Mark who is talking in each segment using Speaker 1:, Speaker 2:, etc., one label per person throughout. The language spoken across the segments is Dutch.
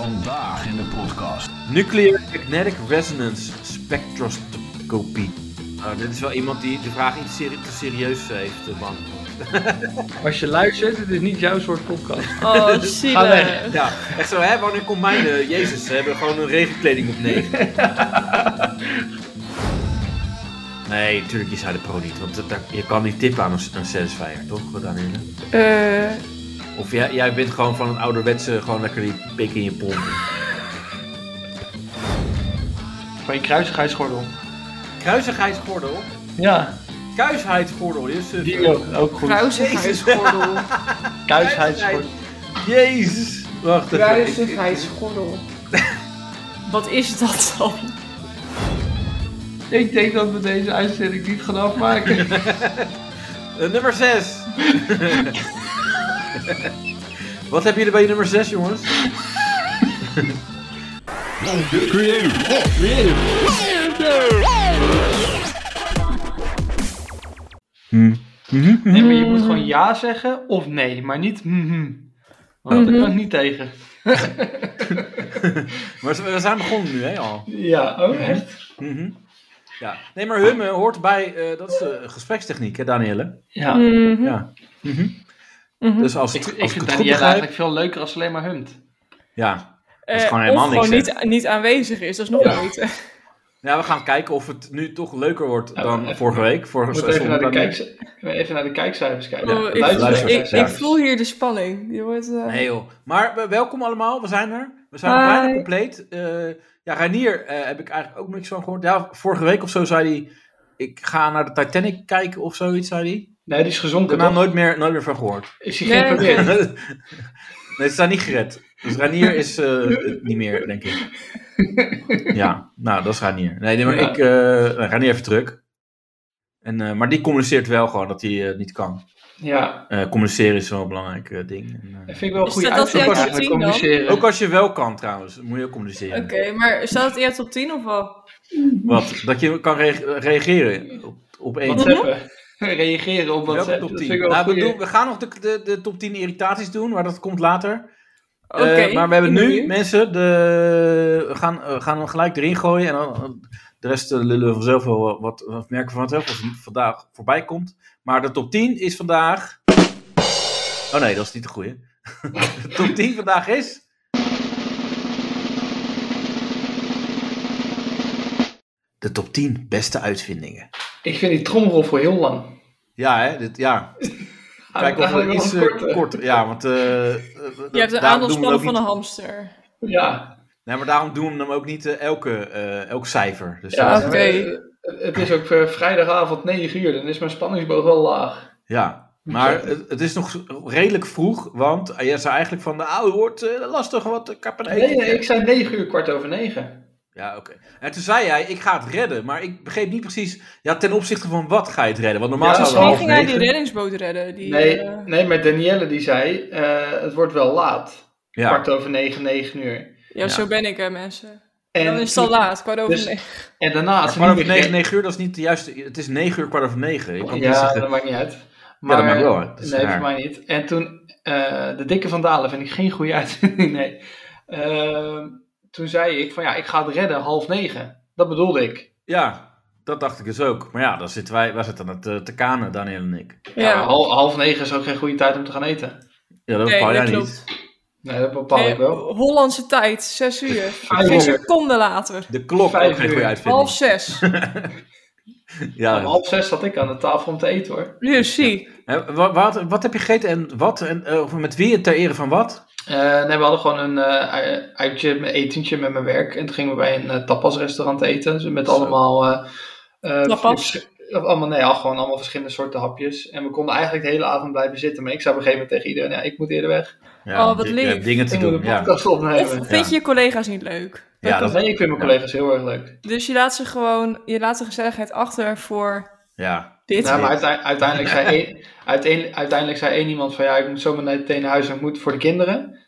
Speaker 1: Vandaag in de podcast.
Speaker 2: Nuclear Magnetic Resonance Spectroscopy. Nou, dit is wel iemand die de vraag iets seri- te serieus eh, heeft eh, beantwoord.
Speaker 3: Als je luistert, het is niet jouw soort podcast.
Speaker 4: Oh,
Speaker 3: Dus Ga
Speaker 4: zielig.
Speaker 3: weg.
Speaker 2: Ja, echt zo, hè? Wanneer komt mijn eh, Jezus? Ze hebben gewoon een regenkleding op negen. Nee, natuurlijk is hij de pro niet. Want dat- dat- je kan niet tippen aan een, een Satisfyer, toch? Wat aan
Speaker 4: Eh,
Speaker 2: Of jij, jij bent gewoon van het ouderwetse, gewoon lekker die pik in je pomp.
Speaker 3: Van je kruisigheidsgordel.
Speaker 2: Kruisigheidsgordel?
Speaker 3: Ja,
Speaker 2: Kuisheidsgordel, je suffer.
Speaker 3: die ook, ook goed.
Speaker 4: Kruisigheidsgordel.
Speaker 3: Kruisigheidsgordel.
Speaker 2: Jezus! Wacht even.
Speaker 4: Kruisigheidsgordel. Wat is dat dan?
Speaker 3: Ik denk dat we deze uitzending niet gaan afmaken.
Speaker 2: Eh, nummer 6. Wat hebben jullie bij nummer 6, jongens?
Speaker 3: Nee, maar je moet gewoon ja zeggen of nee, maar niet mhm. Want daar kan ik niet tegen.
Speaker 2: Maar ze- we zijn begonnen nu, hè, al.
Speaker 3: Ja, oh echt?
Speaker 2: Ja. Nee, maar hummen hoort bij... eh, dat is de gesprekstechniek, hè, Danielle?
Speaker 3: Ja.
Speaker 4: Mhm.
Speaker 2: Ja. Dus als,
Speaker 3: Hm? Ik,
Speaker 2: het-
Speaker 3: ik
Speaker 2: als ik het
Speaker 3: vind
Speaker 2: goed
Speaker 3: Danielle
Speaker 2: begrijp...
Speaker 3: eigenlijk veel leuker als ze alleen maar humt.
Speaker 2: Ja.
Speaker 4: Eh,
Speaker 2: gewoon helemaal
Speaker 4: of gewoon
Speaker 2: niks,
Speaker 4: niet, niet aanwezig is, dat is nog
Speaker 3: Ja.
Speaker 4: beter.
Speaker 2: ja, we gaan kijken of het nu toch leuker wordt
Speaker 3: Ja,
Speaker 2: dan
Speaker 3: even-
Speaker 2: vorige week. Vorige
Speaker 3: We moeten even naar, de
Speaker 2: zondag-
Speaker 3: kijkci- even naar de kijkcijfers kijken.
Speaker 4: Oh,
Speaker 2: luister-
Speaker 4: ik,
Speaker 2: luister-
Speaker 4: ik,
Speaker 2: luister.
Speaker 4: ik voel hier de spanning. Die wordt, eh,
Speaker 2: Nee joh. Maar eh, welkom allemaal, we zijn er. We zijn
Speaker 4: Hi.
Speaker 2: bijna compleet. Eh, ja, Reinier eh, heb ik eigenlijk ook niks van gehoord. Ja, vorige week of zo zei hij... Ik ga naar de Titanic kijken of zoiets, zei hij.
Speaker 3: Nee, die is
Speaker 2: Ik heb
Speaker 3: gezonken.
Speaker 2: daar
Speaker 3: toch?
Speaker 2: nooit meer, nooit meer van gehoord.
Speaker 3: Is hij
Speaker 4: Nee,
Speaker 3: geïnteresseerd?
Speaker 4: oké.
Speaker 2: nee, ze zijn niet gered. Dus Ranier is eh, het niet meer, denk ik. Ja, nou, dat is Ranier. Nee, nee maar
Speaker 3: Ja.
Speaker 2: ik... eh Ranier heeft druk. En, eh, maar die communiceert wel gewoon dat hij eh, niet kan.
Speaker 3: Ja,
Speaker 2: Eh, communiceren is wel een belangrijk eh, ding. En, eh,
Speaker 3: dat vind ik wel een
Speaker 4: Is
Speaker 3: goede
Speaker 4: dat dat hij
Speaker 3: uitzending.
Speaker 4: uit je
Speaker 3: eigenlijk,
Speaker 4: team dan?
Speaker 3: communiceren.
Speaker 2: ook als je wel kan trouwens, moet je ook communiceren.
Speaker 4: Oké, maar staat het eerst op 10 of wat?
Speaker 2: Wat? Dat je kan reag- reageren op, op één.
Speaker 4: Mhm.
Speaker 3: WhatsAppen. Reageren op
Speaker 2: Welke
Speaker 3: WhatsApp.
Speaker 2: top
Speaker 3: Dat
Speaker 2: 10?
Speaker 3: vind ik wel een
Speaker 2: Nou, we,
Speaker 3: goeie.
Speaker 2: doen- we gaan nog de, de, de top 10 irritaties doen, maar dat komt later.
Speaker 4: Oké.
Speaker 2: Eh, maar we hebben
Speaker 4: ik ben
Speaker 2: nu,
Speaker 4: benieuwd.
Speaker 2: mensen, de, we gaan, eh, gaan hem gelijk erin gooien. En dan, eh, de rest eh, lullen we vanzelf wel wat- wat, wat merken we vanzelf als het vandaag voorbij komt. Maar de top 10 is vandaag... Oh nee, dat is niet de goeie. de top 10 vandaag is... De top 10 beste uitvindingen.
Speaker 3: Ik vind die tromroffel heel lang.
Speaker 2: Ja, hè, dit, ja. Kijk of we
Speaker 3: Eigenlijk wel
Speaker 2: iets
Speaker 3: een
Speaker 2: eh,
Speaker 3: korte.
Speaker 2: korter... Ja, want... eh, eh,
Speaker 4: Je hebt een
Speaker 2: daarom doen we hem
Speaker 4: aandachtspannen
Speaker 2: ook
Speaker 4: van
Speaker 2: niet-
Speaker 4: een hamster.
Speaker 3: Ja,
Speaker 2: Nee, maar daarom doen we hem ook niet eh, elke, eh, elk cijfer. Dus
Speaker 3: ja
Speaker 2: ja.
Speaker 4: Oké.
Speaker 3: eh, het is ook eh, vrijdagavond 9 uur, dan is mijn spanningsboog wel laag.
Speaker 2: ja. Maar het, het is nog redelijk vroeg, want jij zei eigenlijk van, nou, het wordt eh, lastig, want ik heb een
Speaker 3: Nee,
Speaker 2: eten.
Speaker 3: nee, ik zei 9 uur, kwart over 9.
Speaker 2: Ja, oké. En toen zei jij, ik ga het redden, maar ik begreep niet precies, ja, ten opzichte van wat ga je het redden? Want normaal
Speaker 3: Ja,
Speaker 2: zou het
Speaker 3: misschien
Speaker 4: Misschien
Speaker 2: half
Speaker 4: ging hij die
Speaker 2: negen-
Speaker 4: reddingsboot redden. Die,
Speaker 3: Nee,
Speaker 4: eh,
Speaker 3: nee maar Danielle die zei, eh, het wordt wel laat.
Speaker 2: Ja,
Speaker 3: Kwart over 9, 9 uur.
Speaker 4: ja,
Speaker 2: Ja.
Speaker 4: zo ben ik hè mensen.
Speaker 3: En,
Speaker 4: Dan is het al laat, kwart over
Speaker 3: Dus-
Speaker 4: negen.
Speaker 3: En daarna is
Speaker 2: maar
Speaker 3: het
Speaker 2: kwart
Speaker 3: niet
Speaker 2: over
Speaker 3: meer
Speaker 2: negen, negen uur, dat is niet de juiste, het is negen uur, kwart over negen. Je kan
Speaker 3: Ja,
Speaker 2: niet zeggen,
Speaker 3: dat maakt niet uit.
Speaker 2: dat
Speaker 3: Maar,
Speaker 2: maakt wel uit. Dat is
Speaker 3: nee,
Speaker 2: raar.
Speaker 3: voor mij niet. En toen, eh, de dikke van Dalen vind ik geen goede uitzending, nee. Ehm, toen zei ik van ja, ik ga het redden, half negen. Dat bedoelde ik.
Speaker 2: ja, dat dacht ik dus ook. Maar ja, dan zitten wij, wij zitten aan het eh, te kanen, Daniel en ik.
Speaker 4: Ja,
Speaker 3: Ja, hal- half, negen is ook geen goede tijd om te gaan eten.
Speaker 2: Ja, dat
Speaker 4: nee,
Speaker 2: bepaal
Speaker 4: dat
Speaker 2: jij niet.
Speaker 4: klopt.
Speaker 3: Nee, dat bepaal ik
Speaker 4: Nee,
Speaker 3: wel.
Speaker 4: Hollandse tijd, 6 uur.
Speaker 3: Vijf
Speaker 4: Geen
Speaker 3: uur.
Speaker 4: seconde later.
Speaker 2: De klok
Speaker 3: Vijf
Speaker 2: ook geen goede
Speaker 3: uur.
Speaker 2: uitvinding.
Speaker 4: Half zes.
Speaker 2: Ja.
Speaker 3: Om half zes zat ik aan de tafel om te eten hoor.
Speaker 4: Nu zie.
Speaker 2: Eh, wa- wat, wat heb je gegeten en wat? En, eh, of met wie ter ere van wat?
Speaker 3: Eh, nee, we hadden gewoon een eh, uitje, een etentje met mijn werk. En toen gingen we bij een eh, tapasrestaurant eten. Dus met
Speaker 2: Zo.
Speaker 3: allemaal... eh, eh,
Speaker 4: Tapas?
Speaker 3: vers- Of allemaal, nee, al gewoon allemaal verschillende soorten hapjes. En we konden eigenlijk de hele avond blijven zitten. Maar ik zei op een gegeven moment tegen iedereen, ja, ik moet eerder weg.
Speaker 2: Ja,
Speaker 4: Oh, wat
Speaker 2: je-
Speaker 4: lief.
Speaker 2: je hebt dingen te
Speaker 3: Ik moet een
Speaker 2: doen. Ja.
Speaker 3: podcast
Speaker 4: Of
Speaker 3: opnemen.
Speaker 4: vind je je collega's niet leuk?
Speaker 2: Ja, dat-
Speaker 3: Nee, ik vind mijn
Speaker 2: Ja.
Speaker 3: collega's heel erg leuk.
Speaker 4: Dus je laat ze gewoon, je laat de gezelligheid achter voor
Speaker 2: ja.
Speaker 4: dit.
Speaker 3: Nou, maar uitei- uiteindelijk, zei één, uiteen- uiteindelijk zei één iemand van ja, ik moet zomaar meteen naar huis en ik moet voor de kinderen.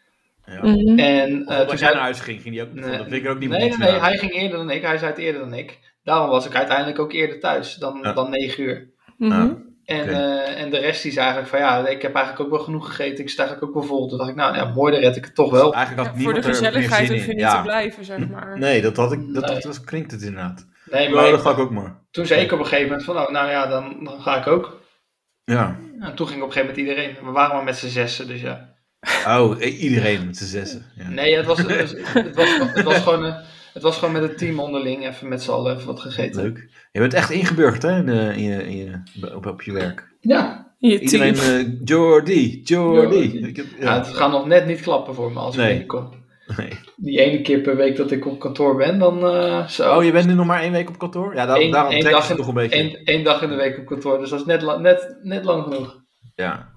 Speaker 2: ja.
Speaker 4: Mhm.
Speaker 2: Of
Speaker 3: En eh, toen
Speaker 2: als Oh, jij
Speaker 3: zei
Speaker 2: naar huis ging, ging die ook.
Speaker 3: Nee.
Speaker 2: dat vind ik ook niet
Speaker 3: nee, nee,
Speaker 2: goed.
Speaker 3: nee,
Speaker 2: Ja.
Speaker 3: hij ging eerder dan ik, hij zei het eerder dan ik. Daarom was ik uiteindelijk ook eerder thuis dan,
Speaker 2: Ja. Dus
Speaker 3: dan negen uur.
Speaker 4: Mhm.
Speaker 3: En,
Speaker 2: Oké.
Speaker 3: eh, en de rest die is eigenlijk van ja, ik heb eigenlijk ook wel genoeg gegeten. Ik sta eigenlijk ook wel vol. Toen dacht ik, nou ja, mooi, dan red ik het toch wel.
Speaker 2: Eigenlijk had
Speaker 4: Ja, voor de
Speaker 2: niemand er meer
Speaker 4: gezelligheid
Speaker 2: zin
Speaker 4: hoef je
Speaker 2: in.
Speaker 4: niet
Speaker 2: Ja.
Speaker 4: te blijven, zeg maar.
Speaker 2: Nee, dat, had ik, dat,
Speaker 3: Nee.
Speaker 2: dat klinkt het inderdaad.
Speaker 3: Nee,
Speaker 2: Maar dat
Speaker 3: maar
Speaker 2: ga ik ook maar.
Speaker 3: toen zei ik op een gegeven moment van nou, nou ja, dan, dan ga ik ook.
Speaker 2: Ja.
Speaker 3: En toen ging op een gegeven moment iedereen. We waren maar met z'n zessen, dus ja.
Speaker 2: Oh, i- iedereen met z'n zessen. Ja.
Speaker 3: Nee, het was, het was, het was, het was gewoon... eh, het was gewoon met het team onderling even met z'n allen even wat gegeten.
Speaker 2: Leuk. Je bent echt ingeburgerd hè, in, de- in je, in je, op, op je werk.
Speaker 3: Ja,
Speaker 4: Je
Speaker 2: Iedereen,
Speaker 4: team.
Speaker 2: eh Jordi, Jordi.
Speaker 3: Jordi.
Speaker 2: Ik heb-
Speaker 3: ja.
Speaker 2: ja.
Speaker 3: Nou, het gaat nog net niet klappen voor me als ik
Speaker 2: Nee.
Speaker 3: binnenkom.
Speaker 2: Nee.
Speaker 3: Die ene keer per week dat ik op kantoor ben, dan eh, zo.
Speaker 2: Oh, je bent nu nog maar één week op kantoor? Ja, daarom,
Speaker 3: Eén-
Speaker 2: daarom
Speaker 3: één
Speaker 2: trek je
Speaker 3: dag
Speaker 2: het
Speaker 3: in-
Speaker 2: nog een beetje.
Speaker 3: Eén één dag in de week op kantoor, dus dat is net, la- net, net lang genoeg.
Speaker 2: Ja.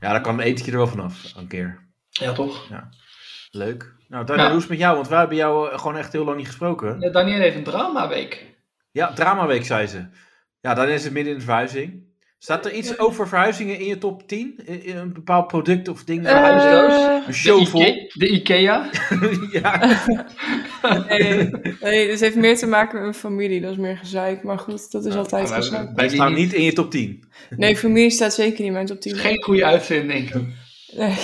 Speaker 2: ja, dan kan een etentje er wel vanaf, een keer.
Speaker 3: Ja, toch?
Speaker 2: Leuk. Nou, Daniel,
Speaker 3: Ja.
Speaker 2: hoe is het met jou? Want wij hebben jou eh, gewoon echt heel lang niet gesproken.
Speaker 3: Ja, Daniel heeft een dramaweek.
Speaker 2: Ja, dramaweek, zei ze. Ja, dan is het midden in de verhuizing. Staat er iets over verhuizingen in je top 10? In, in een bepaald product of ding?
Speaker 4: Eh,
Speaker 2: een
Speaker 3: De,
Speaker 2: show vol?
Speaker 3: Ike- de Ikea.
Speaker 2: ja.
Speaker 4: nee, nee, dit heeft meer te maken met mijn familie. Dat is meer gezeik. Maar goed, dat is
Speaker 2: Ja,
Speaker 4: altijd
Speaker 3: maar we-
Speaker 4: gezeik.
Speaker 2: Die
Speaker 3: Bij
Speaker 2: staan
Speaker 3: die-
Speaker 2: niet in je top 10.
Speaker 4: Nee, familie staat zeker niet in mijn top 10.
Speaker 3: Geen goede uitvinding.
Speaker 4: Nee.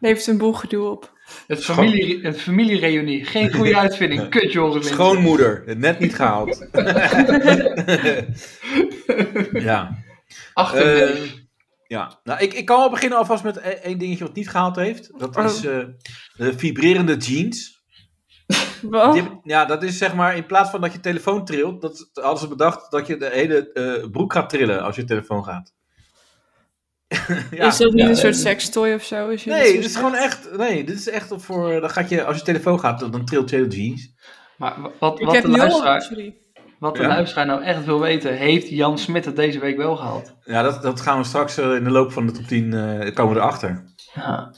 Speaker 4: Levert een boel gedoe op.
Speaker 3: Het familie, een familiereunie. Geen goede uitvinding. Kut, Joris.
Speaker 2: Schoonmoeder, het net niet gehaald. ja.
Speaker 3: Achter
Speaker 2: Eh, ja. Nou, ik, ik kan wel beginnen alvast met e- één dingetje wat niet gehaald heeft. Dat
Speaker 4: Oh.
Speaker 2: is eh, de vibrerende jeans.
Speaker 4: Wat?
Speaker 2: Die heb- ja, dat is zeg maar in plaats van dat je telefoon trilt, dat hadden ze bedacht dat je de hele eh, broek gaat trillen als je telefoon gaat. ja.
Speaker 4: is dat niet
Speaker 3: ja,
Speaker 4: een soort
Speaker 3: eh,
Speaker 4: sextoy of zo? Is je dat
Speaker 2: Nee, dus
Speaker 4: soort-
Speaker 2: dit is gewoon echt. Nee, dit is echt voor. Dan gaat je, als je telefoon gaat, dan, dan trilt je hele jeans.
Speaker 3: Maar wa- wat,
Speaker 4: Ik
Speaker 3: wat,
Speaker 4: heb
Speaker 3: de,
Speaker 4: nul.
Speaker 3: luisteraar,
Speaker 4: Sorry.
Speaker 3: wat de
Speaker 2: Ja.
Speaker 3: luisteraar nou echt wil weten, heeft Jan Smit het deze week wel gehaald?
Speaker 2: Ja, dat, dat gaan we straks eh, in de loop van de top 10 eh, komen we erachter.
Speaker 3: Ja.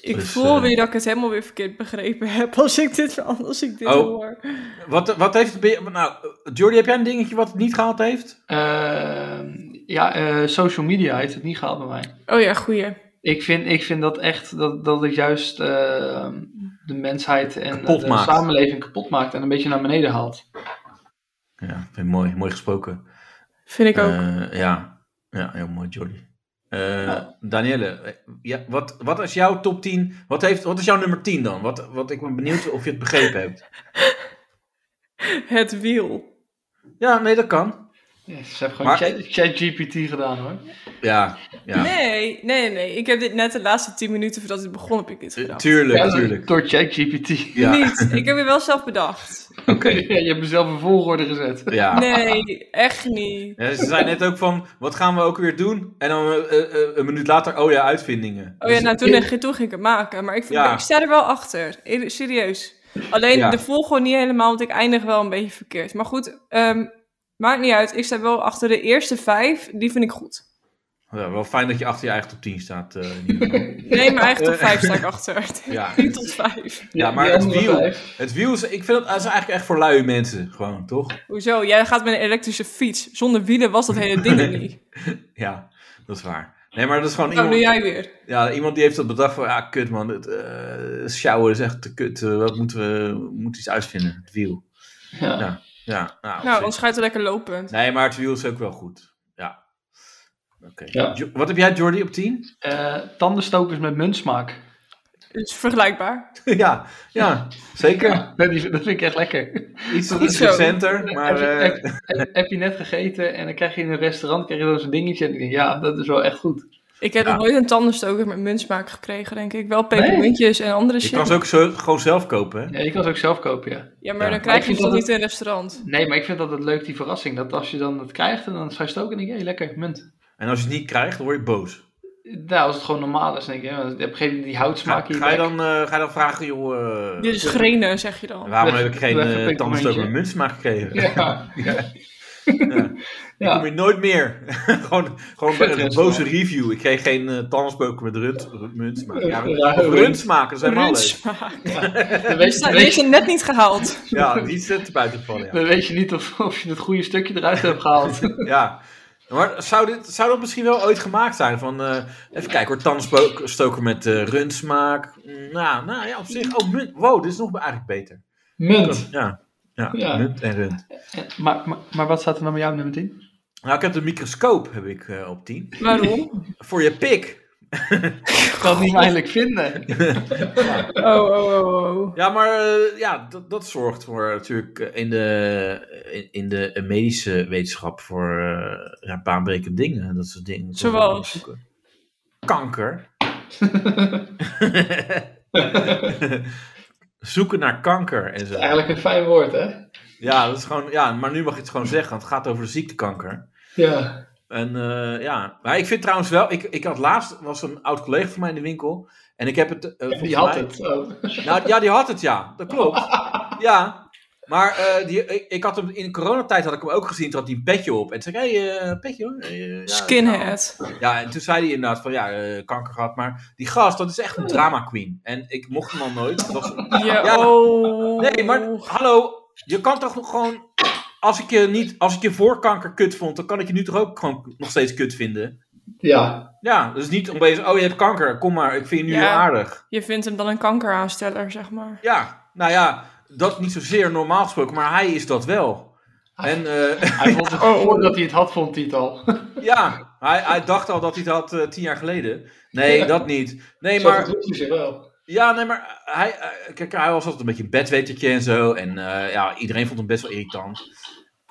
Speaker 4: Ik
Speaker 2: Dus,
Speaker 4: voel
Speaker 2: eh,
Speaker 4: weer dat ik het helemaal weer verkeerd begrepen heb als ik dit, als ik dit
Speaker 2: Oh.
Speaker 4: hoor.
Speaker 2: Wat, wat heeft. ben je- Nou, Jordi, heb jij een dingetje wat het niet gehaald heeft?
Speaker 3: Ehm, ja, eh, social media heeft het niet gehaald bij mij.
Speaker 4: Oh ja, goeie.
Speaker 3: Ik vind, ik vind dat echt dat, dat het juist eh, de mensheid en
Speaker 2: Kapot
Speaker 3: de
Speaker 2: maakt.
Speaker 3: samenleving kapot maakt en een beetje naar beneden haalt.
Speaker 2: Ja, vind ik mooi, mooi gesproken.
Speaker 4: Vind ik ook.
Speaker 2: Eh, ja. ja, heel mooi, Jordi. Eh, Danielle, eh, ja, wat, wat is jouw top 10? Wat, heeft, wat is jouw nummer 10 dan? Wat, wat, ik ben benieuwd of je het begrepen hebt.
Speaker 4: Het wiel.
Speaker 2: Ja, nee, dat kan.
Speaker 3: Ja, ze hebben gewoon
Speaker 2: Maar-
Speaker 3: chat- ChatGPT gedaan hoor.
Speaker 2: Ja, ja.
Speaker 4: Nee, nee, nee. Ik heb dit net de laatste tien minuten voordat het begon, heb ik dit
Speaker 2: Tu-
Speaker 4: gedaan.
Speaker 2: Tuurlijk,
Speaker 3: Ja,
Speaker 2: tuurlijk.
Speaker 3: Door ChatGPT.
Speaker 2: Ja,
Speaker 4: Niet. Ik heb het wel zelf bedacht.
Speaker 3: Oké, je hebt mezelf een volgorde gezet.
Speaker 2: ja.
Speaker 4: Nee, echt niet.
Speaker 2: Ja, ze zei net ook van, wat gaan we ook weer doen? En dan eh, eh, eh, een minuut later, oh ja, uitvindingen.
Speaker 4: Oh ja,
Speaker 2: Dus-
Speaker 4: nou toen, ging- toen ging ik het maken. Maar ik, vind-
Speaker 2: Ja.
Speaker 4: ik sta er wel achter. E- Serieus. Alleen
Speaker 2: Ja.
Speaker 4: de volgorde niet helemaal, want ik eindig wel een beetje verkeerd. Maar goed, ehm, maakt niet uit. Ik sta wel achter de eerste vijf. Die vind ik goed.
Speaker 2: Ja, wel fijn dat je achter je eigen top 10 staat. eh, in ieder geval.
Speaker 4: Nee, maar eigen top vijf sta ik achter.
Speaker 2: ja.
Speaker 4: Niet tot vijf.
Speaker 2: Ja, maar
Speaker 3: Die
Speaker 2: het
Speaker 3: andere
Speaker 2: wiel.
Speaker 3: vijf.
Speaker 2: Het wiel, is, ik vind dat, dat is eigenlijk echt voor luie mensen, gewoon, toch?
Speaker 4: Hoezo? Jij gaat met een elektrische fiets. Zonder wielen was dat hele ding er niet.
Speaker 2: Ja, dat is waar. Nee, maar dat is gewoon
Speaker 4: Nou, doe
Speaker 2: iemand,
Speaker 4: jij weer.
Speaker 2: ja, iemand die heeft dat bedacht van, ja, kut man, het eh sjouwen is echt te kut. eh, wat moeten we, we moeten iets uitvinden, het wiel.
Speaker 3: Ja.
Speaker 2: Ja. Ja, nou, op
Speaker 4: Nou,
Speaker 2: zich.
Speaker 4: anders ga je toch lekker lopen.
Speaker 2: Nee, maar het wiel is ook wel goed. Ja. Oké.
Speaker 3: Ja.
Speaker 2: Jo- Wat heb jij, Jordi, op 10?
Speaker 3: Eh, tandenstokers met muntsmaak.
Speaker 4: Het is vergelijkbaar.
Speaker 2: ja, ja, zeker.
Speaker 3: Dat die- dat vind ik echt lekker.
Speaker 2: Iets,
Speaker 4: Goed
Speaker 2: iets
Speaker 4: zo.
Speaker 2: recenter, maar...
Speaker 3: heb,
Speaker 2: eh,
Speaker 3: je, heb- heb- heb je net gegeten en dan krijg je in een restaurant krijg je dan zo'n dingetje. En ik denk, ja, dat is wel echt goed.
Speaker 4: Ik heb
Speaker 2: Ja.
Speaker 4: nog nooit een tandenstoker met muntsmaak gekregen, denk ik. Wel pepermuntjes en andere
Speaker 2: je
Speaker 4: shit.
Speaker 2: kan ze ook zo, gewoon zelf kopen, hè?
Speaker 3: Ja, je kan ze ook zelf kopen, ja.
Speaker 4: Ja, maar
Speaker 2: Ja.
Speaker 4: dan
Speaker 3: Maar ik
Speaker 4: krijg je
Speaker 3: vind
Speaker 4: het toch
Speaker 3: dat
Speaker 4: niet in een restaurant.
Speaker 3: Nee, maar ik vind altijd leuk die verrassing. Dat als je dan het krijgt en dan zou je het ook en denk je, hé, lekker, munt.
Speaker 2: En als je het niet krijgt, dan word je boos.
Speaker 3: Nou, als het gewoon normaal is, denk ik, hè, want op een gegeven moment die
Speaker 2: Ga,
Speaker 3: houtsmaak in
Speaker 2: ga je
Speaker 3: bek.
Speaker 2: dan, eh, ga je dan vragen, joh... eh,
Speaker 4: Dit is grenen, zeg je dan.
Speaker 2: Waarom
Speaker 3: Weg-
Speaker 2: heb ik geen
Speaker 3: weg-
Speaker 2: eh
Speaker 3: weg-
Speaker 2: tandenstoker met
Speaker 3: momentje.
Speaker 2: muntsmaak gekregen?
Speaker 3: Ja, ja.
Speaker 2: Ik kom
Speaker 3: ja.
Speaker 2: hier nooit meer. gewoon gewoon
Speaker 3: Vet
Speaker 2: een
Speaker 3: restaurant.
Speaker 2: boze review. Ik kreeg geen eh tandenstoker met runt, muntsmaak. Ja,
Speaker 3: Eh, ja,
Speaker 2: of
Speaker 3: rund.
Speaker 2: runtsmaak, dat is helemaal leuk.
Speaker 4: Muntsmaak.
Speaker 3: Dan, weet,
Speaker 4: Sta-
Speaker 3: dan,
Speaker 4: Die is
Speaker 3: weet,
Speaker 4: er net niet gehaald.
Speaker 2: Ja, die is er buiten gevallen, ja.
Speaker 3: dan weet je niet of, of je het goede stukje eruit hebt gehaald.
Speaker 2: ja. Maar zou, dit, zou dat misschien wel ooit gemaakt zijn? Van, eh, even kijken hoor, tandenstoker met eh runtsmaak. Mm, Nou, nou ja, op zich. Oh, munt. Wow, dit is nog eigenlijk beter.
Speaker 3: Munt.
Speaker 2: Ja, ja,
Speaker 3: Ja.
Speaker 2: munt en rund.
Speaker 3: Maar, maar, maar wat staat er dan bij jou op nummer 10?
Speaker 2: Nou, ik heb de microscoop heb ik, eh, op 10.
Speaker 4: Waarom?
Speaker 2: Voor je pik.
Speaker 3: Ik kan het niet eindelijk vinden.
Speaker 4: Oh, oh, oh, oh.
Speaker 2: Ja, maar eh, ja, dat, dat zorgt voor natuurlijk eh, in de, eh, in, in de medische wetenschap voor eh, ja, baanbrekende dingen. Dat soort dingen. Dat soort
Speaker 4: Zoals?
Speaker 2: dingen zoeken. Kanker. zoeken naar kanker en zo.
Speaker 3: Eigenlijk een fijn woord, hè?
Speaker 2: Ja, dat is gewoon, ja, maar nu mag je het gewoon zeggen, want het gaat over de ziektekanker.
Speaker 3: Ja.
Speaker 2: En eh, ja, maar ik vind trouwens wel, ik, ik had laatst, was een oud collega van mij in de winkel. En ik heb het. eh, volgens
Speaker 3: Die had
Speaker 2: mij-
Speaker 3: het. Oh.
Speaker 2: Nou, ja, die had het, ja. Dat klopt. Ja. Maar eh, die, ik, ik had hem in coronatijd had ik hem ook gezien. Toen had hij een petje op. En toen zei ik, hey, eh, petje hoor. Eh, ja,
Speaker 4: Skinhead.
Speaker 2: nou. Ja, en toen zei hij inderdaad van, ja, eh, kanker gehad. Maar die gast, dat is echt een drama queen. En ik mocht hem al nooit. Dat was een-
Speaker 4: Ja,
Speaker 2: Ja.
Speaker 4: oh.
Speaker 2: Nee, maar hallo, je kan toch nog gewoon. Als ik je niet, als ik je voor kanker kut vond, dan kan ik je nu toch ook gewoon nog steeds kut vinden.
Speaker 3: Ja.
Speaker 2: Ja, dus niet om bezig. Oh, je hebt kanker. Kom maar, ik vind je nu
Speaker 4: Ja.
Speaker 2: heel aardig.
Speaker 4: Je vindt hem dan een kankeraansteller, zeg maar.
Speaker 2: Ja, nou ja, dat niet zozeer normaal gesproken, maar hij is dat wel.
Speaker 3: Ah.
Speaker 2: En eh,
Speaker 3: Hij vond het voordat hij het had, vond hij het al.
Speaker 2: ja, hij, hij dacht al dat hij dat had eh, tien jaar geleden. Nee,
Speaker 3: Ja.
Speaker 2: dat niet. Nee,
Speaker 3: Zo
Speaker 2: maar
Speaker 3: doet hij zich wel.
Speaker 2: Ja, nee, maar hij, eh, kijk, hij was altijd een beetje een bedwetertje en zo. En eh, ja, iedereen vond hem best wel irritant.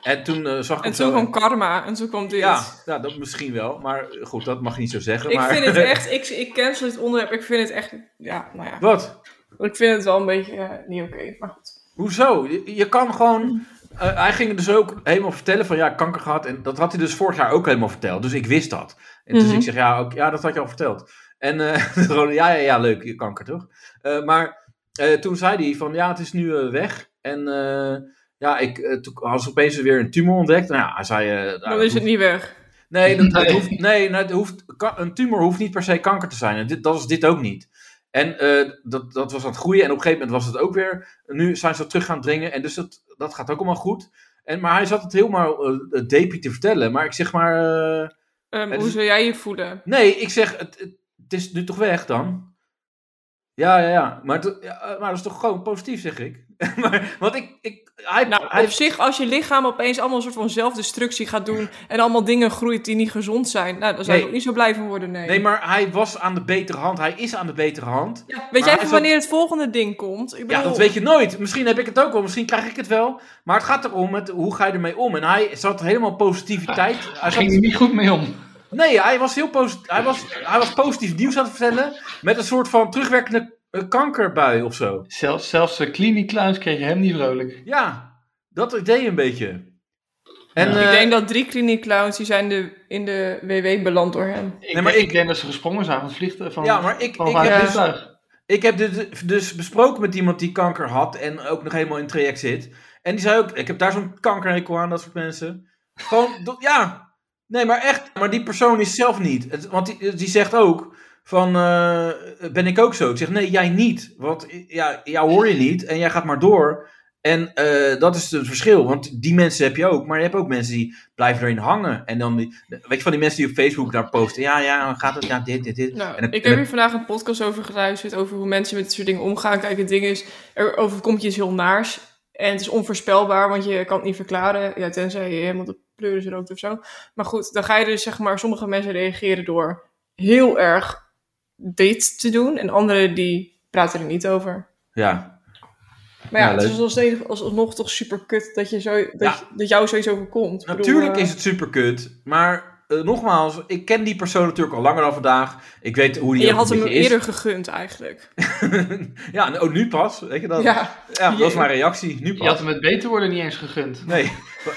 Speaker 2: En toen eh, zag ik
Speaker 4: En
Speaker 2: hem
Speaker 4: toen
Speaker 2: zo.
Speaker 4: kwam karma en toen kwam dit.
Speaker 2: ja, ja, dat misschien wel. Maar goed, dat mag je niet zo zeggen.
Speaker 4: Ik
Speaker 2: maar...
Speaker 4: vind het echt, ik, ik cancel dit onderwerp. Ik vind het echt, ja, nou ja.
Speaker 2: Wat?
Speaker 4: Ik vind het wel een beetje eh, niet oké, maar goed.
Speaker 2: Hoezo? Je, je kan gewoon. eh, hij ging dus ook helemaal vertellen van ja, kanker gehad. En dat had hij dus vorig jaar ook helemaal verteld. Dus ik wist dat. En dus
Speaker 4: Mhm.
Speaker 2: ik zeg ja, ook, ja, dat had je al verteld. En eh, gewoon, ja, ja, ja, leuk, je kanker toch? Eh, maar eh, toen zei hij van ja, het is nu eh, weg. En eh, ja, ik, eh, toen had ze opeens weer een tumor ontdekt. Nou ja, hij zei. eh, nou,
Speaker 4: Dan is het niet weg.
Speaker 2: Nee, dat, dat
Speaker 3: Nee.
Speaker 2: hoeft, nee nou, het hoeft, ka- een tumor hoeft niet per se kanker te zijn. En dit, dat is dit ook niet. En eh, dat, dat was aan het groeien. En op een gegeven moment was het ook weer. Nu zijn ze dat terug gaan dringen. En dus dat, dat gaat ook allemaal goed. En, maar hij zat het helemaal eh depie te vertellen. Maar ik zeg maar... eh,
Speaker 4: Ehm,
Speaker 2: Het
Speaker 4: hoe
Speaker 2: is-
Speaker 4: zou jij je voelen?
Speaker 2: nee, ik zeg... Het, het, het is nu toch weg dan? Ja, ja, ja. Maar, het- ja, eh, maar dat is toch gewoon positief, zeg ik. maar, want ik... ik hij,
Speaker 4: Nou,
Speaker 2: hij,
Speaker 4: op zich, als je lichaam opeens allemaal een soort van zelfdestructie gaat doen en allemaal dingen groeit die niet gezond zijn, nou, dan zou je
Speaker 2: Nee.
Speaker 4: ook niet zo blij van worden, nee.
Speaker 2: nee, maar hij was aan de betere hand. Hij is aan de betere hand.
Speaker 4: Weet
Speaker 2: maar
Speaker 4: jij
Speaker 2: is
Speaker 4: van
Speaker 2: dat-
Speaker 4: wanneer het volgende ding komt? Ik
Speaker 2: Ja,
Speaker 4: bedoel-
Speaker 2: dat weet je nooit. Misschien heb ik het ook wel, misschien krijg ik het wel. Maar het gaat erom, met, hoe ga je ermee om? En hij zat helemaal positiviteit. Hij
Speaker 3: Daar
Speaker 2: zat,
Speaker 3: ging hij niet goed mee om.
Speaker 2: nee, hij was heel positief. Hij was, hij was positief nieuws aan het vertellen. Met een soort van terugwerkende eh, kankerbui of zo.
Speaker 3: Zelfs, zelfs de Clinic Clowns kregen hem niet vrolijk.
Speaker 2: Ja, dat idee een beetje. En,
Speaker 4: Ik
Speaker 2: eh,
Speaker 4: denk dat drie kliniekclowns die zijn de, in de WW beland door hem.
Speaker 3: Ik,
Speaker 2: Nee, maar
Speaker 3: denk,
Speaker 2: ik-
Speaker 3: ik denk dat ze gesprongen zijn van het vliegtuig. Van,
Speaker 2: ja, maar ik,
Speaker 3: van
Speaker 2: ik,
Speaker 3: waar het
Speaker 2: heb
Speaker 4: ja.
Speaker 2: dus,
Speaker 3: vliegtuig.
Speaker 2: ik heb dit dus besproken met iemand die kanker had. En ook nog helemaal in het traject zit. En die zei ook, ik heb daar zo'n kankerhekel aan, dat soort mensen. Gewoon, dat- ja. Nee, maar echt. Maar die persoon is zelf niet. Het- want die, die zegt ook van, eh, ben ik ook zo? Ik zeg, nee, jij niet. Want ja, jou hoor je niet en jij gaat maar door. En eh, dat is het verschil. Want die mensen heb je ook. Maar je hebt ook mensen die blijven erin hangen. En dan, die, weet je, van die mensen die op Facebook daar posten. Ja, ja, dan gaat het, ja, dit, dit, dit.
Speaker 4: Nou,
Speaker 2: en dan-
Speaker 4: ik
Speaker 2: en
Speaker 4: heb
Speaker 2: dan-
Speaker 4: hier vandaag een podcast over geluisterd, over hoe mensen met dit soort dingen omgaan. Kijk, het ding is, er overkomt je iets heel naars. En het is onvoorspelbaar, want je kan het niet verklaren. Ja, tenzij je helemaal de pleuris rookt of zo. Maar goed, dan ga je dus, zeg maar, sommige mensen reageren door heel erg dit te doen. En anderen die praten er niet over.
Speaker 2: ja.
Speaker 4: Maar ja,
Speaker 2: Ja,
Speaker 4: het
Speaker 2: leuk.
Speaker 4: is nog steeds, alsnog toch super kut dat, je zo, dat,
Speaker 2: Ja.
Speaker 4: je- dat jou zoiets overkomt. Ik bedoel,
Speaker 2: Natuurlijk
Speaker 4: eh,
Speaker 2: is het super kut. Maar eh, nogmaals, ik ken die persoon natuurlijk al langer dan vandaag. Ik weet hoe
Speaker 4: en
Speaker 2: die
Speaker 4: je
Speaker 2: ook
Speaker 4: had
Speaker 2: een
Speaker 4: hem
Speaker 2: beetje is.
Speaker 4: eerder gegund eigenlijk.
Speaker 2: ja, en ook nu pas. Weet je dat? Ja,
Speaker 4: Ja.
Speaker 2: dat was mijn reactie. Nu
Speaker 3: Je had
Speaker 2: pas.
Speaker 3: hem het beter worden niet eens gegund.
Speaker 2: Nee.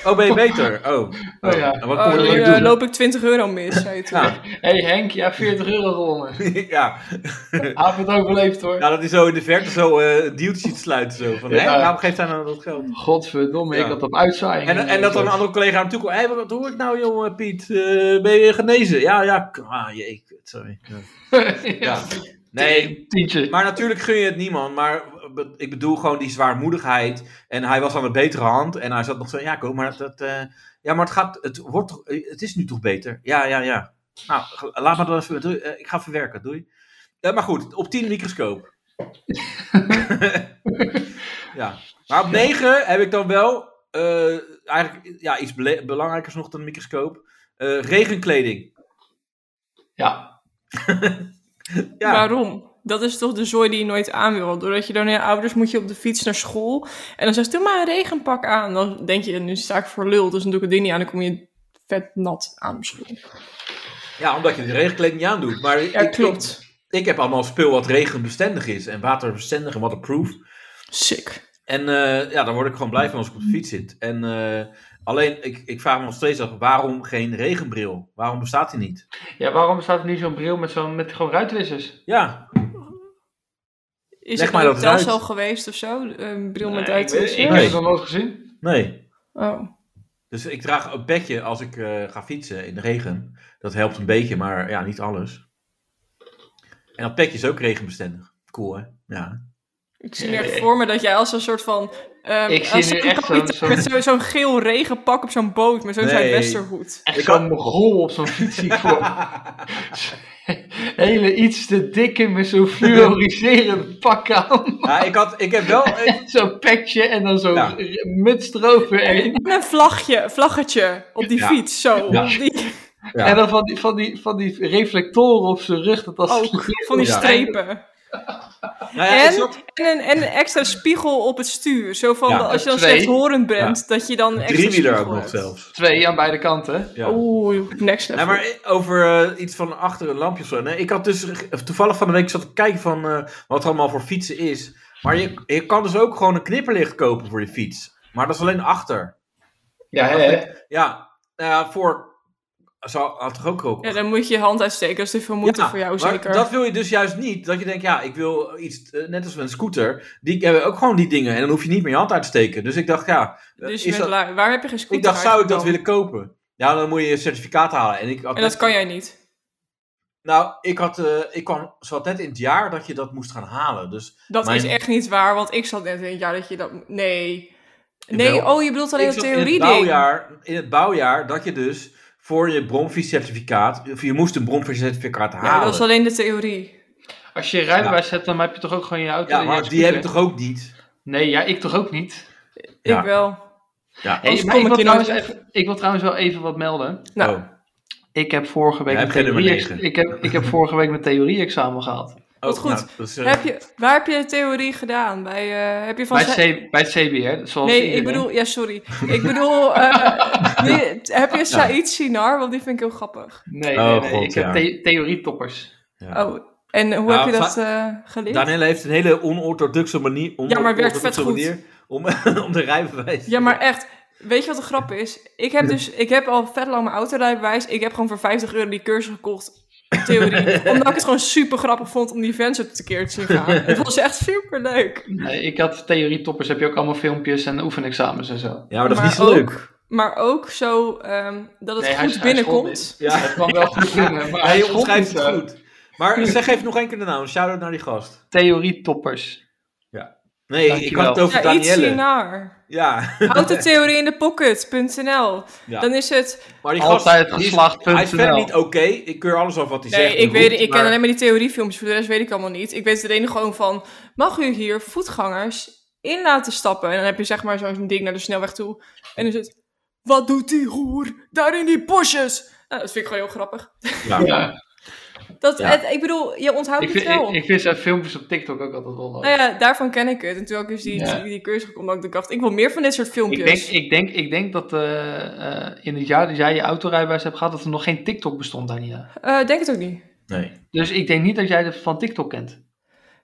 Speaker 2: Oh, ben je beter? Oh.
Speaker 3: Oh ja.
Speaker 2: En wat
Speaker 4: Oh,
Speaker 2: kon
Speaker 4: nu
Speaker 2: je dan
Speaker 4: eh,
Speaker 2: doen?
Speaker 4: loop ik 20 euro mis, zei je toen.
Speaker 2: Ja.
Speaker 3: Hé hey Henk, je hebt 40 euro gewonnen.
Speaker 2: ja.
Speaker 3: Hij heeft het overleefd hoor.
Speaker 2: ja, dat hij zo in de verte zo eh een deeltje ziet sluiten. Zo. Van,
Speaker 3: Ja.
Speaker 2: hè, waarom geeft hij nou dat geld?
Speaker 3: Godverdomme,
Speaker 2: Ja.
Speaker 3: ik had op uitzaaiing.
Speaker 2: En, en dat dan een andere collega hem toe komt. Hé, wat, wat hoor ik nou, jongen, Piet? Eh, ben je genezen? Ja, ja. k- Ah, jee, kut, sorry. Ja.
Speaker 3: ja.
Speaker 2: Ja. Nee,
Speaker 3: Tientje.
Speaker 2: maar natuurlijk gun je het niemand. Maar be- ik bedoel gewoon die zwaarmoedigheid. En hij was aan de betere hand. En hij zat nog zo, ja, kom, maar dat... dat, eh, ja, maar het gaat... Het, wordt, toch- eh, het is nu toch beter? Ja, ja, ja. Nou, ge- laat maar dan even... doei, eh, ik ga verwerken, doei. Eh, maar goed, op 10 microscoop. ja. Maar op 9 heb ik dan wel... eh, eh, eigenlijk ja, iets bele- belangrijkers nog dan een microscoop. Eh, regenkleding.
Speaker 3: Ja,
Speaker 2: Ja,
Speaker 4: Waarom? Dat is toch de zooi die je nooit aan wil. Doordat je dan je ouders moet je op de fiets naar school. En dan zegt doe maar een regenpak aan. Dan denk je, nu sta ik voor lul, dus dan doe ik het ding niet aan. Dan kom je vet nat aan misschien.
Speaker 2: ja, omdat je de regenkleding niet aandoet. Maar
Speaker 4: Ja,
Speaker 2: ik-
Speaker 4: klopt.
Speaker 2: Ik, ik heb allemaal spul wat regenbestendig is en waterbestendig en waterproof.
Speaker 4: Sick.
Speaker 2: En eh, ja, daar word ik gewoon blij van als ik op de fiets zit. En eh, alleen, ik, ik vraag me nog steeds af, waarom geen regenbril? Waarom bestaat die niet?
Speaker 3: ja waarom staat er nu zo'n bril met, zo'n met gewoon ruitwissers?
Speaker 2: Ja,
Speaker 4: Is
Speaker 2: Leg
Speaker 4: het
Speaker 2: mij
Speaker 4: een
Speaker 2: dat eens uit.
Speaker 4: Telcel geweest of zo? Een bril met
Speaker 3: Nee, ik, weet-
Speaker 4: uitwissers?
Speaker 3: ik heb
Speaker 2: Nee.
Speaker 3: het nog nooit gezien.
Speaker 2: nee.
Speaker 4: Oh.
Speaker 2: Dus ik draag een petje als ik eh, ga fietsen in de regen. Dat helpt een beetje, maar ja, niet alles. En dat petje is ook regenbestendig. Cool, hè? Ja.
Speaker 4: Ik zie nu echt
Speaker 3: Nee.
Speaker 4: voor me dat jij als een soort van... ehm,
Speaker 3: Ik zie
Speaker 4: als
Speaker 3: nu
Speaker 4: zo'n
Speaker 3: echt zo'n-
Speaker 4: kapitein
Speaker 3: zo'n-
Speaker 4: Met zo- zo'n geel regenpak op zo'n boot met zo'n
Speaker 2: Nee.
Speaker 4: Zuidwesterhoed.
Speaker 3: Echt
Speaker 2: Ik
Speaker 3: zo'n mogol op zo'n fiets zie ik voor me. Hele iets te dikke met zo'n fluoriserend pak aan.
Speaker 2: Ja, ik, had, ik heb wel... ik-
Speaker 3: Zo'n pekje en dan zo'n
Speaker 2: Ja.
Speaker 3: muts eroverheen.
Speaker 4: En een vlagje, vlaggetje op die
Speaker 2: Ja.
Speaker 4: fiets, zo.
Speaker 2: Ja.
Speaker 4: Die,
Speaker 2: Ja.
Speaker 3: En dan van die, van, die, van die reflectoren op zijn rug. Dat als
Speaker 4: ook, van die
Speaker 2: Ja.
Speaker 4: strepen.
Speaker 2: nou ja, ik
Speaker 4: En,
Speaker 2: zat-
Speaker 4: en, een, en een extra spiegel op het stuur. Zo van,
Speaker 2: Ja,
Speaker 4: dat als je dan
Speaker 3: twee.
Speaker 4: slechthorend bent, dat je dan een extra
Speaker 2: driewieler ook
Speaker 4: spiegel
Speaker 2: nog
Speaker 4: hebt.
Speaker 2: zelfs.
Speaker 3: Twee aan beide kanten.
Speaker 2: Ja.
Speaker 4: Oeh, next
Speaker 2: Ja,
Speaker 4: level.
Speaker 2: maar over eh, iets van achter een lampje of zo. Nee, ik had dus eh, toevallig van de week zat te kijken van eh, wat er allemaal voor fietsen is. Maar je, je kan dus ook gewoon een knipperlicht kopen voor je fiets. Maar dat is alleen achter.
Speaker 3: Ja, hè, hè.
Speaker 2: Ja, nou ja, voor. Zou, had toch ook ook.
Speaker 4: Ja, dan moet je je hand uitsteken. Dat is te veel moeite
Speaker 2: Ja,
Speaker 4: voor jou,
Speaker 2: maar
Speaker 4: zeker.
Speaker 2: Dat wil je dus juist niet. Dat je denkt, ja, ik wil iets. eh, net als met een scooter. Die hebben ook gewoon die dingen. En dan hoef je niet meer je hand uit te steken. Dus ik dacht, ja. eh,
Speaker 4: dus je
Speaker 2: is dat,
Speaker 4: bent lui. Waarom heb je geen scooter
Speaker 2: ik dacht, zou ik dat
Speaker 4: eigenlijk
Speaker 2: willen kopen? Ja, dan moet je je certificaat halen. En, ik had
Speaker 4: dan? En
Speaker 2: net-
Speaker 4: dat kan jij niet.
Speaker 2: Nou, ik, had, eh, ik kwam, zat net in het jaar dat je dat moest gaan halen. Dus
Speaker 4: Dat
Speaker 2: Mijn-
Speaker 4: is echt niet waar, want ik zat net in het jaar dat je dat... Nee. Nee,
Speaker 2: Jawel.
Speaker 4: oh, je bedoelt alleen
Speaker 2: ik zat
Speaker 4: dat
Speaker 2: in het,
Speaker 4: theorie ding.
Speaker 2: bouwjaar, in het bouwjaar dat je dus voor je bronfietscertificaat, of je moest een bronfietscertificaat
Speaker 4: Ja,
Speaker 2: halen.
Speaker 4: dat is alleen de theorie.
Speaker 3: Als je je rijbewijs hebt, dan heb je toch ook gewoon je auto.
Speaker 2: Ja,
Speaker 3: en je
Speaker 2: maar die
Speaker 3: scooter?
Speaker 2: heb ik toch ook niet?
Speaker 3: Nee, ja, ik toch ook niet.
Speaker 2: Ja.
Speaker 4: Ik wel.
Speaker 2: Ja.
Speaker 3: Hey,
Speaker 4: Anders
Speaker 3: maar
Speaker 4: kom
Speaker 3: ik,
Speaker 4: ik
Speaker 3: wil
Speaker 4: je nou
Speaker 3: trouwens
Speaker 4: nooit-
Speaker 3: even, ik wil trouwens wel even wat melden.
Speaker 4: Nou,
Speaker 2: oh.
Speaker 3: Ik heb vorige week
Speaker 2: Jij
Speaker 3: mijn
Speaker 2: hebt geen nummer
Speaker 3: theorie,
Speaker 2: negen.
Speaker 3: ik heb, ik heb vorige week mijn theorie-examen gehad.
Speaker 4: wat
Speaker 2: Oh,
Speaker 4: goed.
Speaker 2: nou, dat is, eh,
Speaker 4: heb je, waar heb je de theorie gedaan? Bij, eh, heb je van
Speaker 3: Bij
Speaker 4: Zij-
Speaker 3: het, C, bij het CBR, zoals
Speaker 4: Nee,
Speaker 3: iedereen.
Speaker 4: ik bedoel, ja, sorry. Ik bedoel, eh, die- heb je Said Sinar? Want die vind ik heel grappig.
Speaker 3: Nee,
Speaker 2: Oh,
Speaker 3: nee, nee,
Speaker 2: God,
Speaker 3: ik heb
Speaker 2: ja.
Speaker 3: the- theorie-toppers.
Speaker 2: ja.
Speaker 4: Oh, en hoe
Speaker 2: Nou,
Speaker 4: heb je dat
Speaker 2: Sa-
Speaker 4: eh, geleerd?
Speaker 2: Danielle heeft een hele onorthodoxe manier,
Speaker 4: Ja, maar het werkt
Speaker 2: onorthodoxe
Speaker 4: vet goed.
Speaker 2: manier om, om de rijbewijs.
Speaker 4: Ja, maar echt. Weet je wat de grap is? Ik heb dus, ik heb al vet lang mijn autorijbewijs. Ik heb gewoon voor 50 euro die cursus gekocht. Theorie. Omdat ik het gewoon super grappig vond om die fans op de keer te zien gaan. Het was echt super leuk.
Speaker 2: Nou,
Speaker 3: Nee, ik had theorie-toppers, heb je ook allemaal filmpjes en oefenexamens en zo.
Speaker 2: Ja, maar dat is
Speaker 4: maar
Speaker 2: niet zo leuk.
Speaker 4: Maar ook zo ehm, dat het
Speaker 3: Nee, hij-
Speaker 4: goed
Speaker 3: hij
Speaker 4: binnenkomt.
Speaker 3: schopt
Speaker 2: Ja.
Speaker 3: Het kwam wel goed binnen, maar
Speaker 2: Hij
Speaker 3: schopt
Speaker 2: omschrijft
Speaker 3: niet,
Speaker 2: het
Speaker 3: eh.
Speaker 2: goed. Maar zeg even nog één keer de naam. Shout-out naar die gast.
Speaker 3: Theorie-toppers.
Speaker 2: Nee, ik
Speaker 3: Dankjewel.
Speaker 2: had het over
Speaker 4: Ja, iets
Speaker 2: Danielle.
Speaker 4: Sinar.
Speaker 2: Ja.
Speaker 4: Autotheorie in de pocket.nl.
Speaker 2: Ja.
Speaker 4: Dan is het
Speaker 2: Maar die gast,
Speaker 3: Altijd
Speaker 2: die is-
Speaker 3: geslaagd.nl.
Speaker 2: Hij is verder niet oké. Ik keur alles af wat hij
Speaker 4: Nee,
Speaker 2: zegt.
Speaker 4: ik, weet, ik ken
Speaker 2: maar-
Speaker 4: alleen maar die theoriefilmpjes, voor de rest weet ik allemaal niet. Ik weet het ene gewoon van, mag u hier voetgangers in laten stappen? En dan heb je zeg maar zo'n ding naar de snelweg toe. En dan zit, wat doet die hoer daar in die bosjes? Nou, dat vind ik gewoon heel grappig.
Speaker 2: Ja.
Speaker 3: Ja.
Speaker 4: Dat,
Speaker 2: Ja.
Speaker 4: het, ik bedoel, je onthoudt
Speaker 3: Ik,
Speaker 4: het
Speaker 3: vind,
Speaker 4: wel.
Speaker 3: ik, ik vind zijn filmpjes op TikTok ook altijd wel leuk.
Speaker 4: nou ja, daarvan ken ik het. En toen had ik dus die,
Speaker 3: Ja.
Speaker 4: die cursus gekomen, dat ik dacht, ik wil meer van dit soort filmpjes.
Speaker 3: Ik denk, ik, denk, ik denk dat eh, eh, in het jaar dat jij je autorijbewijs hebt gehad, dat er nog geen TikTok bestond, Daniela.
Speaker 4: Eh, denk het ook niet.
Speaker 2: Nee.
Speaker 3: Dus ik denk niet dat jij het van TikTok kent.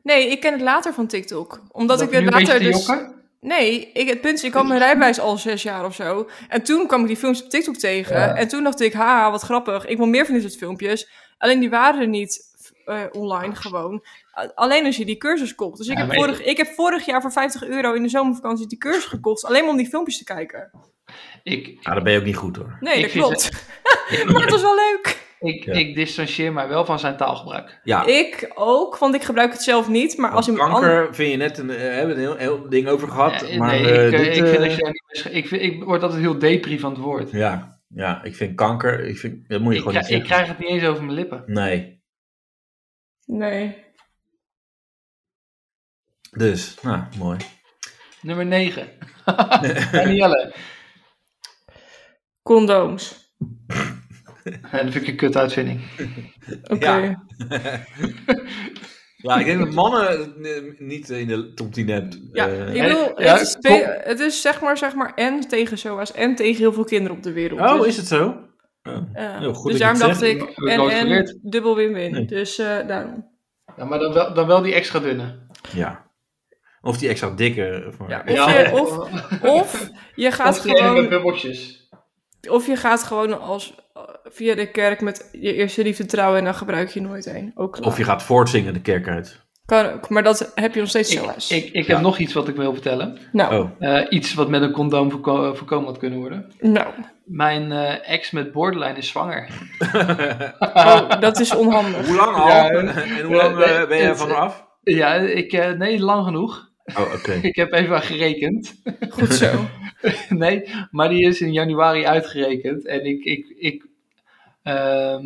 Speaker 4: Nee, ik ken het later van TikTok. Omdat ik
Speaker 3: nu
Speaker 4: het
Speaker 3: een beetje
Speaker 4: later
Speaker 3: te
Speaker 4: dus...
Speaker 3: jokken?
Speaker 4: Nee, ik, het punt is, ik had mijn rijbewijs al zes jaar of zo. En toen kwam ik die films op TikTok tegen.
Speaker 3: Ja.
Speaker 4: En toen dacht ik, haha, wat grappig. Ik wil meer van dit soort filmpjes. Alleen die waren er niet eh, online gewoon. A- Alleen als je die cursus kocht. Dus ik,
Speaker 3: Ja,
Speaker 4: heb
Speaker 3: maar ik-
Speaker 4: vorig, ik heb vorig jaar voor 50 euro in de zomervakantie die cursus gekocht. Alleen maar om die filmpjes te kijken.
Speaker 3: Ik,
Speaker 2: Ja, dan ben je ook niet goed hoor.
Speaker 4: Nee,
Speaker 3: Ik
Speaker 4: dat
Speaker 3: vind
Speaker 4: klopt. maar het was wel leuk.
Speaker 3: ik,
Speaker 2: Ja.
Speaker 3: ik distancieer mij wel van zijn taalgebruik.
Speaker 2: Ja.
Speaker 4: Ik ook, want ik gebruik het zelf niet. Maar als
Speaker 2: Als
Speaker 4: je
Speaker 2: kanker vind je net een, eh, hebben we een heel, heel ding over gehad.
Speaker 3: Eh,
Speaker 2: maar,
Speaker 3: nee,
Speaker 2: eh,
Speaker 3: ik, eh,
Speaker 2: dit,
Speaker 3: ik, vind
Speaker 2: eh,
Speaker 3: dat je daar niet mee sch- ik, vind- ik word altijd heel depri van het woord.
Speaker 2: ja. ja, ik vind kanker. Ik vind, dat moet je
Speaker 3: Ik,
Speaker 2: gewoon
Speaker 3: krijg-
Speaker 2: niet
Speaker 3: ik
Speaker 2: zeggen.
Speaker 3: krijg het niet eens over mijn lippen.
Speaker 2: Nee.
Speaker 4: Nee.
Speaker 2: Dus, nou, mooi.
Speaker 3: Nummer 9. Danielle.
Speaker 4: Condooms.
Speaker 3: Ja, dat vind ik een kut uitvinding.
Speaker 4: Oké.
Speaker 2: Ja. Ja, ik denk dat mannen eh, niet in de top 10 hebt.
Speaker 4: Ja,
Speaker 2: Eh,
Speaker 4: ik wil,
Speaker 3: ja,
Speaker 4: het, is
Speaker 3: kom.
Speaker 4: twee- het is zeg maar, zeg maar en tegen SOA's en tegen heel veel kinderen op de wereld.
Speaker 2: oh,
Speaker 4: Dus,
Speaker 2: is het zo? Oh.
Speaker 4: eh,
Speaker 2: heel goed
Speaker 4: dus
Speaker 2: dat je
Speaker 4: daarom
Speaker 2: het
Speaker 4: dacht
Speaker 2: zegt.
Speaker 4: ik,
Speaker 3: Heb ik
Speaker 4: en,
Speaker 3: nooit
Speaker 4: en
Speaker 3: geleerd.
Speaker 4: dubbel win-win.
Speaker 2: Nee.
Speaker 4: Dus eh, daarom.
Speaker 3: Ja, maar dan wel, dan wel die extra dunne.
Speaker 2: Ja. Of die extra dikke. Of,
Speaker 4: Ja,
Speaker 2: maar-
Speaker 4: of,
Speaker 3: Ja.
Speaker 4: Je, of, of je gaat
Speaker 3: Of die ene met
Speaker 4: gewoon,
Speaker 3: bubbeltjes.
Speaker 4: of je gaat gewoon als, eh, via de kerk met je eerste liefde trouwen en dan gebruik je nooit één. Ook klaar.
Speaker 2: of je gaat voortzingen de kerk uit.
Speaker 4: Kan ook, maar dat heb je nog steeds
Speaker 3: Ik,
Speaker 4: SOA's.
Speaker 3: ik, ik
Speaker 2: Ja.
Speaker 3: heb nog iets wat ik wil vertellen.
Speaker 4: nou,
Speaker 2: Oh,
Speaker 3: Eh, iets wat met een condoom voorko- voorkomen had kunnen worden.
Speaker 4: nou
Speaker 3: Mijn eh, ex met borderline is zwanger.
Speaker 4: oh, dat is onhandig.
Speaker 2: hoe lang al?
Speaker 3: Ja,
Speaker 2: en hoe lang eh, ben je
Speaker 3: het-
Speaker 2: van me af?
Speaker 3: Ja, ik, eh, nee, lang genoeg.
Speaker 2: Oh, oké.
Speaker 3: Ik heb even aan gerekend.
Speaker 4: Goed zo.
Speaker 3: Nee, maar die is in januari uitgerekend. En ik, ik, ik ehm,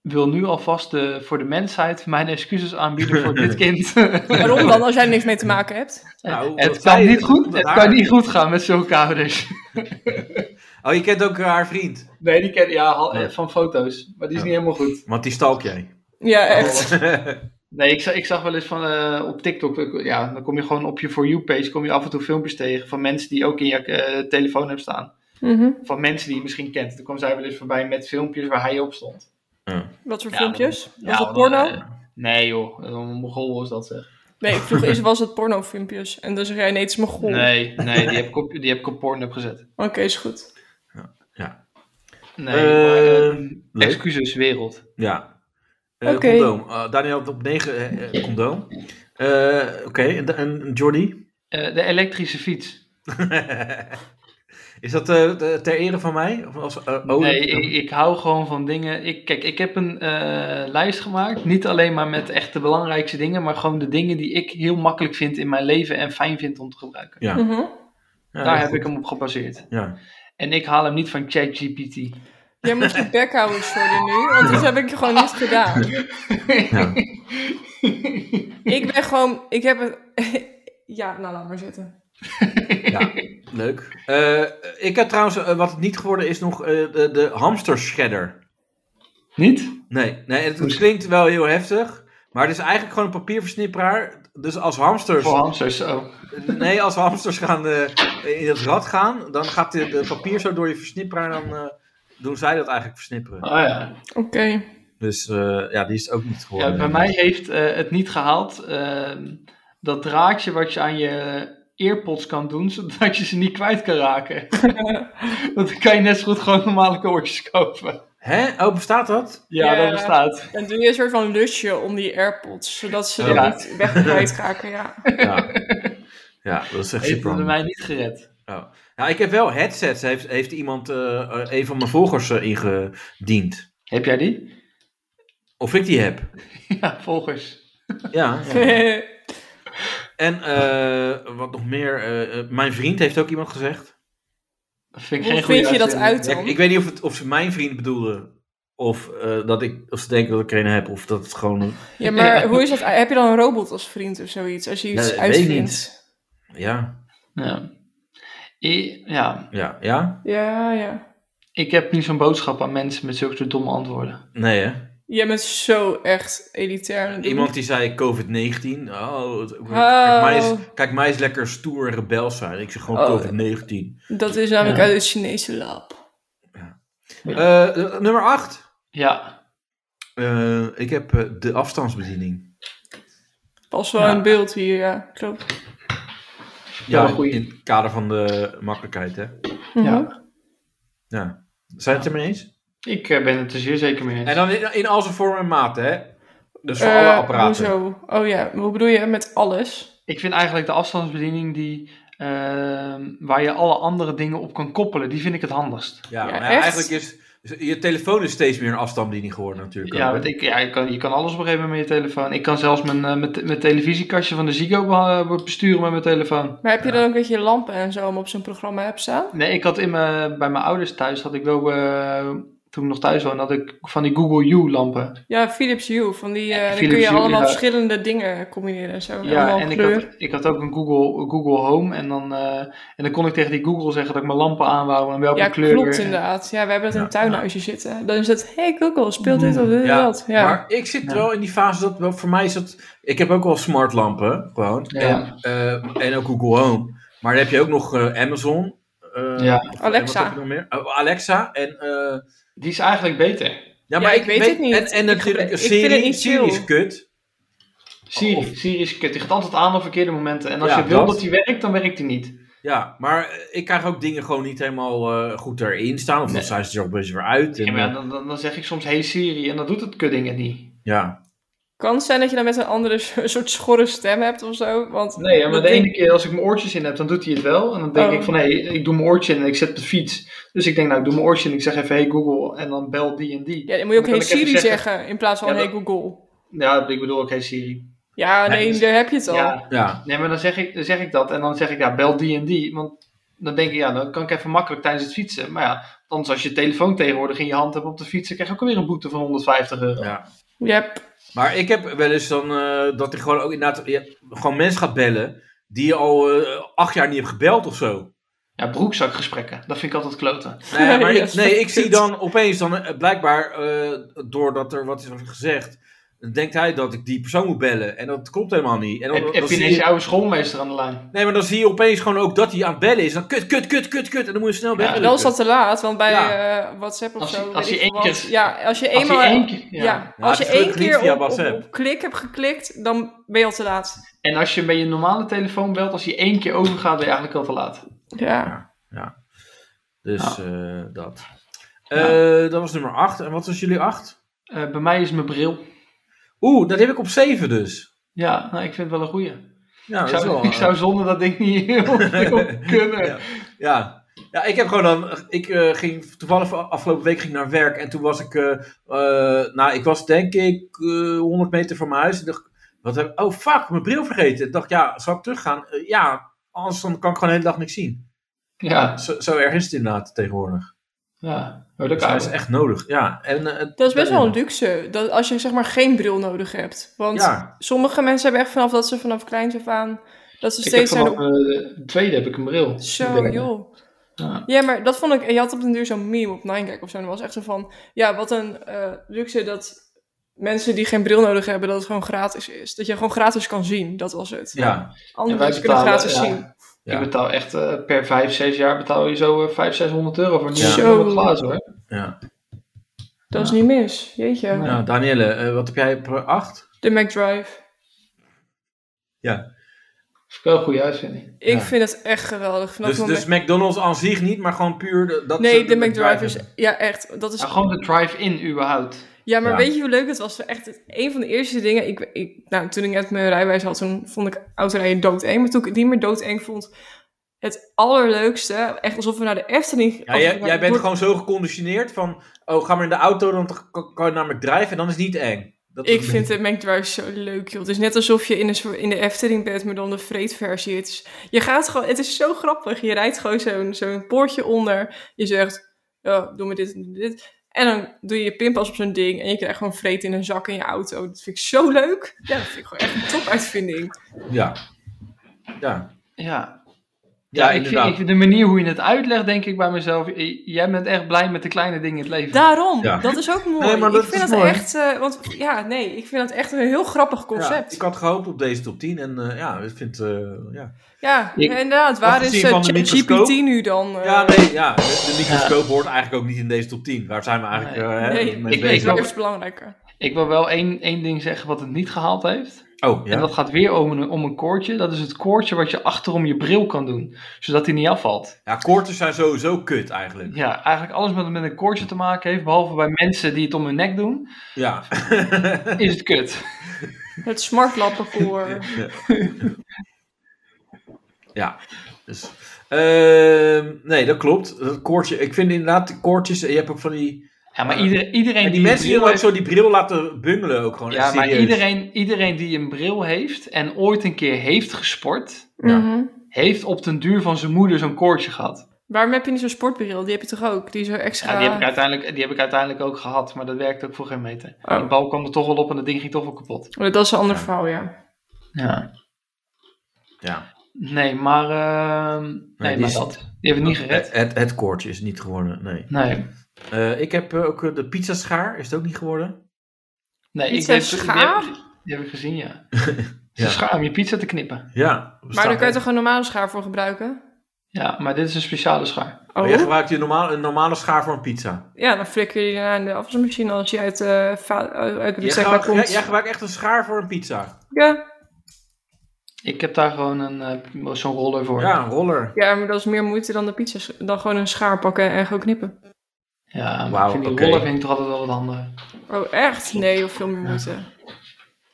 Speaker 3: wil nu alvast de, voor de mensheid mijn excuses aanbieden voor dit kind.
Speaker 4: Waarom dan, als jij er niks mee te maken hebt?
Speaker 2: Nou, omdat
Speaker 3: het kan,
Speaker 2: zij-
Speaker 3: niet goed,
Speaker 2: omdat
Speaker 3: het
Speaker 2: haar-
Speaker 3: kan niet goed gaan met zulke ouders.
Speaker 2: Oh, je kent ook haar vriend.
Speaker 3: Nee, die ken ja, hal-
Speaker 2: Ja.
Speaker 3: van foto's. Maar die is
Speaker 2: Ja.
Speaker 3: niet helemaal goed.
Speaker 2: Want die stalk jij.
Speaker 4: Ja, echt.
Speaker 2: Eh,
Speaker 3: Nee, ik zag, ik zag wel eens van eh, op TikTok, eh, ja, dan kom je gewoon op je For You-page, kom je af en toe filmpjes tegen van mensen die ook in je eh, telefoon hebt staan.
Speaker 4: Mhm.
Speaker 3: Van mensen die je misschien kent. Toen kwam zij wel eens voorbij met filmpjes waar hij op stond.
Speaker 4: Wat voor
Speaker 3: Ja,
Speaker 4: filmpjes?
Speaker 3: ja,
Speaker 4: was dat
Speaker 3: dan,
Speaker 4: porno?
Speaker 3: eh, nee joh, een mogol was dat zeg.
Speaker 4: Nee, ik vroeg eens, was het pornofilmpjes? En dan zeg jij, nee, het is mijn goal.
Speaker 3: Nee, nee, die heb ik op, die heb ik op Pornhub gezet.
Speaker 4: Oké, is goed.
Speaker 3: Nee,
Speaker 2: Eh,
Speaker 3: maar, eh,
Speaker 2: leuk.
Speaker 3: excuses wereld.
Speaker 2: ja. Eh,
Speaker 4: Oké.
Speaker 2: Condoom. Eh, Daniel had op 9 eh, eh, condoom. Eh, oké, en, en Jordi?
Speaker 3: Eh, de elektrische fiets.
Speaker 2: Is dat eh, de- ter ere van mij? Of als, eh, oh,
Speaker 3: Nee, ik, ik hou gewoon van dingen. Ik, kijk, ik heb een eh, lijst gemaakt. Niet alleen maar met echt de belangrijkste dingen, maar gewoon de dingen die ik heel makkelijk vind in mijn leven en fijn vind om te gebruiken.
Speaker 2: Ja.
Speaker 4: Mhm.
Speaker 2: Ja,
Speaker 3: Daar
Speaker 2: heel
Speaker 3: heb
Speaker 2: goed.
Speaker 3: ik hem op gebaseerd.
Speaker 2: Ja.
Speaker 3: En ik haal hem niet van ChatGPT.
Speaker 4: Jij moet je bek houden, sorry nu, want dat heb ik gewoon niet gedaan.
Speaker 2: Ja.
Speaker 4: Ik ben gewoon, ik heb het... Ja, nou laat maar zitten.
Speaker 2: Ja, leuk. Eh, ik heb trouwens, eh, wat het niet geworden is, nog eh, de, de hamstershredder.
Speaker 3: Niet?
Speaker 2: Nee, nee het, het klinkt wel heel heftig, maar het is eigenlijk gewoon een papierversnipperaar. Dus als hamsters,
Speaker 3: Voor hamsters. Oh.
Speaker 2: nee, als hamsters gaan, eh, in het rad gaan, dan gaat de, de papier zo door je versnipperaar, dan eh, doen zij dat eigenlijk
Speaker 3: Oh
Speaker 2: versnipperen.
Speaker 3: ja.
Speaker 4: Oké.
Speaker 2: Dus eh, ja, die is ook niet geworden.
Speaker 3: ja bij mij heeft eh, het niet gehaald. ehm, dat draadje wat je aan je earpods kan doen, zodat je ze niet kwijt kan raken. Want dan kan je net zo goed gewoon normale koortjes kopen.
Speaker 2: Hè? Oh, bestaat dat?
Speaker 3: Ja,
Speaker 4: Ja.
Speaker 3: dat bestaat.
Speaker 4: Dan doe je een soort van lusje om die AirPods, zodat ze
Speaker 2: Ja.
Speaker 4: er niet weg kwijtraken, ja.
Speaker 2: Ja. Ja, dat is echt super.
Speaker 3: Heeft het bij
Speaker 2: handig.
Speaker 3: mij niet gered.
Speaker 2: Oh. Ja, ik heb wel headsets, heeft, heeft iemand, eh, eh, een van mijn volgers eh, ingediend.
Speaker 3: Heb jij die?
Speaker 2: Of ik die heb.
Speaker 3: Ja, volgers.
Speaker 2: Ja. En eh, wat nog meer, eh, eh, mijn vriend heeft ook iemand gezegd.
Speaker 3: Dat vind ik
Speaker 4: Hoe
Speaker 3: geen goede
Speaker 4: vind je dat
Speaker 3: uitvinding.
Speaker 4: uit
Speaker 2: Ja,
Speaker 4: dan?
Speaker 2: ik, ik weet niet of, het, of ze mijn vriend bedoelden. Of, eh, dat ik, of ze denken dat ik er een heb. Of dat het gewoon... een-
Speaker 4: Ja, maar hoe is dat? Heb je dan een robot als vriend of zoiets? Als je
Speaker 2: Ja,
Speaker 4: iets
Speaker 2: dat weet ik
Speaker 4: uitvindt?
Speaker 2: Ja,
Speaker 3: Ja. I- ja.
Speaker 2: ja, ja.
Speaker 4: Ja, ja.
Speaker 3: Ik heb nu zo'n boodschap aan mensen met zulke soort domme antwoorden.
Speaker 2: Nee hè.
Speaker 4: Jij bent zo echt elitair. aan het doen.
Speaker 2: Iemand die zei COVID-19. Oh, het-
Speaker 4: Oh.
Speaker 2: Kijk, mij is, kijk, mij is lekker stoer en rebels zijn. Ik zeg gewoon
Speaker 4: Oh.
Speaker 2: COVID-19.
Speaker 4: Dat is namelijk
Speaker 3: Ja.
Speaker 4: uit het Chinese lab.
Speaker 2: Eh, eh, nummer 8.
Speaker 3: Ja,
Speaker 2: Eh, ik heb eh, de afstandsbediening.
Speaker 4: Pas wel
Speaker 3: Ja.
Speaker 4: een beeld hier, ja. Klopt.
Speaker 3: Wel
Speaker 2: Ja,
Speaker 3: een goeie.
Speaker 2: in het kader van de makkelijkheid, hè?
Speaker 4: Mhm.
Speaker 3: ja.
Speaker 2: Ja. Zijn het er mee eens?
Speaker 3: ik eh, ben het er zeer zeker mee eens.
Speaker 2: En dan in, in al zijn vormen en maten, hè? Dus voor
Speaker 4: Eh,
Speaker 2: alle apparaten.
Speaker 4: Hoezo? Oh ja, hoe bedoel je met alles?
Speaker 3: Ik vind eigenlijk de afstandsbediening die, ehm, waar je alle andere dingen op kan koppelen, die vind ik het handigst.
Speaker 2: Ja,
Speaker 4: Ja,
Speaker 2: maar ja,
Speaker 4: echt?
Speaker 2: eigenlijk is, is- je telefoon is steeds meer een afstandsbediening geworden natuurlijk.
Speaker 3: Ja,
Speaker 2: ook,
Speaker 3: want
Speaker 2: hè?
Speaker 3: ik, ja je, kan, je kan alles op een gegeven moment met je telefoon. Ik kan zelfs mijn, eh, mijn, mijn televisiekastje van de Ziggo beha- eh, besturen met mijn telefoon.
Speaker 4: Maar heb je dan ook dat je lampen en zo allemaal op zo'n programma hebt staan?
Speaker 3: Nee, ik had in mijn, bij mijn ouders thuis had ik wel eh, toen ik nog thuis woonde, had ik van die Google U lampen.
Speaker 4: Ja, Philips Hue. Van die, eh, dan
Speaker 3: Philips
Speaker 4: kun je
Speaker 3: Hue,
Speaker 4: allemaal
Speaker 3: ja.
Speaker 4: verschillende dingen combineren en zo.
Speaker 3: Ja,
Speaker 4: allemaal
Speaker 3: en ik
Speaker 4: kleur.
Speaker 3: had, ik had ook een Google, Google Home. En dan, eh, en dan kon ik tegen die Google zeggen dat ik mijn lampen aan wou en welke
Speaker 4: ja,
Speaker 3: kleur.
Speaker 4: klopt
Speaker 3: en-
Speaker 4: inderdaad. Ja, we hebben dat in
Speaker 2: Ja,
Speaker 4: een tuinhuisje zitten. Dan is het, hey Google, speelt dit of dit
Speaker 2: Ja,
Speaker 4: of dat? Ja.
Speaker 2: Maar ik zit
Speaker 3: Ja.
Speaker 2: wel in die fase dat wel, voor mij is dat. Ik heb ook wel smartlampen gewoon.
Speaker 3: Ja.
Speaker 2: En, eh, en ook Google Home. Maar dan heb je ook nog eh, Amazon. eh,
Speaker 3: Ja.
Speaker 2: en wat
Speaker 4: Alexa.
Speaker 2: heb je nog meer? Oh, Alexa. En, eh,
Speaker 3: Die is eigenlijk beter.
Speaker 2: ja,
Speaker 4: ik weet het niet.
Speaker 2: En, en
Speaker 4: Ik-
Speaker 2: natuurlijk,
Speaker 4: ik vind het
Speaker 2: Siri,
Speaker 4: niet
Speaker 2: Siri is
Speaker 4: chill.
Speaker 2: kut.
Speaker 3: Siri,
Speaker 2: Of-
Speaker 3: Siri is kut. Die gaat altijd aan op verkeerde momenten. En als
Speaker 2: Ja,
Speaker 3: je wil
Speaker 2: dat.
Speaker 3: dat die werkt, dan werkt die niet.
Speaker 2: Ja, maar eh, ik krijg ook dingen gewoon niet helemaal eh, goed erin staan. Of
Speaker 3: Nee.
Speaker 2: dan zijn ze er opeens weer uit. En,
Speaker 3: Ja, maar
Speaker 2: eh,
Speaker 3: dan, dan, dan zeg ik soms, hey Siri. En dan doet het kutdingen niet.
Speaker 2: ja.
Speaker 4: Kan het zijn dat je dan met een andere so- soort schorre stem hebt of zo? Want
Speaker 3: Nee, ja, maar
Speaker 4: dat
Speaker 3: de
Speaker 4: ding-
Speaker 3: ene keer als ik mijn oortjes in heb, dan doet hij het wel. En dan denk
Speaker 4: Oh.
Speaker 3: ik van, hé, ik doe mijn oortje in en ik zet op de fiets. Dus ik denk, nou, ik doe mijn oortje in ik zeg even, hey Google. En dan bel die en die.
Speaker 4: Ja, dan moet je ook
Speaker 3: Dan
Speaker 4: hey
Speaker 3: kan ik even
Speaker 4: Siri zeggen,
Speaker 3: zeggen-
Speaker 4: in plaats van
Speaker 3: Ja,
Speaker 4: hey
Speaker 3: dat-
Speaker 4: Google.
Speaker 3: Ja, ik bedoel ook, hey Siri.
Speaker 4: Ja,
Speaker 3: Nee,
Speaker 4: nee,
Speaker 3: dus-
Speaker 4: daar heb je het al.
Speaker 3: Ja,
Speaker 2: ja.
Speaker 3: nee, maar dan zeg, ik, dan zeg ik dat. En dan zeg ik, ja, bel die en die. Want dan denk ik, ja, dan kan ik even makkelijk tijdens het fietsen. Maar ja, anders als je telefoon tegenwoordig in je hand hebt op de fiets, dan krijg je ook alweer een boete van 150 euro.
Speaker 2: Ja.
Speaker 4: Yep.
Speaker 2: Maar ik heb wel eens dan eh, dat ik gewoon ook inderdaad je- gewoon mensen gaat bellen die je al eh, acht jaar niet hebt gebeld of zo.
Speaker 3: Ja, broekzakgesprekken. Dat vind ik altijd kloten.
Speaker 2: Nee, maar
Speaker 4: Ja,
Speaker 2: ik,
Speaker 4: is
Speaker 2: nee,
Speaker 4: wel
Speaker 2: ik zie
Speaker 4: kut.
Speaker 2: dan opeens dan eh, blijkbaar eh, doordat er wat is gezegd, dan denkt hij dat ik die persoon moet bellen en dat klopt helemaal niet. En dan,
Speaker 3: Heb,
Speaker 2: dan
Speaker 3: heb je
Speaker 2: zie
Speaker 3: ineens
Speaker 2: je-
Speaker 3: je oude schoolmeester aan de lijn?
Speaker 2: nee, maar dan zie je opeens gewoon ook dat hij aan het bellen is. Dan kut, kut, kut, kut, kut en dan moet je snel weg.
Speaker 4: En dan is dat te laat, want bij
Speaker 2: Ja.
Speaker 4: eh, WhatsApp of
Speaker 3: Als je-
Speaker 4: zo.
Speaker 3: als
Speaker 4: weet
Speaker 3: je
Speaker 4: ik
Speaker 3: één
Speaker 4: veel
Speaker 3: keer-
Speaker 4: wat. Ja, als je
Speaker 3: Als je
Speaker 4: eenmaal.
Speaker 3: één keer-
Speaker 4: ja.
Speaker 3: ja.
Speaker 4: als je
Speaker 2: het is
Speaker 4: één
Speaker 2: gelukkig
Speaker 4: keer
Speaker 2: niet via
Speaker 4: op, op,
Speaker 2: WhatsApp.
Speaker 4: op klik hebt geklikt, dan ben je al te laat.
Speaker 3: En als je met je normale telefoon belt, als je één keer overgaat, ben je eigenlijk al te laat.
Speaker 4: Ja.
Speaker 2: Dus eh, dat. Eh, dat was nummer 8. En wat was jullie 8?
Speaker 3: Eh, bij mij is mijn bril.
Speaker 2: Oeh, dat heb ik op 7 dus.
Speaker 3: Ja, nou, ik vind het wel een goeie.
Speaker 2: Ja, dat is
Speaker 3: ik, zou,
Speaker 2: wel, eh,
Speaker 3: ik zou zonder dat ding niet heel veel kunnen.
Speaker 2: Ja. Ja. ja, ik heb gewoon dan. Ik eh, ging toevallig afgelopen week ging ik naar werk en toen was ik. eh, eh, nou, ik was denk ik eh, 100 meter van mijn huis. Ik dacht, wat heb, oh fuck, mijn bril vergeten. Ik dacht, ja, zal ik teruggaan? Eh, ja, anders dan kan ik gewoon de hele dag niks zien.
Speaker 3: Ja,
Speaker 2: Zo, zo erg is het inderdaad tegenwoordig.
Speaker 3: ja. Oh, dat
Speaker 2: Dus
Speaker 3: kan
Speaker 2: dat is echt nodig. Ja, en, eh,
Speaker 4: Dat is best wel een luxe, dat als je zeg maar geen bril nodig hebt. Want
Speaker 2: Ja.
Speaker 4: sommige mensen hebben echt vanaf dat ze vanaf kleins af aan, dat ze
Speaker 3: Ik heb
Speaker 4: steeds zijn
Speaker 3: vanaf
Speaker 4: op...
Speaker 3: eh, de tweede heb ik een bril. De
Speaker 4: Zo,
Speaker 3: derde.
Speaker 4: joh.
Speaker 3: Ja.
Speaker 4: Ja, maar dat vond ik. Je had op den duur zo'n meme op Ninegag of zo. En dat was echt zo van. Ja, wat een eh, luxe dat mensen die geen bril nodig hebben, dat het gewoon gratis is. Dat je gewoon gratis kan zien. Dat was het.
Speaker 2: ja,
Speaker 4: Andere
Speaker 3: En wij
Speaker 4: mensen kunnen
Speaker 3: betalen,
Speaker 4: gratis
Speaker 3: ja.
Speaker 4: zien.
Speaker 2: Ja.
Speaker 3: Ik betaal echt eh, per 5, 6 jaar betaal je zo eh, 500, 600 euro voor een nieuwe
Speaker 2: Ja.
Speaker 3: bril
Speaker 4: Zo.
Speaker 3: met glazen hoor.
Speaker 2: ja.
Speaker 4: Dat is niet mis. Jeetje.
Speaker 3: Nee.
Speaker 2: Nou, Danielle, eh, wat heb jij per 8?
Speaker 4: De McDrive.
Speaker 3: Dat is wel een goede uitvinding.
Speaker 4: Ik
Speaker 2: Ja.
Speaker 4: vind het echt geweldig. Vanaf
Speaker 2: Dus,
Speaker 4: het
Speaker 2: dus
Speaker 4: moment-
Speaker 2: McDonald's aan zich niet, maar gewoon puur. de- Dat
Speaker 4: nee,
Speaker 2: ze-
Speaker 4: de McDrive is.
Speaker 2: hebben.
Speaker 4: Ja, echt. Dat is
Speaker 3: Ja, gewoon de drive-in überhaupt.
Speaker 4: Ja, maar
Speaker 2: Ja.
Speaker 4: weet je hoe leuk het was? Echt het- een van de eerste dingen. Ik, ik, nou, toen ik net mijn rijbewijs had, toen vond ik autorijden doodeng. Maar toen ik het niet meer doodeng vond, het allerleukste. Echt alsof we naar de Efteling
Speaker 2: Ja, jij,
Speaker 4: alsof we
Speaker 2: jij
Speaker 4: naar-
Speaker 2: bent
Speaker 4: door-
Speaker 2: gewoon zo geconditioneerd van, oh, ga maar in de auto, dan t- kan- kan je naar McDrive en dan is het niet eng. Dat is
Speaker 4: Ik vind de McDrive zo leuk, joh. Het is net alsof je in, een, soort- in de Efteling bent, maar dan de vreedversie. Het is, je gaat gewoon, het is zo grappig. Je rijdt gewoon zo'n zo'n poortje onder. Je zegt, ja, doe me dit en dit. En dan doe je je pinpas op zo'n ding en je krijgt gewoon vreed in een zak in je auto. Dat vind ik zo leuk. Ja, dat vind ik gewoon echt een topuitvinding.
Speaker 2: Ja. Ja.
Speaker 3: Ja,
Speaker 2: Ja,
Speaker 3: ik, vind,
Speaker 2: inderdaad.
Speaker 3: ik vind de manier hoe je het uitlegt, denk ik bij mezelf. j- Jij bent echt blij met de kleine dingen in het leven.
Speaker 4: Daarom,
Speaker 2: Ja.
Speaker 4: dat is ook mooi.
Speaker 2: Nee, maar dat
Speaker 4: ik vind
Speaker 2: is
Speaker 4: dat
Speaker 2: mooi.
Speaker 4: echt, eh, want ja, nee, ik vind dat echt een heel grappig concept.
Speaker 2: Ja,
Speaker 4: Ja,
Speaker 2: ik had gehoopt op deze top 10 en eh, ja, ik vind... eh, ja.
Speaker 3: Ik-
Speaker 4: inderdaad. Waar is
Speaker 2: Afgezien
Speaker 4: eh,
Speaker 2: van de
Speaker 4: ChatGPT
Speaker 2: microscoop.
Speaker 4: nu dan? eh?
Speaker 2: ja, nee, ja, de, de microscoop hoort eigenlijk ook niet in deze top 10. Waar zijn we eigenlijk
Speaker 3: Nee.
Speaker 2: eh, hè,
Speaker 4: Nee,
Speaker 2: mee
Speaker 3: ik
Speaker 4: Nee,
Speaker 3: weet
Speaker 2: bezig?
Speaker 4: dat
Speaker 3: wel-
Speaker 4: is belangrijker.
Speaker 3: Ik wil wel één, één ding zeggen wat het niet gehaald heeft.
Speaker 2: Oh, ja.
Speaker 3: En dat gaat weer om een, om een koordje. Dat is het koordje wat je achterom je bril kan doen, zodat hij niet afvalt.
Speaker 2: Ja, koortjes zijn sowieso kut eigenlijk.
Speaker 3: Ja, eigenlijk alles wat met een koordje te maken heeft, behalve bij mensen die het om hun nek doen,
Speaker 2: Ja.
Speaker 3: is het kut.
Speaker 4: Het smartlappenkoor.
Speaker 2: Ja. Dus, ehm, nee, dat klopt. Dat koortje, ik vind inderdaad die koortjes... Je hebt ook van die...
Speaker 3: Ja, maar ieder- iedereen
Speaker 2: En die
Speaker 3: een
Speaker 2: mensen die
Speaker 3: bril
Speaker 2: dan ook
Speaker 3: heeft-
Speaker 2: zo die bril laten bungelen ook gewoon.
Speaker 3: Ja,
Speaker 2: echt
Speaker 3: maar
Speaker 2: serieus.
Speaker 3: iedereen, iedereen die een bril heeft en ooit een keer heeft gesport,
Speaker 2: Ja.
Speaker 4: Mhm.
Speaker 3: heeft op den duur van zijn moeder zo'n koordje gehad.
Speaker 4: Waarom heb je niet zo'n sportbril? Die heb je toch ook? Die is zo extra...
Speaker 3: Ja, die, heb ik uiteindelijk, die heb ik uiteindelijk ook gehad, maar dat werkte ook voor geen meter.
Speaker 4: Oh.
Speaker 3: Die bal kwam er toch wel op en dat ding ging toch wel kapot.
Speaker 4: Maar Oh, Dat is een ander verhaal, ja.
Speaker 3: Ja.
Speaker 2: Ja.
Speaker 3: Nee, maar, ehm, nee,
Speaker 2: die
Speaker 3: maar
Speaker 2: is-
Speaker 3: dat. Die hebben het niet gered.
Speaker 2: Het, het, het koordje is niet geworden, nee.
Speaker 3: Nee.
Speaker 2: Eh, ik heb eh, ook eh, de pizzaschaar, is het ook niet geworden?
Speaker 3: nee ik,
Speaker 4: Pizza
Speaker 3: die heb-
Speaker 4: schaar?
Speaker 3: Die heb, die heb ik gezien, ja.
Speaker 2: Ja.
Speaker 3: Ze schaar om je pizza te knippen.
Speaker 2: Ja.
Speaker 4: Maar daar
Speaker 2: dan
Speaker 4: kan je toch een normale schaar voor gebruiken?
Speaker 3: Ja, maar dit is een speciale schaar.
Speaker 4: Oh,
Speaker 2: jij gebruikt je normaal, een normale schaar voor een pizza.
Speaker 4: ja, dan flikker je die daarna in de afwasmachine als je uit, eh, va- uit de
Speaker 2: Jij
Speaker 4: bestekbak
Speaker 2: gebruikt, jij,
Speaker 4: komt.
Speaker 2: jij gebruikt echt een schaar voor een pizza.
Speaker 4: Ja.
Speaker 3: Ik heb daar gewoon een, eh, zo'n roller voor.
Speaker 2: Ja, een roller.
Speaker 4: ja, maar dat is meer moeite dan de pizza's. Dan gewoon een schaar pakken en gewoon knippen.
Speaker 3: Ja, maar
Speaker 2: Wauw,
Speaker 3: ik vind die
Speaker 2: oké.
Speaker 3: roller vind ik toch altijd wel wat handiger.
Speaker 4: Oh, echt? Nee, of veel meer moeite.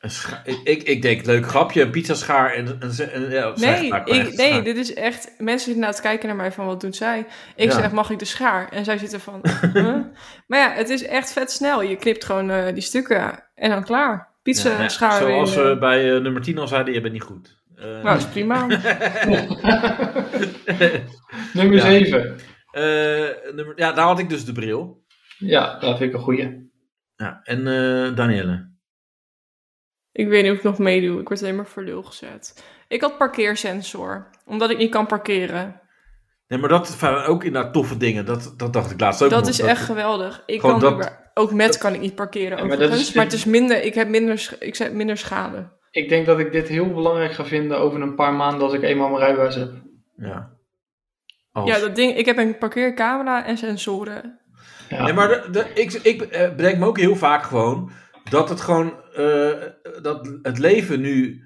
Speaker 2: Een scha- ik, ik, ik denk, leuk grapje, een pizzaschaar en een... ze- en- ja, zeg
Speaker 4: Nee,
Speaker 2: maar, maar echt
Speaker 4: ik, nee,
Speaker 2: schaar.
Speaker 4: dit is echt... Mensen zitten na het kijken naar mij van wat doet zij? Ik
Speaker 2: Ja.
Speaker 4: zeg, mag ik de schaar? En zij zitten van... huh? Maar ja, het is echt vet snel. Je knipt gewoon eh, die stukken en dan klaar. Pizza,
Speaker 2: Ja,
Speaker 4: schaar.
Speaker 2: Zoals
Speaker 4: in, eh,
Speaker 2: we bij eh, nummer 10 al zeiden, je bent niet goed. Eh,
Speaker 4: Nou, is prima.
Speaker 3: Nummer
Speaker 2: Ja.
Speaker 3: 7.
Speaker 2: eh, nummer, ja, daar had ik dus de bril.
Speaker 3: Ja, dat vind ik een goeie.
Speaker 2: Ja, en eh Danielle.
Speaker 4: Ik weet niet of ik nog meedoe. Ik word alleen maar voor lul gezet. Ik had parkeersensor. Omdat ik niet kan parkeren.
Speaker 2: Nee, maar dat waren ook inderdaad toffe dingen. Dat, dat dacht ik laatst ook
Speaker 4: dat
Speaker 2: nog.
Speaker 4: is echt geweldig. Ik
Speaker 2: Gewoon
Speaker 4: kan
Speaker 2: dat-
Speaker 4: überhaupt- ook met kan ik niet parkeren
Speaker 3: Ja, maar dat
Speaker 4: overigens.
Speaker 3: is-
Speaker 4: Maar het is minder... Ik heb minder, sch- ik heb minder schade.
Speaker 3: Ik denk dat ik dit heel belangrijk ga vinden over een paar maanden als ik eenmaal mijn rijbewijs heb.
Speaker 2: Ja. Als-
Speaker 4: Ja, dat ding... Ik heb een parkeercamera en
Speaker 2: Oh,
Speaker 4: sensoren.
Speaker 3: Ja,
Speaker 2: Nee, maar de, de- ik, ik eh, bedenk me ook heel vaak gewoon dat het gewoon eh, dat het leven nu.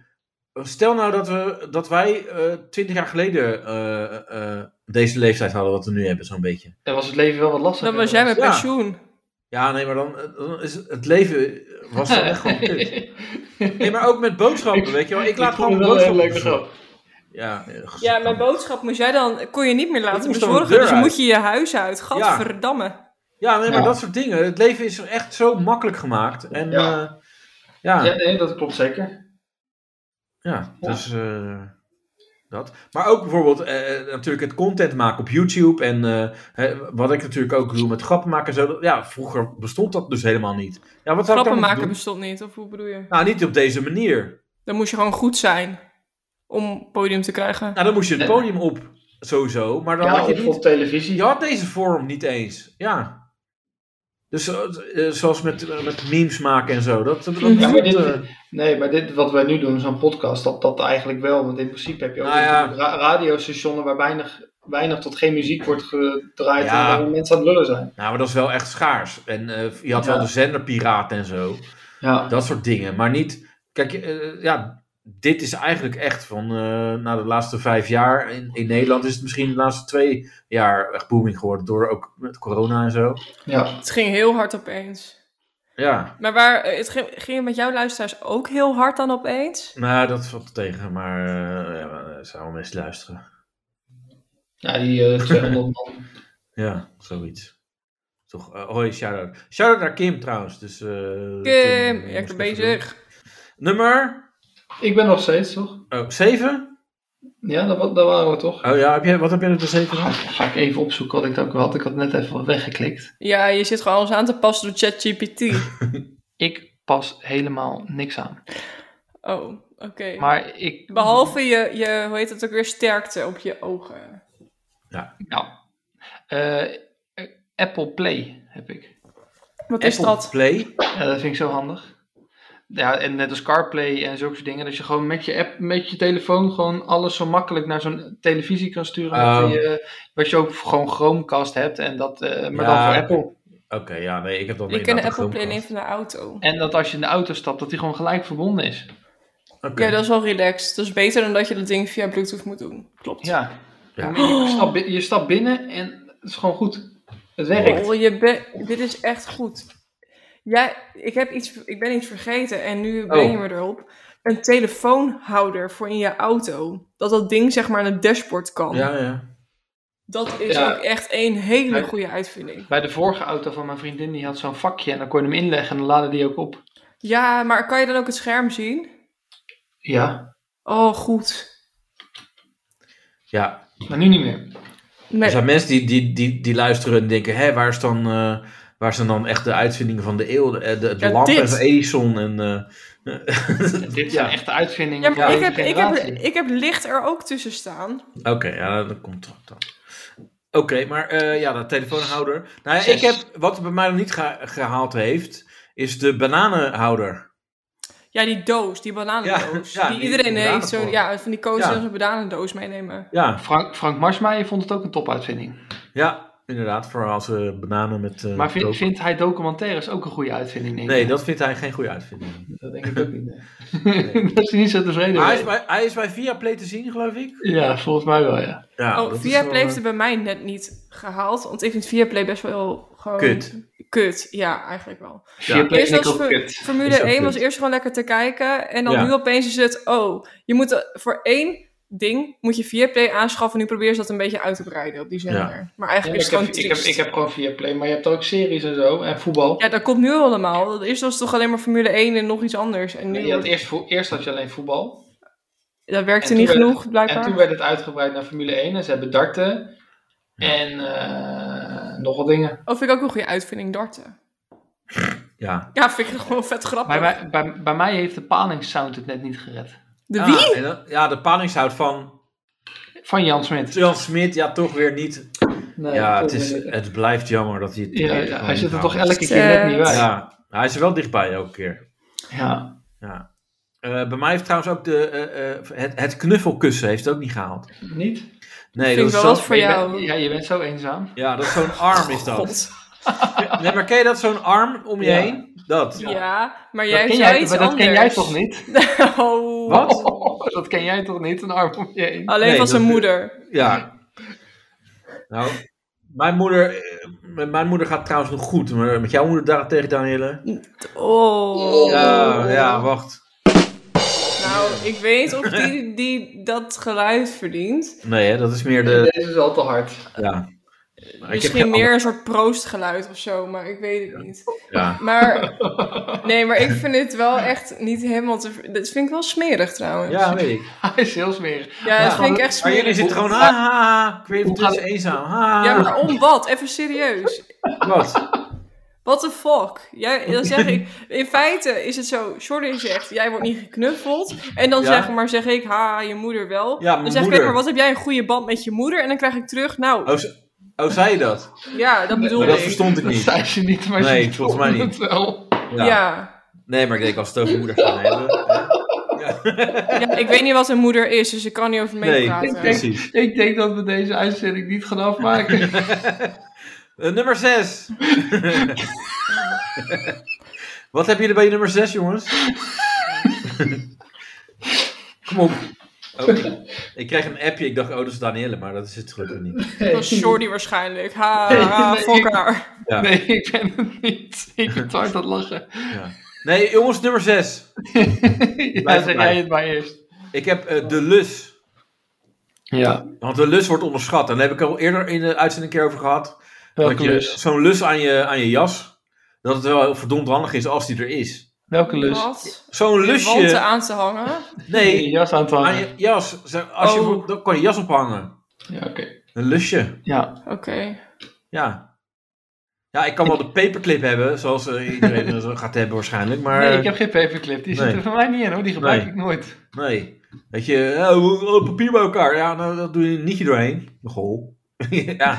Speaker 2: Stel nou dat, we, dat wij eh, twintig jaar geleden eh, eh, deze leeftijd hadden wat we nu hebben, zo'n beetje.
Speaker 3: Dan was het leven wel wat lastiger.
Speaker 4: Dan was jij met
Speaker 2: Ja.
Speaker 4: pensioen.
Speaker 2: Ja, nee, maar dan, eh, dan is het, het leven was dan echt gewoon kut. Nee, maar ook met boodschappen, weet je wel. Ik laat
Speaker 3: vond
Speaker 2: gewoon
Speaker 3: het wel een
Speaker 2: boodschappen
Speaker 3: leuke
Speaker 2: bezorgen.
Speaker 3: grap.
Speaker 2: Ja, eh,
Speaker 4: Ja, mijn boodschap moest jij dan... Kon je niet meer
Speaker 2: Ik
Speaker 4: laten
Speaker 2: moest dan de
Speaker 4: bezorgen.
Speaker 2: deur
Speaker 4: Dus
Speaker 2: uit.
Speaker 4: moet je je huis uit. Gadverdamme.
Speaker 2: ja, nee, maar
Speaker 3: Ja.
Speaker 2: dat soort dingen. Het leven is echt zo makkelijk gemaakt. En
Speaker 3: Ja.
Speaker 2: ja, ja.
Speaker 3: Ja, nee, dat klopt zeker.
Speaker 2: Ja,
Speaker 3: Ja.
Speaker 2: dus eh, dat. Maar ook bijvoorbeeld eh, eh, natuurlijk het content maken op YouTube. En eh, hè, wat ik natuurlijk ook doe met grappen maken en zo. dat- Ja, vroeger bestond dat dus helemaal niet. Ja, wat zou ik dan
Speaker 4: Grappen
Speaker 2: moeten
Speaker 4: maken
Speaker 2: doen?
Speaker 4: bestond niet. Of hoe bedoel je?
Speaker 2: Nou, niet op deze manier.
Speaker 4: Dan moest je gewoon goed zijn. Om podium te krijgen.
Speaker 2: Nou, dan moest je het
Speaker 3: Nee.
Speaker 2: podium op, sowieso. Maar dan
Speaker 3: Ja,
Speaker 2: had je
Speaker 3: of
Speaker 2: niet...
Speaker 3: op televisie.
Speaker 2: Je had deze vorm niet eens. Ja. Dus eh, eh, zoals met, eh, met memes maken en zo. Dat, eh, dat,
Speaker 4: Ja,
Speaker 3: maar
Speaker 2: dat-
Speaker 3: dit- Nee, maar dit wat wij nu doen, zo'n podcast, dat, dat eigenlijk wel. Want in principe heb je ook
Speaker 2: Nou ja.
Speaker 3: natuurlijk ra- radiostationen waar weinig, weinig tot geen muziek wordt gedraaid.
Speaker 2: Ja.
Speaker 3: En waar mensen aan het lullen zijn.
Speaker 2: nou, maar dat is wel echt schaars. En eh, je had
Speaker 3: Ja.
Speaker 2: wel de zenderpiraat en zo.
Speaker 3: Ja.
Speaker 2: Dat soort dingen. Maar niet. Kijk, eh, ja, dit is eigenlijk echt van. eh, na de laatste vijf jaar. In, in Nederland is het misschien de laatste twee jaar echt booming geworden. Door ook met corona en zo.
Speaker 3: ja.
Speaker 4: Het ging heel hard opeens.
Speaker 2: Ja,
Speaker 4: Maar waar, eh, het ging, ging het met jouw luisteraars ook heel hard dan opeens?
Speaker 2: nou, dat valt tegen. Maar. eh ja, maar er zijn wel mensen die luisteren.
Speaker 3: Ja, die eh 200 man.
Speaker 2: Ja, zoiets. Toch, eh, hoi, shout-out. Shout-out naar Kim trouwens. Dus, eh,
Speaker 4: Kim,
Speaker 2: eh,
Speaker 4: ja, ik
Speaker 2: moest
Speaker 4: ben
Speaker 2: even
Speaker 4: bezig.
Speaker 2: doen. Nummer
Speaker 3: Ik ben nog steeds, toch?
Speaker 2: oh, 7?
Speaker 3: Ja, dat, wa- dat waren we toch?
Speaker 2: Oh ja, heb jij, wat heb jij er zeven van?
Speaker 3: Ga, ik- ga ik even opzoeken wat ik dat ook had. Ik had net even weggeklikt.
Speaker 4: Ja, je zit gewoon alles aan te passen door ChatGPT.
Speaker 3: Ik pas helemaal niks aan.
Speaker 4: Oh, oké.
Speaker 3: Maar ik...
Speaker 4: Behalve je, je, hoe heet het ook weer, sterkte op je ogen.
Speaker 3: Nou, eh, Apple Play heb ik.
Speaker 4: Wat is
Speaker 2: Apple
Speaker 4: dat?
Speaker 2: Play.
Speaker 3: Ja, dat vind ik zo handig. Ja, en net als CarPlay en zulke soort dingen. Dat je gewoon met je app, met je telefoon, gewoon alles zo makkelijk naar zo'n televisie kan sturen.
Speaker 2: Oh.
Speaker 3: Wat, je, wat je ook gewoon Chromecast hebt. En dat, eh, maar
Speaker 2: Ja.
Speaker 3: dan voor Apple.
Speaker 2: Oké, ja, nee, ik heb dat
Speaker 4: Je
Speaker 2: niet.
Speaker 4: kunt de Apple Play alleen van de auto.
Speaker 3: En dat als je in de auto stapt, dat die gewoon gelijk verbonden is.
Speaker 4: Ja, dat is wel relaxed. Dat is beter dan dat je dat ding via Bluetooth moet doen. Klopt.
Speaker 3: Ja.
Speaker 2: Ja.
Speaker 3: Je, stapt, bi- je stapt binnen en het is gewoon goed. Het werkt.
Speaker 4: Oh, je bent- dit is echt goed. Jij, ik, heb iets, ik ben iets vergeten en nu ben
Speaker 3: Oh.
Speaker 4: je me erop. Een telefoonhouder voor in je auto. Dat dat ding zeg maar aan het dashboard kan.
Speaker 2: Ja, ja.
Speaker 4: Dat is
Speaker 3: Ja.
Speaker 4: ook echt een hele
Speaker 3: Ja.
Speaker 4: goede uitvinding.
Speaker 3: Bij de vorige auto van mijn vriendin, die had zo'n vakje. En dan kon je hem inleggen en dan laadde die ook op.
Speaker 4: Ja, maar kan je dan ook het scherm zien?
Speaker 3: Ja,
Speaker 4: Oh, goed.
Speaker 2: Ja,
Speaker 3: maar nu niet meer.
Speaker 2: Er
Speaker 4: Met-
Speaker 2: zijn mensen die, die, die, die luisteren en denken: hè, waar, is dan, eh, waar zijn dan echt de uitvindingen van de eeuw? De, de, de
Speaker 4: Ja,
Speaker 2: lamp en
Speaker 4: dit.
Speaker 2: van Edison. En, eh,
Speaker 3: Dit zijn
Speaker 2: Ja.
Speaker 3: echte uitvindingen.
Speaker 4: ja, maar
Speaker 3: van
Speaker 4: ik, heb,
Speaker 3: deze
Speaker 4: ik, heb,
Speaker 3: generatie.
Speaker 4: ik heb licht er ook tussen staan.
Speaker 2: Oké, ja, dat komt toch dan. Oké, maar eh, ja, dat telefoonhouder. Nou ja,
Speaker 3: Zes.
Speaker 2: ik heb, wat bij mij nog niet ge- gehaald heeft, is de bananenhouder.
Speaker 4: Ja, die doos, die bananendoos.
Speaker 2: Ja, ja,
Speaker 4: die
Speaker 2: die
Speaker 4: iedereen heeft. Zo,
Speaker 2: bananenvorm.
Speaker 4: ja, van die koos die
Speaker 2: Ja.
Speaker 4: dan zo'n bananendoos meenemen.
Speaker 2: Ja,
Speaker 3: Frank, Frank Marsmeijer vond het ook een topuitvinding.
Speaker 2: ja, inderdaad, voor als eh, bananen met... eh,
Speaker 3: Maar vind,
Speaker 2: kook.
Speaker 3: vindt hij documentaires ook een goede uitvinding? denk
Speaker 2: Nee,
Speaker 3: ik?
Speaker 2: dat vindt hij geen goede uitvinding.
Speaker 3: dat denk ik ook niet. nee. dat is hij niet zo tevreden
Speaker 2: Maar hij,
Speaker 3: mee.
Speaker 2: is bij, hij is bij Viaplay te zien, geloof ik.
Speaker 3: Ja, volgens mij wel, ja.
Speaker 2: Ja, dat
Speaker 4: oh,
Speaker 2: is
Speaker 4: Viaplay
Speaker 2: wel, eh,
Speaker 4: heeft het bij mij net niet gehaald. Want ik vind Viaplay best wel gewoon...
Speaker 2: Kut.
Speaker 4: Kut, ja, eigenlijk wel.
Speaker 3: Vier ja.
Speaker 4: Eerst was
Speaker 3: ook
Speaker 4: Ver-
Speaker 3: kut.
Speaker 4: Formule
Speaker 2: Is ook
Speaker 4: 1 was
Speaker 2: kut.
Speaker 4: eerst gewoon lekker te kijken. En dan
Speaker 2: Ja.
Speaker 4: nu opeens is het, oh, je moet eh, voor één ding moet je Viaplay aanschaffen. En nu probeer ze dat een beetje uit te breiden op die zender. Maar
Speaker 3: Ja,
Speaker 4: eigenlijk is het
Speaker 3: ik, heb,
Speaker 4: gewoon
Speaker 3: ik, heb,
Speaker 4: triest.
Speaker 3: ik heb gewoon Viaplay, maar je hebt ook series en zo en voetbal.
Speaker 4: Ja, dat komt nu allemaal. Eerst was het toch alleen maar Formule 1 en nog iets anders. En nu,
Speaker 3: Je had eerst, vo- eerst had je alleen voetbal.
Speaker 4: dat werkte
Speaker 3: en
Speaker 4: niet
Speaker 3: toen werd-
Speaker 4: genoeg,
Speaker 3: En toen
Speaker 4: blijkbaar.
Speaker 3: werd het uitgebreid naar Formule 1 en ze hebben darten. En eh, nog wat dingen.
Speaker 4: Oh, vind ik ook een goede uitvinding, darten.
Speaker 2: Ja.
Speaker 4: Ja, vind ik gewoon vet grappig.
Speaker 3: Bij mij, bij, bij mij heeft de palingssound het net niet gered.
Speaker 4: De
Speaker 2: Ah,
Speaker 4: wie?
Speaker 2: en dan- ja, de paningshout van
Speaker 3: Van Jan Smit.
Speaker 2: Jan Smit, ja, toch weer niet.
Speaker 3: Nee,
Speaker 2: Ja,
Speaker 3: dat
Speaker 2: het, is,
Speaker 3: weer-
Speaker 2: het blijft jammer dat hij het
Speaker 3: Ja,
Speaker 2: het
Speaker 3: ja,
Speaker 2: gewoon
Speaker 3: hij
Speaker 2: niet
Speaker 3: zit er
Speaker 2: haalt.
Speaker 3: toch elke keer net niet bij.
Speaker 2: Ja, hij is er wel dichtbij elke keer.
Speaker 3: Ja.
Speaker 2: Eh, bij mij heeft trouwens ook de, eh, eh, het, het knuffelkussen heeft het ook niet gehaald.
Speaker 3: Niet?
Speaker 2: Nee,
Speaker 4: Vind
Speaker 2: dat is
Speaker 4: ik wel
Speaker 2: zo,
Speaker 4: wat voor
Speaker 3: Je
Speaker 4: jou.
Speaker 3: bent- ja, je bent zo eenzaam.
Speaker 2: ja, dat is zo'n arm is dat.
Speaker 4: God.
Speaker 2: Nee, maar ken je dat, zo'n arm om je
Speaker 3: Ja.
Speaker 2: heen? Dat.
Speaker 4: Ja.
Speaker 3: Ja.
Speaker 4: maar jij
Speaker 3: dat
Speaker 4: hebt
Speaker 3: ken
Speaker 4: wel
Speaker 3: jij,
Speaker 4: iets
Speaker 3: maar dat
Speaker 4: anders.
Speaker 3: ken jij toch niet?
Speaker 4: Oh.
Speaker 3: dat ken jij toch niet? Een arm om je heen.
Speaker 4: Alleen
Speaker 2: Nee,
Speaker 4: van
Speaker 2: dat-
Speaker 4: zijn moeder.
Speaker 2: Ja. Nou, mijn moeder, eh, mijn- mijn moeder gaat trouwens nog goed, maar met jouw moeder daarentegen, Danielle?
Speaker 4: Oh.
Speaker 2: Ja, ja, wacht.
Speaker 4: Nou, ik weet of die, die dat geluid verdient.
Speaker 2: Nee, hè, dat is meer de,
Speaker 3: Deze is al te hard.
Speaker 2: ja. Maar ik heb
Speaker 4: Misschien
Speaker 2: geen
Speaker 4: meer een soort proostgeluid of zo, maar ik weet het niet.
Speaker 2: ander- Ja.
Speaker 4: Maar, nee, maar ik vind dit wel echt niet helemaal te... Dat vind ik wel smerig trouwens.
Speaker 2: ja, weet ik.
Speaker 3: Hij is heel smerig.
Speaker 4: Ja, dat
Speaker 2: Ja.
Speaker 4: vind ik echt
Speaker 2: Maar jullie
Speaker 4: smerig.
Speaker 2: zitten gewoon, ha, ha, ha. ik weet het,
Speaker 3: Hoe
Speaker 2: het is eenzaam. ah, Ha,
Speaker 4: Ja, maar om wat? Even serieus.
Speaker 2: Wat?
Speaker 4: What the fuck? Jij, dan zeg ik, in feite is het zo, Jordan zegt, jij wordt niet geknuffeld. En dan
Speaker 2: Ja.
Speaker 4: zeg, maar zeg ik, ha, je moeder wel.
Speaker 2: Ja,
Speaker 4: dan
Speaker 2: mijn
Speaker 4: zeg ik,
Speaker 2: moeder.
Speaker 4: maar wat heb jij een goede band met je moeder? En dan krijg ik terug, nou,
Speaker 2: Oh, ze- oh, zei je dat?
Speaker 4: ja, dat bedoel
Speaker 2: Maar dat
Speaker 4: ik.
Speaker 2: verstond ik
Speaker 3: Dat
Speaker 2: niet.
Speaker 3: zei ze niet, maar
Speaker 2: Nee,
Speaker 3: ze
Speaker 2: volgens mij
Speaker 3: voelde
Speaker 2: niet.
Speaker 3: het wel.
Speaker 4: Ja. Ja.
Speaker 2: Nee, maar ik denk als we het over moeder gaan hebben. hè?
Speaker 4: ik weet niet wat een moeder is, dus ik kan niet over
Speaker 2: Nee,
Speaker 4: meepraten. Dus
Speaker 3: Ik denk,
Speaker 2: precies.
Speaker 3: ik denk dat we deze uitzending niet gaan afmaken.
Speaker 2: Eh, nummer 6. Wat hebben jullie bij je nummer 6, jongens? Kom op. Oh, ik, ik kreeg een appje, ik dacht, oh, dat is Danielle, maar dat is het gelukkig niet.
Speaker 4: Dat was Jordi waarschijnlijk. Ha, ha,
Speaker 3: Nee,
Speaker 4: fokker.
Speaker 2: Ja.
Speaker 3: Nee, ik ben het niet. Ik heb te hard aan het lachen.
Speaker 2: Ja. Nee, jongens, nummer 6.
Speaker 3: Ja,
Speaker 2: Blijf
Speaker 3: zeg
Speaker 2: erbij.
Speaker 3: jij het maar eerst.
Speaker 2: Ik heb eh, de lus.
Speaker 3: Ja,
Speaker 2: Want de lus wordt onderschat. En daar heb ik al eerder in de uitzending een keer over gehad.
Speaker 3: welke
Speaker 2: Dat je
Speaker 3: lus?
Speaker 2: Zo'n lus aan je, aan je jas. Dat het wel verdomd handig is als die er is.
Speaker 3: Welke lus?
Speaker 4: Wat?
Speaker 2: Zo'n
Speaker 4: Je wanten
Speaker 2: lusje.
Speaker 4: aan te hangen?
Speaker 3: Je
Speaker 2: Nee,
Speaker 3: jas aan het
Speaker 2: aan
Speaker 3: hangen.
Speaker 2: je jas. Zeg, Als je,
Speaker 4: Oh.
Speaker 2: wil, dan kan je jas ophangen.
Speaker 3: Ja, oké.
Speaker 2: Een lusje,
Speaker 3: Ja.
Speaker 4: Oké.
Speaker 2: ja. Ja, ik kan wel de paperclip hebben, zoals eh, iedereen dat gaat hebben waarschijnlijk, maar eh,
Speaker 3: Nee, ik heb geen paperclip. Die zit
Speaker 2: Nee.
Speaker 3: er voor mij niet in hoor. Die gebruik
Speaker 2: Nee.
Speaker 3: ik nooit.
Speaker 2: nee. Weet je, eh, hoe- alle papier bij elkaar, ja, nou, dat doe je niet je doorheen. Nogal. ja.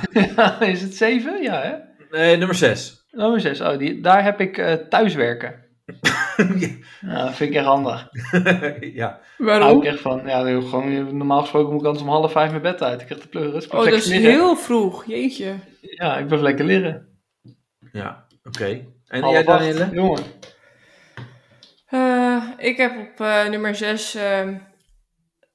Speaker 3: Is het zeven? Ja, hè?
Speaker 2: Nee, nummer 6.
Speaker 3: Nummer zes. Oh, die, daar heb ik eh, thuiswerken. Nou, dat vind ik echt handig.
Speaker 2: ja.
Speaker 3: Daar hou
Speaker 4: Waarom?
Speaker 3: ik echt van. Ja, joh, gewoon, normaal gesproken moet ik anders om half vijf mijn bed uit. Ik krijg de pleuris. Ik
Speaker 4: Oh,
Speaker 3: blijf
Speaker 4: dat is
Speaker 3: lekker liggen.
Speaker 4: heel vroeg. Jeetje.
Speaker 3: Ja, ik blijf lekker leren.
Speaker 2: Ja, oké. En
Speaker 3: Half
Speaker 2: jij
Speaker 3: acht.
Speaker 2: Danielle?
Speaker 3: Jongen.
Speaker 4: Eh, ik heb op eh, nummer 6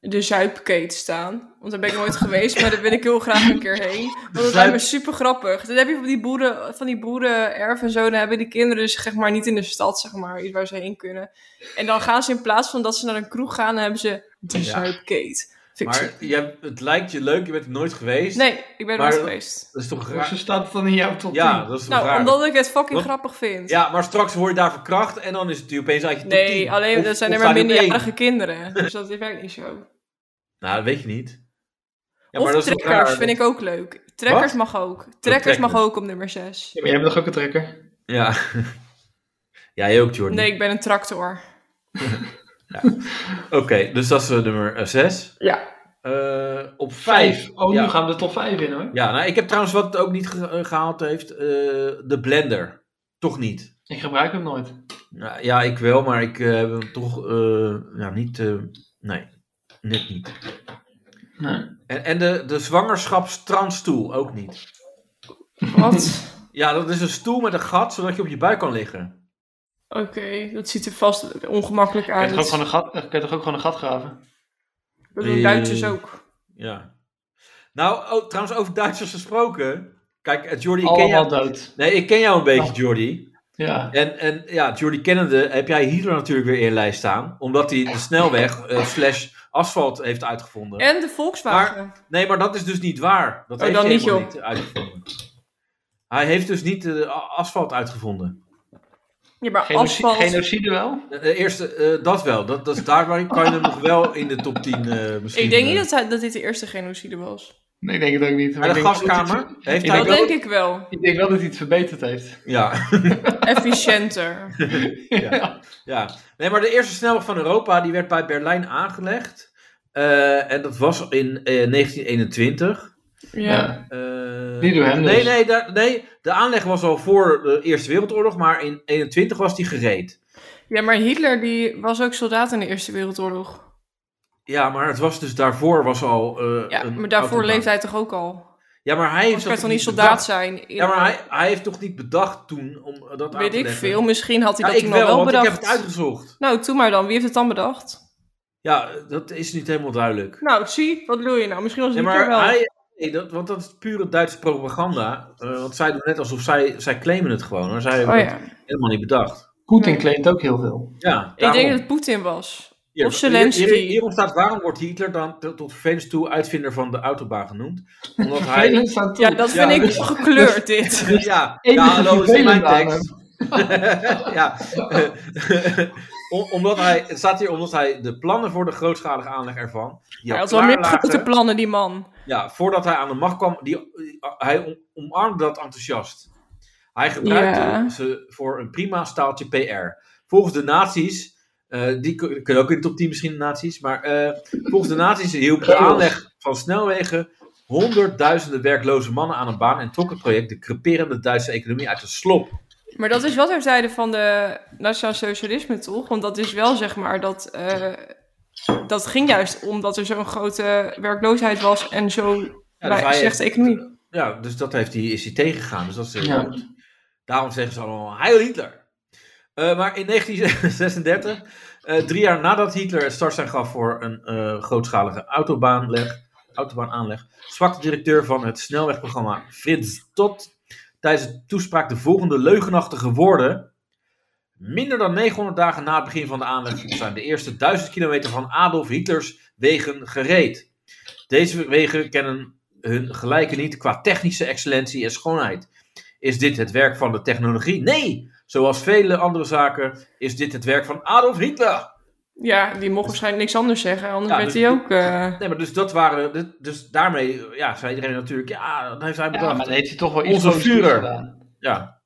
Speaker 4: de Zuipkeet staan. Want daar ben ik nooit geweest, maar daar wil ik heel graag een keer heen. Want dat lijkt me super grappig. Dat heb je van die boeren, van die boeren erf en zo. Dan hebben die kinderen dus zeg maar niet in de stad, zeg maar, iets waar ze heen kunnen. En dan gaan ze in plaats van dat ze naar een kroeg gaan, dan hebben ze de
Speaker 2: Ja.
Speaker 4: Zuipkeet. Vind ik zo-
Speaker 2: Maar jij, het lijkt je leuk, je bent er nooit geweest.
Speaker 4: Nee, ik ben er
Speaker 2: Maar-
Speaker 4: nooit geweest.
Speaker 2: Dat is toch
Speaker 3: Hoezo
Speaker 2: raar?
Speaker 3: staat het dan in jouw top 10?
Speaker 2: Ja, dat is toch
Speaker 4: Nou,
Speaker 2: raar?
Speaker 4: omdat ik het fucking
Speaker 2: Wat?
Speaker 4: grappig vind.
Speaker 2: Ja, maar straks word je daar verkracht en dan is het opeens uit je top 10.
Speaker 4: nee, alleen
Speaker 2: Of-
Speaker 4: dat zijn
Speaker 2: of
Speaker 4: er maar
Speaker 2: staat je op één.
Speaker 4: minderjarige kinderen. Dus dat werkt niet zo.
Speaker 2: Nou, dat weet je niet. Ja,
Speaker 4: of
Speaker 2: maar dat is ook
Speaker 4: trekkers
Speaker 2: raar.
Speaker 4: vind ik ook leuk. Trekkers mag ook. Trekkers mag
Speaker 2: trekkers. Oh,
Speaker 4: ook op nummer 6.
Speaker 3: Ja, maar jij bent toch ook een trekker?
Speaker 2: Ja. Jij ook, Jordan.
Speaker 4: Nee, ik ben een tractor.
Speaker 2: Oké, dus dat is eh, nummer 6.
Speaker 3: Ja.
Speaker 2: op 5.
Speaker 3: Vijf. Oh,
Speaker 2: Ja.
Speaker 3: nu gaan we de top vijf in hoor.
Speaker 2: Ja, nou, ik heb trouwens wat het ook niet ge- eh, gehaald heeft. eh, de blender. Toch niet.
Speaker 3: Ik gebruik hem nooit.
Speaker 2: Nou, ja, ik wel, maar ik eh, heb hem toch eh, ja, niet... eh, nee, net niet.
Speaker 3: Nee.
Speaker 2: En, en de, de zwangerschapstrandstoel ook niet.
Speaker 4: Wat?
Speaker 2: Ja, dat is een stoel met een gat, zodat je op je buik kan liggen.
Speaker 4: Oké, dat ziet er vast ongemakkelijk
Speaker 3: Kan
Speaker 4: uit.
Speaker 3: je, toch ook gewoon een gat, kan je toch ook gewoon een gat graven?
Speaker 4: Dat doen Duitsers
Speaker 2: Eh,
Speaker 4: ook.
Speaker 2: Ja. Nou, oh, trouwens, over Duitsers gesproken. Kijk, eh, Jordi, ik ken,
Speaker 3: Allemaal
Speaker 2: jou,
Speaker 3: dood.
Speaker 2: nee, ik ken jou een beetje, Jordi.
Speaker 3: Ja.
Speaker 2: En, en ja, Jordi kennende heb jij Hitler natuurlijk weer in je lijst staan. Omdat hij de snelweg eh, slash asfalt heeft uitgevonden.
Speaker 4: En de Volkswagen.
Speaker 2: Nee, maar dat is dus niet waar. Dat
Speaker 4: Oh,
Speaker 2: heeft
Speaker 4: dan
Speaker 2: hij
Speaker 4: niet,
Speaker 2: helemaal
Speaker 4: joh.
Speaker 2: niet uitgevonden. Hij heeft dus niet de asfalt uitgevonden.
Speaker 4: ja, maar
Speaker 3: Genoci-
Speaker 4: asfalt.
Speaker 3: Genocide wel?
Speaker 2: Eh, eh, Eerst eh, dat wel. Dat, dat is daar waar kan je hem nog wel in de top 10 eh, misschien...
Speaker 4: ik denk
Speaker 2: eh,
Speaker 4: niet dat, hij, dat dit de eerste genocide was. Nou,
Speaker 3: Nee, ik denk het ook niet. maar
Speaker 2: Bij
Speaker 3: ik
Speaker 2: de
Speaker 3: denk wel dat hij
Speaker 2: gaskamer
Speaker 3: het-
Speaker 2: heeft
Speaker 3: Ik
Speaker 2: hij...
Speaker 4: Dat
Speaker 3: denk wel-
Speaker 2: wel-
Speaker 4: denk ik wel.
Speaker 3: Ik denk wel dat hij het verbeterd heeft.
Speaker 2: Ja,
Speaker 4: Efficiënter.
Speaker 2: ja, ja. Nee, maar de eerste snelweg van Europa die werd bij Berlijn aangelegd. Eh, en dat was in eh, 1921.
Speaker 4: Ja.
Speaker 2: Eh,
Speaker 3: Niet door hem dus.
Speaker 2: nee, nee, daar- nee, de aanleg was al voor de Eerste Wereldoorlog, maar in 21 was die gereed.
Speaker 4: ja, maar Hitler die was ook soldaat in de Eerste Wereldoorlog.
Speaker 2: Ja, maar het was dus daarvoor was al. eh,
Speaker 4: Ja,
Speaker 2: een
Speaker 4: maar daarvoor
Speaker 2: autobaan.
Speaker 4: leeft hij toch ook al?
Speaker 2: Ja, maar hij heeft
Speaker 4: Anders kan
Speaker 2: dat
Speaker 4: je toch niet
Speaker 2: toch
Speaker 4: soldaat
Speaker 2: bedacht?
Speaker 4: zijn? in-
Speaker 2: Ja, maar hij, hij heeft toch niet bedacht toen om dat aan te
Speaker 4: Weet ik
Speaker 2: leggen?
Speaker 4: veel. Misschien had hij
Speaker 2: Ja,
Speaker 4: dat
Speaker 2: ik
Speaker 4: toen
Speaker 2: wel,
Speaker 4: al wel
Speaker 2: want
Speaker 4: bedacht.
Speaker 2: ik heb het uitgezocht.
Speaker 4: Nou, doe maar dan. Wie heeft het dan bedacht?
Speaker 2: Ja, dat is niet helemaal duidelijk.
Speaker 4: Nou, zie, wat bedoel je nou? Misschien was
Speaker 2: Nee,
Speaker 4: het Hitler
Speaker 2: maar
Speaker 4: wel.
Speaker 2: hij, nee, dat, want dat is pure Duitse propaganda. eh, want zij doen net alsof zij, zij claimen het gewoon, maar zij hebben
Speaker 4: Oh
Speaker 2: het
Speaker 4: ja.
Speaker 2: helemaal niet bedacht.
Speaker 3: Poetin
Speaker 4: Nee.
Speaker 3: claimt ook heel veel.
Speaker 2: Ja,
Speaker 4: Ik
Speaker 2: daarom.
Speaker 4: denk dat het Poetin was.
Speaker 2: Hier,
Speaker 4: Of Zelensky.
Speaker 2: Hier, hier, hierom staat waarom wordt Hitler dan t- tot vervelens toe uitvinder van de autobaan genoemd? Omdat hij...
Speaker 3: Velen staan toe.
Speaker 4: Ja, dat vind
Speaker 2: Ja,
Speaker 4: ik
Speaker 2: dus-
Speaker 4: gekleurd, dit.
Speaker 2: ja,
Speaker 3: enige
Speaker 2: ja, hallo, dat is mijn
Speaker 3: vervelende aan
Speaker 2: tekst. ja. Om- omdat hij, het staat hier omdat hij de plannen voor de grootschalige aanleg ervan... Die al
Speaker 4: Hij had wel meer
Speaker 2: klaar lagen,
Speaker 4: grote plannen, die man.
Speaker 2: Ja, voordat hij aan de macht kwam, die, hij om- omarmde dat enthousiast. Hij gebruikte
Speaker 4: Ja.
Speaker 2: ze voor een prima staaltje PR. Volgens de nazi's, eh, die kun- kunnen ook in de top 10 misschien de nazi's, maar eh, volgens de nazi's hielp de
Speaker 3: Chaos.
Speaker 2: aanleg van snelwegen honderdduizenden werkloze mannen aan een baan en trok het project de creperende Duitse economie uit de slop.
Speaker 4: Maar dat is wat er zeiden van de Nationaal Socialisme, toch? Want dat is wel, zeg maar, dat... eh, dat ging juist omdat er zo'n grote werkloosheid was en zo
Speaker 2: Ja,
Speaker 4: bij-
Speaker 2: dus hij-
Speaker 4: slechte economie.
Speaker 2: Ja, dus dat heeft hij, is hij tegengegaan. Dus dat is heel
Speaker 3: Ja.
Speaker 2: goed. Daarom zeggen ze allemaal Heil Hitler. Eh, maar in 1936, eh, drie jaar nadat Hitler het startsein gaf voor een eh, grootschalige autobaanleg, autobaanaanleg, sprak de directeur van het snelwegprogramma Frits Tot tijdens de toespraak de volgende leugenachtige woorden. Minder dan 900 dagen na het begin van de aanleg zijn de eerste 1000 kilometer van Adolf Hitlers wegen gereed. Deze wegen kennen hun gelijken niet qua technische excellentie en schoonheid. Is dit het werk van de technologie? Nee! Zoals vele andere zaken is dit het werk van Adolf Hitler.
Speaker 4: Ja, die mocht waarschijnlijk niks anders zeggen, anders
Speaker 2: Ja,
Speaker 4: werd
Speaker 2: dus-
Speaker 4: hij ook... eh,
Speaker 2: Nee, maar dus dat waren. dit- Dus daarmee ja, zei iedereen natuurlijk. Ja, dat heeft hij
Speaker 3: Ja, maar
Speaker 2: bedacht.
Speaker 3: dat
Speaker 2: Ja.
Speaker 3: heeft hij toch wel iets
Speaker 2: Onze
Speaker 3: positiefs
Speaker 2: Führer.
Speaker 3: gedaan.
Speaker 2: Ja.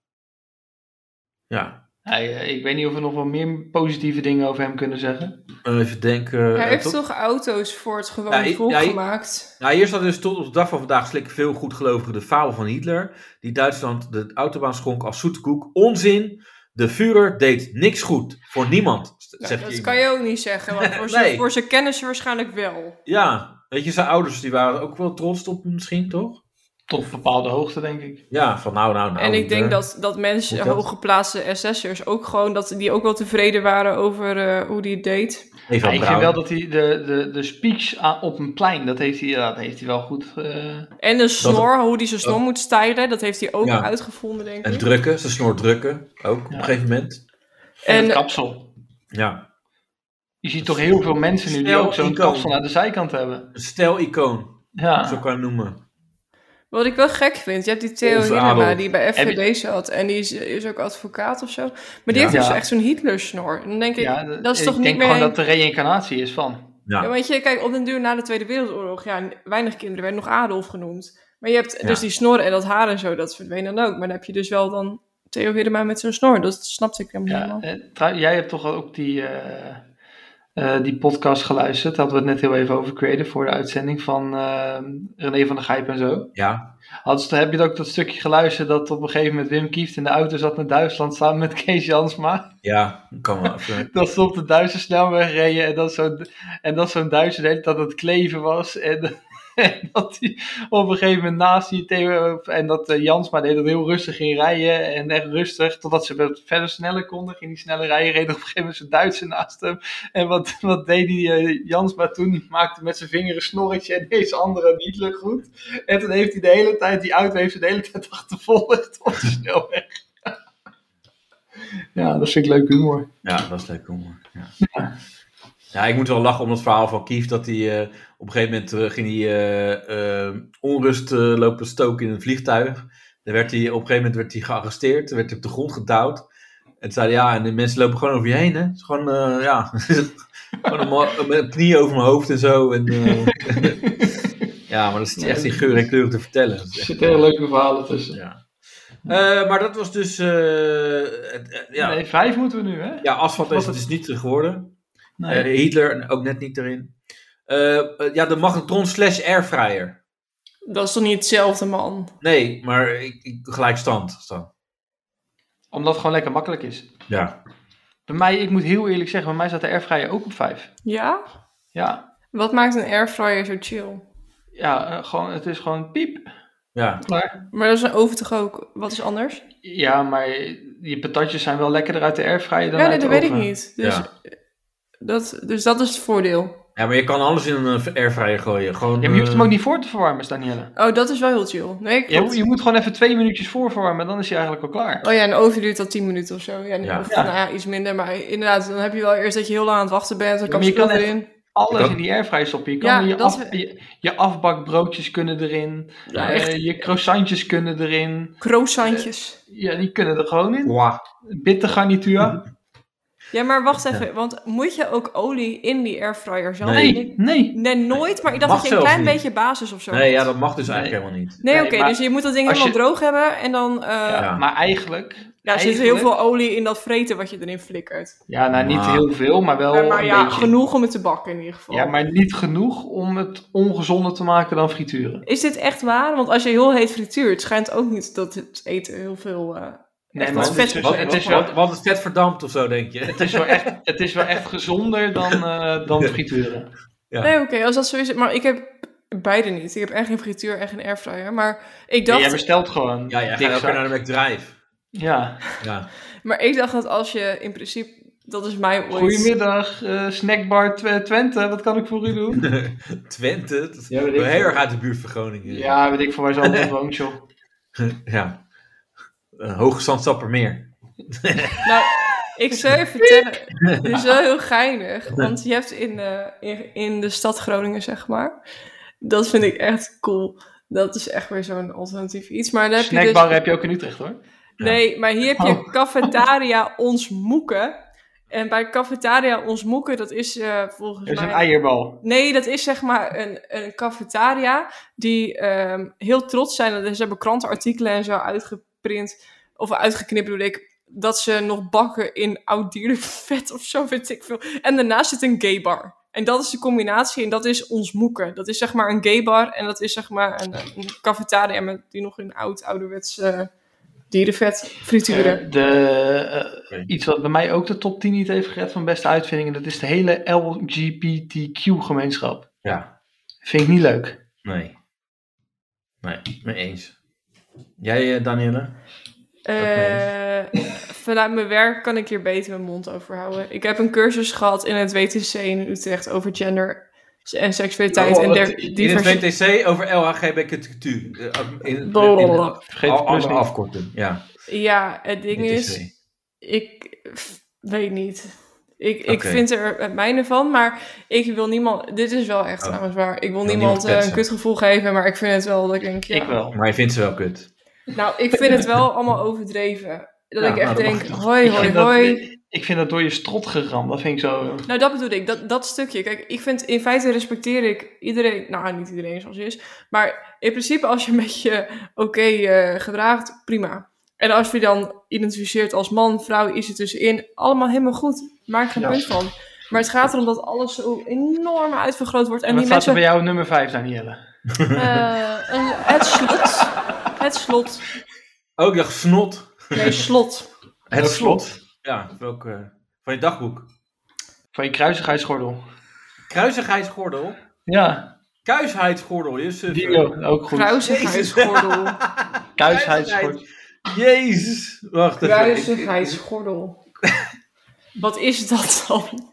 Speaker 3: Hij, eh, ik weet niet of we nog wel meer positieve dingen over hem kunnen zeggen.
Speaker 2: Eh, even denken.
Speaker 4: hij
Speaker 2: eh,
Speaker 4: heeft
Speaker 2: tot-
Speaker 4: toch auto's voor het
Speaker 2: Ja,
Speaker 4: gewone
Speaker 2: ik-
Speaker 4: volk
Speaker 2: ja, ik-
Speaker 4: gemaakt?
Speaker 2: Nou, hier staat dus tot op de dag van vandaag slikken veel goedgelovigen de faal van Hitler. Die Duitsland de autobaan schonk als zoetkoek. Onzin. De Führer deed niks goed. Voor niemand. z-
Speaker 4: Ja,
Speaker 2: zegt
Speaker 4: dat
Speaker 2: iemand.
Speaker 4: kan je ook niet zeggen, want voor,
Speaker 2: Nee.
Speaker 4: zijn, voor zijn kennissen waarschijnlijk wel.
Speaker 2: Ja, weet je, zijn ouders die waren ook wel trots op hem misschien, toch?
Speaker 3: Tot een bepaalde hoogte, denk ik.
Speaker 2: Ja, van nou, nou, nou.
Speaker 4: En ik
Speaker 2: Hitler.
Speaker 4: denk dat, dat mensen,
Speaker 2: Moet dat?
Speaker 4: hooggeplaatste SS'ers, ook gewoon dat die ook wel tevreden waren over eh, hoe die het deed.
Speaker 2: Eva
Speaker 3: Ja, ik vind
Speaker 2: Braun.
Speaker 3: wel dat hij de, de, de speech aan- op een plein, dat heeft hij, ja, dat heeft hij wel goed. eh,
Speaker 4: En de snor, hoe die zijn snor
Speaker 2: dat-
Speaker 4: moet stylen, dat heeft hij ook
Speaker 2: Ja.
Speaker 4: uitgevonden, denk
Speaker 2: En
Speaker 4: ik.
Speaker 2: drukken, ze snor drukken. Ook op
Speaker 3: Ja.
Speaker 2: een gegeven moment.
Speaker 3: en het
Speaker 4: En-
Speaker 3: kapsel.
Speaker 2: Ja.
Speaker 3: Je ziet toch heel veel mensen nu die
Speaker 2: Snel
Speaker 3: ook zo'n
Speaker 2: icoon.
Speaker 3: kapsel aan de zijkant hebben.
Speaker 2: Een stijl-icoon, zo
Speaker 4: Ah.
Speaker 3: Ja.
Speaker 2: kan je hem noemen.
Speaker 4: Wat ik wel gek vind, je hebt die Theo
Speaker 2: Onze
Speaker 4: Hiddema
Speaker 2: Adolf.
Speaker 4: die bij
Speaker 3: Heb je-
Speaker 4: FVD zat en die is, is ook advocaat of zo. Maar die
Speaker 2: Ja.
Speaker 4: heeft dus
Speaker 3: Ja.
Speaker 4: echt zo'n Hitler-snor. En dan denk ik,
Speaker 3: ja
Speaker 4: dat is toch
Speaker 3: ik
Speaker 4: niet
Speaker 3: denk
Speaker 4: meer...
Speaker 3: gewoon dat de reïncarnatie is van.
Speaker 2: Ja.
Speaker 4: Ja, want je, kijk, op den duur na de Tweede Wereldoorlog, ja, weinig kinderen werden nog Adolf genoemd. Maar je hebt dus die snor en dat haar en zo, dat verdween dan ook. Maar dan heb je dus wel dan Theo Hiddema met zijn snor. Dat snapte ik helemaal
Speaker 3: Ja,
Speaker 4: niet.
Speaker 3: eh, trouw- jij hebt toch ook die, eh, eh, die podcast geluisterd. Daar hadden we het net heel even over creëren voor de uitzending van eh, René van der Gijp en zo.
Speaker 2: Ja.
Speaker 3: Hadden ze, heb je ook dat stukje geluisterd dat op een gegeven moment Wim Kieft in de auto zat naar Duitsland samen met Kees Jansma?
Speaker 2: Ja, kan wel. even-
Speaker 3: Dat ze op de Duitse snelweg reden en dat zo'n, en dat zo'n Duitse de hele tijd aan het kleven was. En, en dat hij op een gegeven moment naast die Theo en dat eh, Jansma deed dat heel rustig ging rijden en echt rustig. Totdat ze wat verder sneller konden, ging die sneller rijden, reed op een gegeven moment zo'n Duitse naast hem. En wat, wat deed die eh, Jansma toen? Die maakte met zijn vinger een snorretje en deze andere niet lukt goed. En toen heeft hij de hele tijd, die auto heeft ze de hele tijd achtervolgd op de snelweg. Ja, dat vind ik leuk humor.
Speaker 2: Ja, dat is leuk hoor. Ja. ja, ik moet wel lachen om het verhaal van Kief. Dat hij eh, op een gegeven moment eh, ging hij eh, eh, onrust eh, lopen stoken in een vliegtuig. Dan werd hij, op een gegeven moment werd hij gearresteerd. Dan werd hij op de grond gedouwd. En toen zei hij, ja, en de mensen lopen gewoon over je heen. Hè? Het is gewoon, eh, ja, gewoon een, ma- met een knie over mijn hoofd en zo. En, eh, ja, maar dat zit hij echt in geur en kleur te vertellen. Dat is
Speaker 3: Er
Speaker 2: echt-
Speaker 3: zitten hele leuke verhalen tussen.
Speaker 2: ja. Eh, maar dat was dus... eh, het- eh, ja,
Speaker 3: Nee, vijf moeten we nu, hè?
Speaker 2: ja, asfalt is het
Speaker 3: Wat
Speaker 2: dus niet geworden.
Speaker 3: Nee.
Speaker 2: Eh, Hitler ook net niet erin. Eh, eh, ja, de magnetron slash airfryer.
Speaker 4: Dat is toch niet hetzelfde, man?
Speaker 2: Nee, maar ik, ik, gelijk stand. stand.
Speaker 3: Omdat het gewoon lekker makkelijk is.
Speaker 2: Ja.
Speaker 3: Bij mij, ik moet heel eerlijk zeggen, bij mij staat de airfryer ook op vijf.
Speaker 4: Ja?
Speaker 3: Ja,
Speaker 4: Wat maakt een airfryer zo chill?
Speaker 3: ja eh, gewoon, het is gewoon piep.
Speaker 2: ja.
Speaker 3: Klaar.
Speaker 4: Maar dat is een oven toch ook wat is anders?
Speaker 3: Ja, maar die patatjes zijn wel lekkerder uit de airfryer dan
Speaker 4: ja, nee,
Speaker 3: uit
Speaker 4: dat
Speaker 3: de
Speaker 4: weet ik
Speaker 3: oven.
Speaker 4: niet. Dus,
Speaker 2: Ja.
Speaker 4: dat, dus dat is het voordeel.
Speaker 2: Ja, maar je kan alles in een airfryer gooien. Gewoon,
Speaker 3: Ja, maar je hoeft hem
Speaker 2: eh,
Speaker 3: ook niet voor te verwarmen, Danielle.
Speaker 4: Oh, dat is wel heel chill. Nee, ik
Speaker 3: Je, je moet gewoon even twee minuutjes voorverwarmen, dan is hij eigenlijk al klaar.
Speaker 4: Oh ja, een oven duurt al 10 minuten of zo. Ja,
Speaker 2: Ja.
Speaker 4: Of,
Speaker 3: Ja.
Speaker 4: Nou ja, iets minder. Maar inderdaad, dan heb je wel eerst dat je heel lang aan het wachten bent. Dan
Speaker 3: Ja,
Speaker 4: kan
Speaker 3: maar je
Speaker 4: je
Speaker 3: kan echt-
Speaker 4: erin.
Speaker 3: Alles
Speaker 2: Dat-
Speaker 3: in die airfryer stoppen. Je,
Speaker 4: Ja,
Speaker 3: kan je,
Speaker 4: dat
Speaker 3: af-
Speaker 4: is-
Speaker 3: je, je afbakbroodjes kunnen erin.
Speaker 4: Ja,
Speaker 3: eh,
Speaker 4: Nou, echt.
Speaker 3: je croissantjes kunnen erin.
Speaker 4: Croissantjes.
Speaker 3: Ja, die kunnen er gewoon in.
Speaker 2: wauw.
Speaker 3: Bittergarnituur.
Speaker 4: Ja, maar wacht even. Want moet je ook olie in die airfryer zelf?
Speaker 2: Nee.
Speaker 3: Nee, nee.
Speaker 4: Nee, nooit. Maar ik dacht
Speaker 2: Mag
Speaker 4: dat je een
Speaker 2: zelfs
Speaker 4: klein
Speaker 2: niet.
Speaker 4: beetje basis of zo
Speaker 2: Nee, ja,
Speaker 4: had.
Speaker 2: dat mag dus eigenlijk
Speaker 3: Nee.
Speaker 2: helemaal niet.
Speaker 4: Nee,
Speaker 3: Nee,
Speaker 4: oké.
Speaker 3: maar
Speaker 4: dus je moet dat ding
Speaker 3: als
Speaker 4: helemaal
Speaker 3: je-
Speaker 4: droog hebben. En dan eh, ja,
Speaker 2: Ja.
Speaker 3: Maar eigenlijk...
Speaker 4: er zit heel
Speaker 3: eigenlijk-
Speaker 4: veel olie in dat vreten wat je erin flikkert.
Speaker 3: Ja, nou niet
Speaker 2: Maar-
Speaker 3: heel veel, maar wel
Speaker 4: maar, maar
Speaker 3: Oh, een
Speaker 4: ja,
Speaker 3: beetje.
Speaker 4: genoeg om het te bakken in ieder geval.
Speaker 3: Ja, maar niet genoeg om het ongezonder te maken dan frituren.
Speaker 4: Is dit echt waar? Want als je heel heet frituurt, schijnt ook niet dat het eten heel veel... eh,
Speaker 3: Nee,
Speaker 4: Echt,
Speaker 3: maar
Speaker 4: dat
Speaker 3: het
Speaker 4: is
Speaker 3: is,
Speaker 4: vet.
Speaker 3: dus-
Speaker 2: Wat,
Speaker 3: het is
Speaker 2: wat,
Speaker 3: wel,
Speaker 2: wat is vet verdampt of zo, denk je?
Speaker 3: het is wel, echt, het is wel echt gezonder dan, eh, dan frituren.
Speaker 2: Ja.
Speaker 4: Nee, oké, als dat zo is. Maar ik heb beide niet. Ik heb echt geen frituur en geen airfryer. Maar ik
Speaker 3: Ja,
Speaker 4: dacht,
Speaker 3: jij bestelt gewoon.
Speaker 2: Ja, jij gaat
Speaker 3: dik
Speaker 2: elke
Speaker 3: zak.
Speaker 2: keer naar de McDrive.
Speaker 3: Ja.
Speaker 2: Ja.
Speaker 4: maar ik dacht dat als je in principe... Dat is mij ooit...
Speaker 3: Goedemiddag, eh, snackbar Tw- Twente. Wat kan ik voor u doen?
Speaker 2: Twente. dat is
Speaker 3: Ja, weet ik
Speaker 2: heel
Speaker 3: veel.
Speaker 2: erg uit de buurt van Groningen.
Speaker 3: Ja, weet ik voor waar ze allemaal woont, joh.
Speaker 2: ja. Eh, Hoge Zandstappermeer.
Speaker 4: Nou, ik zou je vertellen. Dit is wel heel geinig. Want je hebt in, eh, in, in de stad Groningen, zeg maar. Dat vind ik echt cool. Dat is echt weer zo'n alternatief iets. Maar dan heb je dus...
Speaker 3: Snackbar heb je ook in Utrecht, hoor.
Speaker 4: Nee, maar hier heb je
Speaker 3: Oh.
Speaker 4: Cafetaria Ons Moeken. En bij Cafetaria Ons Moeken, dat is eh, volgens
Speaker 3: Er is
Speaker 4: mij...
Speaker 3: een eierbal.
Speaker 4: Nee, dat is zeg maar een, een cafetaria die ehm, heel trots zijn. dat Ze hebben krantenartikelen en zo uitgeprint, of uitgeknipt bedoel ik, dat ze nog bakken in oud dierlijk vet of zo, weet ik veel. En daarnaast zit een gay bar. En dat is de combinatie en dat is ons moeken. Dat is zeg maar een gay bar en dat is zeg maar een, een cafetaria met, die nog in oud ouderwets eh, dierenvet frituren.
Speaker 3: Eh, de, eh,
Speaker 2: Oké.
Speaker 3: iets wat bij mij ook de top 10 niet heeft gered van beste uitvindingen, dat is de hele LGBTQ-gemeenschap.
Speaker 2: Ja.
Speaker 3: Vind ik niet leuk.
Speaker 2: Nee. Nee, mee eens. Jij, eh, Danielle?
Speaker 4: Eh, vanuit mijn werk kan ik hier beter mijn mond over houden. Ik heb een cursus gehad in het WTC in Utrecht over gender en seksualiteit en der-
Speaker 2: Oh, in het
Speaker 4: diversi-
Speaker 2: WTC over LHGBTQ. eh, In, in,
Speaker 4: Blablabla.
Speaker 3: Vergeet
Speaker 2: al-
Speaker 3: de plus
Speaker 2: andere
Speaker 3: niet.
Speaker 2: afkorting. Ja,
Speaker 4: Ja, het ding
Speaker 2: WTC.
Speaker 4: is, ik f- weet niet. Ik, ik
Speaker 2: Oké.
Speaker 4: vind er het mijne van, maar ik wil niemand... Dit is wel echt
Speaker 2: Oh.
Speaker 4: trouwens waar. Ik wil
Speaker 2: wil
Speaker 4: niemand
Speaker 2: niemand
Speaker 4: eh, een
Speaker 2: kwetsen.
Speaker 4: kutgevoel geven, maar ik vind het wel dat ik denk... Ja.
Speaker 3: Ik wel.
Speaker 2: Maar je vindt ze wel kut.
Speaker 4: Nou, ik vind het wel allemaal overdreven. Dat
Speaker 2: Ja,
Speaker 4: ik echt
Speaker 2: nou, dat mag
Speaker 4: denk,
Speaker 2: toch.
Speaker 4: hoi,
Speaker 3: Ik
Speaker 4: hoi,
Speaker 3: vind dat-
Speaker 4: hoi.
Speaker 3: Ik, Ik vind dat door je strot geramd. Dat vind ik zo.
Speaker 4: Nou, dat bedoel ik. Dat, dat stukje. Kijk, ik vind in feite respecteer ik iedereen. Nou, niet iedereen zoals hij is. Maar in principe, als je een beetje oké eh, gedraagt, prima. En als je dan identificeert als man, vrouw, is het tussenin. Allemaal helemaal goed. Maak geen
Speaker 3: Ja.
Speaker 4: punt van. Maar het gaat erom dat alles zo enorm uitvergroot wordt. En,
Speaker 3: En
Speaker 4: die
Speaker 3: wat staat
Speaker 4: mensen.
Speaker 3: er bij jou op nummer 5 dan, Jelle?
Speaker 4: eh, een- het slot. Het slot.
Speaker 2: Oh, ik dacht snot.
Speaker 4: Nee, slot.
Speaker 2: Het
Speaker 5: Ook
Speaker 2: slot. Ja, welke, eh, van je dagboek.
Speaker 3: Van je kruisigheidsgordel.
Speaker 2: Kruisigheidsgordel.
Speaker 3: Ja,
Speaker 2: Kuisheidsgordel, je suf.
Speaker 3: die ook, ook goed.
Speaker 4: Kruisigheidsgordel.
Speaker 3: Kruisigheidsgordel.
Speaker 2: Jezus. Wacht even.
Speaker 4: Kruisigheidsgordel. Wat is dat dan?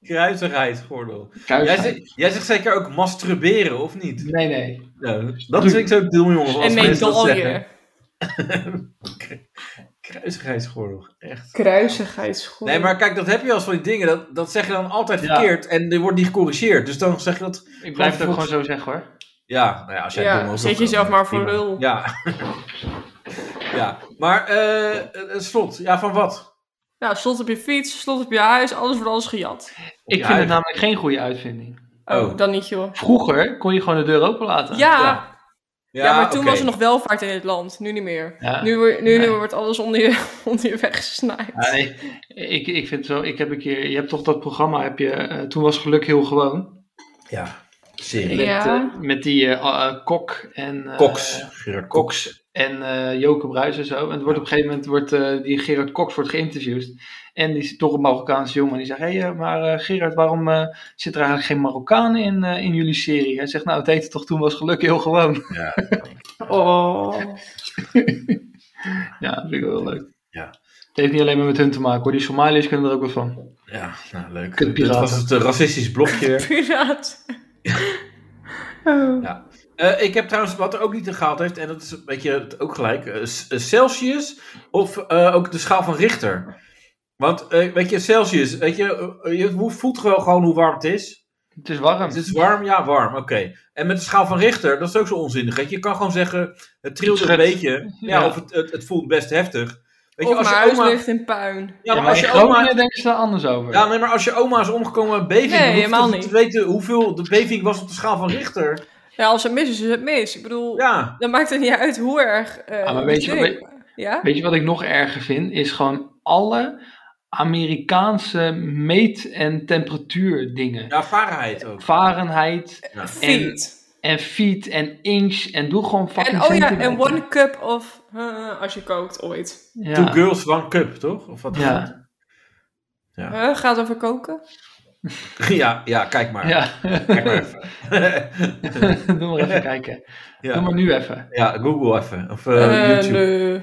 Speaker 2: Kruisigheidsgordel. Jij,
Speaker 3: Kruisigheid.
Speaker 2: zegt- jij zegt zeker ook masturberen, of niet?
Speaker 3: Nee, nee.
Speaker 2: Nou, dat vind ik zo deel, jongen.
Speaker 4: En
Speaker 2: als mensen dat zeggen.
Speaker 4: medaille.
Speaker 2: Kruisigheidsgordel, echt.
Speaker 4: Kruisigheidsgordel.
Speaker 2: Nee, maar kijk, dat heb je als van die dingen. Dat, dat zeg je dan altijd
Speaker 3: Ja.
Speaker 2: verkeerd en er wordt niet gecorrigeerd. Dus dan zeg je dat...
Speaker 3: Ik blijf het ook gewoon zo zeggen hoor.
Speaker 2: Ja, nou ja, als jij het dom
Speaker 4: Ja,
Speaker 2: ook
Speaker 4: zet
Speaker 2: wil,
Speaker 4: jezelf maar voor
Speaker 2: prima.
Speaker 4: lul.
Speaker 2: Ja. ja, maar eh, eh, slot. Ja, van wat?
Speaker 4: Nou, slot op je fiets, slot op je huis, alles wordt alles gejat.
Speaker 3: Ik
Speaker 2: je
Speaker 3: vind het
Speaker 2: huid.
Speaker 3: namelijk geen goede uitvinding.
Speaker 4: Oh,
Speaker 2: Oh.
Speaker 4: dan niet joh.
Speaker 3: Vroeger kon je gewoon de deur open laten.
Speaker 4: Ja, ja,
Speaker 2: Ja,
Speaker 4: maar toen
Speaker 2: oké.
Speaker 4: was er nog welvaart in dit land, nu niet meer.
Speaker 3: Ja.
Speaker 4: Nu, wor- nu,
Speaker 3: Nee.
Speaker 4: nu wordt alles onder je, onder je weg gesnaaid.
Speaker 3: Ja, nee, ik, ik vind zo, ik heb een keer, je hebt toch dat programma, heb je, eh, toen was geluk heel gewoon.
Speaker 2: Ja, serie.
Speaker 3: Met,
Speaker 4: Ja.
Speaker 3: eh, met die eh, ah, eh, kok en... eh,
Speaker 2: Cox. Gerard Cox.
Speaker 3: Cox en eh Joke Bruis en zo. En het wordt op een gegeven moment wordt eh, die Gerard Cox wordt geïnterviewd. En die is toch een Marokkaanse jongen. Die zegt: Hé, hey, maar eh, Gerard, waarom eh, zit er eigenlijk geen Marokkaan in, eh, in jullie serie? Hij zegt: Nou, het heette toch toen was geluk heel gewoon.
Speaker 4: Oh.
Speaker 3: ja, dat vind ik wel heel leuk.
Speaker 2: Ja.
Speaker 3: Het heeft niet alleen maar met hun te maken hoor. Die Somaliërs kunnen er ook wat van.
Speaker 2: Ja, nou leuk. Dit
Speaker 3: Kutpiraten.
Speaker 2: was het eh, racistisch blokje.
Speaker 4: Piraat. Oh.
Speaker 2: Eh, ik heb trouwens wat er ook niet gehaald heeft, en dat is een beetje het ook gelijk, eh, C- eh, Celsius of eh, ook de schaal van Richter. Want eh, weet je, Celsius, weet je, eh, je hoe- voelt wel gewoon hoe warm het is.
Speaker 3: Het is warm.
Speaker 2: Het is warm, ja, warm, oké. En met de schaal van Richter, dat is ook zo onzinnig. Weet je, je kan gewoon zeggen, het trilt
Speaker 3: Het
Speaker 2: een
Speaker 3: schudt.
Speaker 2: beetje, ja,
Speaker 3: Ja.
Speaker 2: of het, het, het voelt best heftig. Weet je,
Speaker 4: Of
Speaker 2: als
Speaker 4: mijn
Speaker 2: je
Speaker 4: huis
Speaker 2: oma, ja,
Speaker 4: ligt in puin.
Speaker 2: maar
Speaker 3: ja, maar
Speaker 2: als
Speaker 3: in
Speaker 2: je oma,
Speaker 3: Groningen denken ze daar anders over.
Speaker 2: ja, nee, maar als je oma is omgekomen bij beving,
Speaker 4: Nee,
Speaker 2: dan hoef je
Speaker 4: helemaal
Speaker 2: toch
Speaker 4: niet.
Speaker 2: te weten hoeveel de beving was op de schaal van Richter.
Speaker 4: Ja, als het mis is, is het mis. Ik bedoel,
Speaker 2: Ja,
Speaker 4: dan maakt het niet uit hoe erg... eh,
Speaker 3: Ah, maar weet je wat
Speaker 4: ding- Ja?
Speaker 3: Weet je wat ik nog erger vind? Is gewoon alle Amerikaanse meet- en temperatuurdingen.
Speaker 2: ja, varenheid ook.
Speaker 3: Fahrenheit,
Speaker 4: Feet.
Speaker 3: en feet en inch en doe gewoon fucking
Speaker 4: En, oh ja,
Speaker 3: centimeter.
Speaker 4: en one cup of... eh, als je kookt ooit.
Speaker 3: Ja.
Speaker 2: Two girls, one cup, toch? Of wat?
Speaker 3: Ja,
Speaker 2: Ja.
Speaker 4: Huh, Eh, gaat over koken?
Speaker 2: ja, ja, kijk maar.
Speaker 3: ja.
Speaker 2: Kijk maar even.
Speaker 3: doe maar even kijken. Doe
Speaker 2: ja.
Speaker 3: maar nu even.
Speaker 2: ja, Google even. Of eh,
Speaker 4: Eh,
Speaker 2: YouTube.
Speaker 4: nee.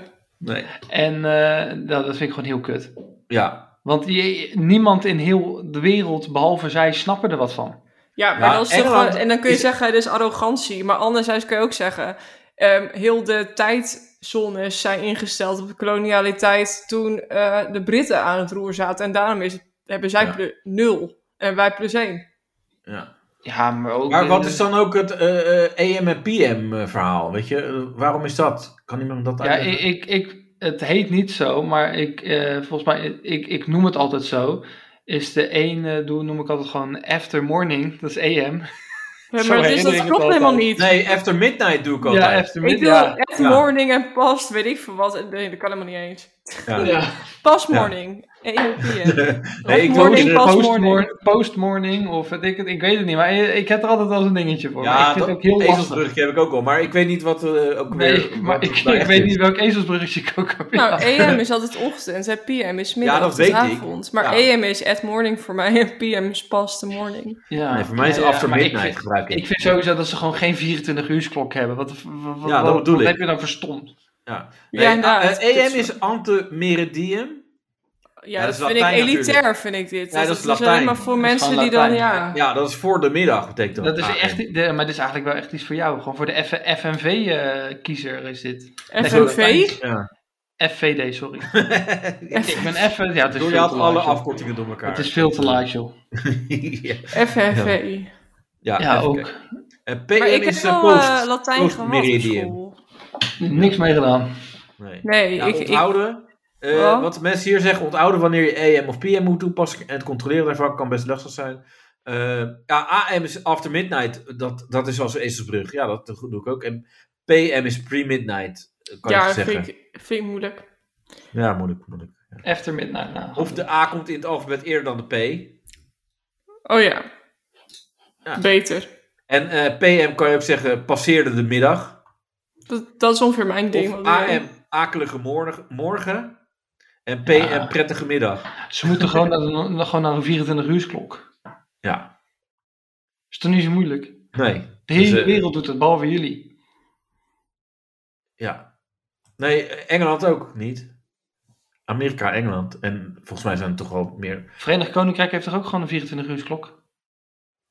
Speaker 2: Nee.
Speaker 3: En eh, nou, dat vind ik gewoon heel kut.
Speaker 2: Ja.
Speaker 3: Want je, niemand in heel de wereld, behalve zij, snappen er wat van.
Speaker 4: Ja, maar
Speaker 2: Ja,
Speaker 4: dat is toch
Speaker 2: Engeland
Speaker 4: wel- en dan kun je
Speaker 2: Nou, is-
Speaker 4: zeggen, dus arrogantie. Maar anderzijds kun je ook zeggen, ehm, heel de tijdzones zijn ingesteld op de kolonialiteit toen eh, de Britten aan het roer zaten. En daarom is het, hebben zij
Speaker 2: Ja.
Speaker 4: plu- nul en wij plus één.
Speaker 2: ja.
Speaker 3: Ja, maar ook...
Speaker 2: Maar wat
Speaker 3: eh,
Speaker 2: is dan ook het eh, eh, AM en PM eh, verhaal? Weet je, Eh, waarom is dat? Kan iemand dat
Speaker 3: Ja,
Speaker 2: uitleggen?
Speaker 3: ik, ik, ik, het heet niet zo, maar ik, eh, volgens mij, ik, ik noem het altijd zo. Is de ene, doe, noem ik altijd gewoon after morning, dat is AM.
Speaker 4: Ja,
Speaker 3: Zo
Speaker 4: maar dus,
Speaker 3: herinner
Speaker 4: dat
Speaker 3: ik het
Speaker 4: klopt
Speaker 3: altijd.
Speaker 4: helemaal niet.
Speaker 2: Nee, After Midnight doe ik
Speaker 3: Ja,
Speaker 2: altijd.
Speaker 3: after
Speaker 4: ik
Speaker 3: midnight.
Speaker 4: wil
Speaker 3: Ja,
Speaker 4: echt
Speaker 2: Ja.
Speaker 4: morning en past, weet ik veel wat. Nee, dat kan helemaal niet eens.
Speaker 2: Ja,
Speaker 3: ja.
Speaker 4: Past
Speaker 2: Ja.
Speaker 4: morning. en PM.
Speaker 2: Nee, ik
Speaker 4: Morning,
Speaker 2: wil-
Speaker 4: pas
Speaker 3: Post-
Speaker 4: morning.
Speaker 3: mor- Postmorning of weet ik, het, ik weet het niet, maar ik, ik heb er altijd wel eens een dingetje voor. maar
Speaker 2: Ja,
Speaker 3: ik vind
Speaker 2: dat
Speaker 3: het ook heel lastig.
Speaker 2: ezelsbrug heb ik ook al, maar ik weet niet wat eh, ook
Speaker 3: Nee,
Speaker 2: weer-
Speaker 3: maar
Speaker 2: wat
Speaker 3: ik,
Speaker 2: het nou
Speaker 3: ik
Speaker 2: echt
Speaker 3: weet
Speaker 2: is.
Speaker 3: niet welk ezelsbruggetje ik ook heb.
Speaker 4: Nou, AM is altijd ochtend en PM is middag.
Speaker 2: Ja, dat
Speaker 4: tot
Speaker 2: weet ik.
Speaker 4: avond. Maar
Speaker 2: Ja.
Speaker 4: AM is at morning voor mij en PM is pas the morning.
Speaker 3: ja.
Speaker 2: Nee, voor mij is
Speaker 3: Ja, ja,
Speaker 2: After
Speaker 3: maar ik
Speaker 2: Midnight
Speaker 3: vind-
Speaker 2: gebruik ik.
Speaker 3: Ik vind sowieso dat ze gewoon geen 24-uursklok hebben. Wat, wat, wat,
Speaker 2: Ja, dat
Speaker 3: wat-
Speaker 2: bedoel
Speaker 3: wat
Speaker 2: ik.
Speaker 3: heb je dan verstomd?
Speaker 2: Ja,
Speaker 4: Ja,
Speaker 2: nee,
Speaker 4: inderdaad.
Speaker 2: eh,
Speaker 4: Dit
Speaker 2: AM is antemeridium.
Speaker 4: Ja,
Speaker 2: Ja,
Speaker 4: dat,
Speaker 2: dat is
Speaker 4: vind ik
Speaker 2: Latijn
Speaker 4: elitair,
Speaker 2: natuurlijk.
Speaker 4: vind ik dit. dus
Speaker 2: Ja, dat is
Speaker 4: alleen
Speaker 2: Latijn.
Speaker 4: maar voor
Speaker 3: Dat is
Speaker 4: mensen
Speaker 3: gewoon
Speaker 4: die dan,
Speaker 3: Latijn.
Speaker 4: ja.
Speaker 2: Ja, dat is voor de middag, betekent dat. Ah,
Speaker 3: Dat is
Speaker 2: AM.
Speaker 3: echt, de, maar dit is eigenlijk wel echt iets voor jou. Gewoon voor de FNV-kiezer eh, is dit.
Speaker 4: FNV?
Speaker 2: Ja.
Speaker 3: FVD, sorry. ik ben even... Ja, het is
Speaker 2: Door je
Speaker 3: veel
Speaker 2: had
Speaker 3: te
Speaker 2: alle
Speaker 3: laat, joh.
Speaker 2: afkortingen door elkaar.
Speaker 3: Het is veel te laat, joh.
Speaker 2: ja,
Speaker 4: FNV.
Speaker 2: ja,
Speaker 3: Ja,
Speaker 2: even
Speaker 3: ook.
Speaker 2: kijken. Eh,
Speaker 4: Maar
Speaker 2: PM
Speaker 4: ik heb
Speaker 2: is eh,
Speaker 4: wel
Speaker 2: post.
Speaker 4: eh, Latijn gehad op
Speaker 2: postmeridium.
Speaker 4: school.
Speaker 3: Niks mee gedaan.
Speaker 2: nee.
Speaker 4: Nee,
Speaker 2: Ja,
Speaker 4: ik, ik,
Speaker 2: onthouden. Eh,
Speaker 4: Oh.
Speaker 2: Wat de mensen hier zeggen, onthouden wanneer je AM of PM moet toepassen. En het controleren daarvan kan best lastig zijn. Eh, ja, AM is after midnight. Dat, dat is als ezelsbrug. Ja, dat doe ik ook. En PM is pre-midnight, eh, kan
Speaker 4: ja,
Speaker 2: je zeggen.
Speaker 4: vind ik, vind ik moeilijk.
Speaker 2: Ja, moeilijk, moeilijk.
Speaker 3: After midnight. Nou,
Speaker 2: Of de A komt in het alfabet eerder dan de P.
Speaker 4: Oh ja.
Speaker 2: Ja.
Speaker 4: Beter.
Speaker 2: En eh, PM kan je ook zeggen passeerde de middag.
Speaker 4: Dat, dat is ongeveer mijn ding.
Speaker 2: Of
Speaker 4: wat ik-
Speaker 2: AM akelige morgen. morgen. En PM
Speaker 3: Ja.
Speaker 2: prettige middag.
Speaker 3: Ze moeten gewoon naar, de- gewoon naar een 24 uursklok.
Speaker 2: Ja,
Speaker 3: Is toch niet zo moeilijk?
Speaker 2: nee.
Speaker 3: De hele
Speaker 2: Dus, eh,
Speaker 3: wereld doet het, behalve jullie.
Speaker 2: Ja. Nee, Engeland ook niet. Amerika, Engeland. En volgens mij zijn er toch wel meer.
Speaker 3: Verenigd Koninkrijk heeft toch ook gewoon een 24 uursklok?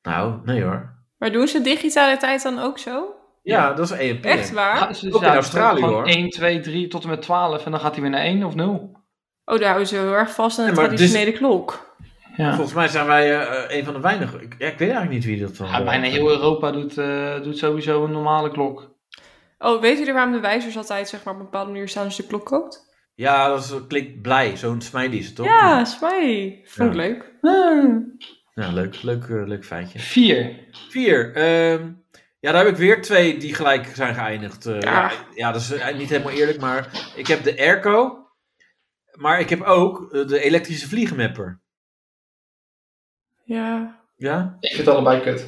Speaker 2: Nou, nee hoor.
Speaker 4: Maar doen ze digitale tijd dan ook zo?
Speaker 2: Ja, dat is E EMP.
Speaker 4: Echt waar?
Speaker 3: ze-
Speaker 2: Ook in
Speaker 3: het
Speaker 2: Australië,
Speaker 3: gewoon
Speaker 2: hoor.
Speaker 3: 1, 2, 3 tot en met 12 en dan gaat hij weer naar 1 of 0.
Speaker 4: Oh, daar houden ze heel erg vast aan de
Speaker 2: Ja, maar dus-
Speaker 4: traditionele klok.
Speaker 3: Ja.
Speaker 2: Volgens mij zijn wij eh, een van de weinigen. Ik, ja, ik weet eigenlijk niet wie dat dan.
Speaker 3: Ja, bijna heel Europa doet, eh, doet sowieso een normale klok.
Speaker 4: Oh, weet jullie waarom de wijzers altijd zeg maar, op een bepaalde manier staan als je de klok koopt?
Speaker 2: Ja, dat is- klinkt blij. Zo'n smiley is het toch?
Speaker 4: Ja, smiley. Vond ik
Speaker 2: Ja.
Speaker 4: leuk.
Speaker 2: Ja, leuk, leuk, eh, leuk feitje.
Speaker 3: 4.
Speaker 2: Vier. ehm, ja, daar heb ik weer twee die gelijk zijn geëindigd. Eh,
Speaker 4: Ja.
Speaker 2: ja. ja, dat is eh, niet helemaal eerlijk, maar ik heb de airco. Maar ik heb ook eh, de elektrische vliegenmapper.
Speaker 4: Ja.
Speaker 2: Ja?
Speaker 6: Ik vind het allebei kut.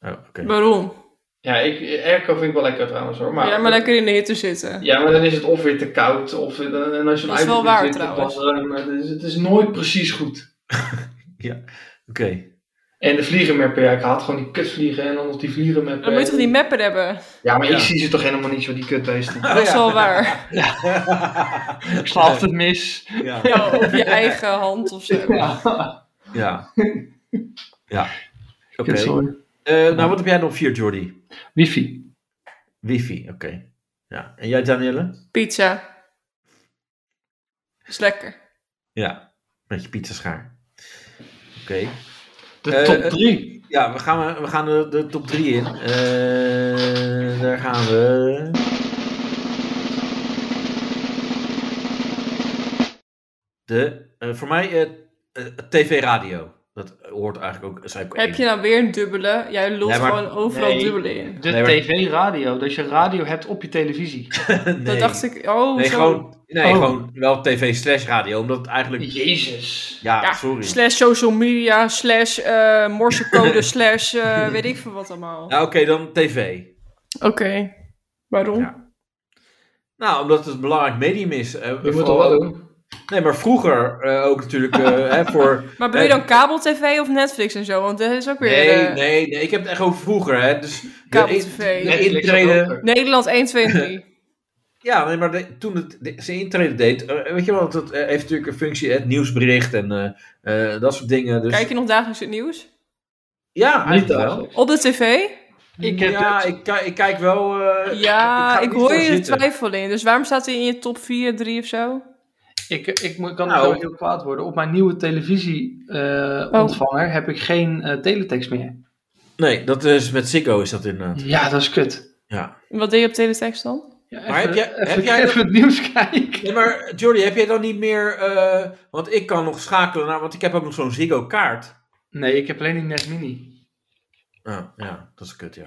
Speaker 2: Oh, oké.
Speaker 4: Waarom?
Speaker 6: Ja, ik, airco vind ik wel lekker trouwens hoor. Maar,
Speaker 4: ja, maar lekker in de hitte zitten.
Speaker 6: Ja, maar dan is het of weer te koud. Of, eh, en als je
Speaker 4: Dat is wel waar, trouwens.
Speaker 6: eh, Het, het is nooit precies goed.
Speaker 2: Oké.
Speaker 6: En de vliegenmapper, ja, ik haat gewoon die kutvliegen en dan nog die vliegenmapper.
Speaker 4: Dan moet je toch die mapper hebben?
Speaker 6: Ja, maar
Speaker 2: Ja.
Speaker 6: ik zie ze toch helemaal niet zo, die kutbeesten.
Speaker 4: Dat is wel waar.
Speaker 3: Ik sla altijd mis.
Speaker 2: Ja.
Speaker 4: Ja, op je eigen hand of zo.
Speaker 2: Ja. ja. Oké.
Speaker 3: Kut, sorry.
Speaker 2: Eh, nou, wat heb jij dan op vier, Jordi?
Speaker 3: Wifi.
Speaker 2: Wifi, oké. Ja. En jij, Danielle?
Speaker 4: Pizza. Is lekker.
Speaker 2: Ja. Met je pizzaschaar. Oké.
Speaker 3: De
Speaker 2: Eh,
Speaker 3: top
Speaker 2: eh,
Speaker 3: 3.
Speaker 2: Ja, we gaan, we gaan de, de top 3 in. Eh, daar gaan we. De, eh, voor mij eh, eh, TV-radio. Dat hoort eigenlijk ook. is eigenlijk
Speaker 4: Heb
Speaker 2: één.
Speaker 4: je nou weer een dubbele? Jij lost
Speaker 2: Nee, maar-
Speaker 4: gewoon overal
Speaker 3: Nee.
Speaker 4: dubbele in.
Speaker 3: De
Speaker 2: Nee, maar-
Speaker 3: tv-radio. Dat je radio hebt op je televisie.
Speaker 2: Nee.
Speaker 4: Dat dacht ik, oh,
Speaker 2: Nee,
Speaker 4: zo.
Speaker 2: gewoon, nee
Speaker 3: Oh.
Speaker 2: gewoon wel TV slash radio. Omdat het eigenlijk.
Speaker 3: Jezus.
Speaker 2: Ja,
Speaker 4: Ja,
Speaker 2: sorry.
Speaker 4: Slash social media, slash eh, morsecode, slash eh, weet ik veel wat allemaal.
Speaker 2: Nou, oké, dan TV.
Speaker 4: Oké, waarom?
Speaker 2: Ja. Nou, omdat het een belangrijk medium is. eh,
Speaker 6: Je moet
Speaker 2: vooral
Speaker 6: toch wel
Speaker 2: ook-
Speaker 6: doen.
Speaker 2: Nee, maar vroeger eh, ook natuurlijk eh, hè, voor
Speaker 4: Maar bedoel je dan kabel-tv of Netflix en zo? Want dat is ook weer
Speaker 2: Eh, Nee,
Speaker 4: eh,
Speaker 2: nee, nee, ik heb het echt over vroeger, hè. Dus de,
Speaker 4: kabel-tv.
Speaker 2: de
Speaker 6: Netflix ook
Speaker 2: intrede...
Speaker 6: wel.
Speaker 4: Nederland 1, 2 en 3.
Speaker 2: Ja, nee, maar de- toen het, de- ze intrede deed... eh, weet je wel, dat eh, heeft natuurlijk een functie, het nieuwsbericht en eh, eh, dat soort dingen. Dus,
Speaker 4: Kijk je nog dagelijks het nieuws?
Speaker 2: eh, ja,
Speaker 6: Niet
Speaker 2: eigenlijk wel.
Speaker 6: dagelijks.
Speaker 4: Op de tv?
Speaker 2: Eh,
Speaker 3: Ik heb
Speaker 2: Ja,
Speaker 3: het.
Speaker 2: ik, ki- ik kijk wel... eh,
Speaker 4: Ja,
Speaker 2: ga er
Speaker 4: ik,
Speaker 2: niet
Speaker 4: hoor
Speaker 2: voor
Speaker 4: je de
Speaker 2: zitten.
Speaker 4: twijfel in. Dus waarom staat hij in je top 4, 3 of zo?
Speaker 3: Ik, ik moet- kan
Speaker 2: Nou.
Speaker 3: zo heel kwaad worden. Op mijn nieuwe televisieontvanger
Speaker 4: Oh.
Speaker 3: ontvanger heb ik geen eh, teletext meer.
Speaker 2: Nee, dat is met Ziggo is dat inderdaad.
Speaker 3: Ja, dat is kut.
Speaker 2: Ja.
Speaker 4: En Wat deed je op teletext dan?
Speaker 3: Ja,
Speaker 2: Maar heb jij-
Speaker 3: even,
Speaker 2: heb jij
Speaker 3: even het nieuws kijken.
Speaker 2: Nee, maar Jordi, heb jij dan niet meer... eh, want ik kan nog schakelen naar... Want ik heb ook nog zo'n Ziggo-kaart.
Speaker 3: Nee, ik heb alleen die Net Mini.
Speaker 2: Ja, ja, dat is kut, ja.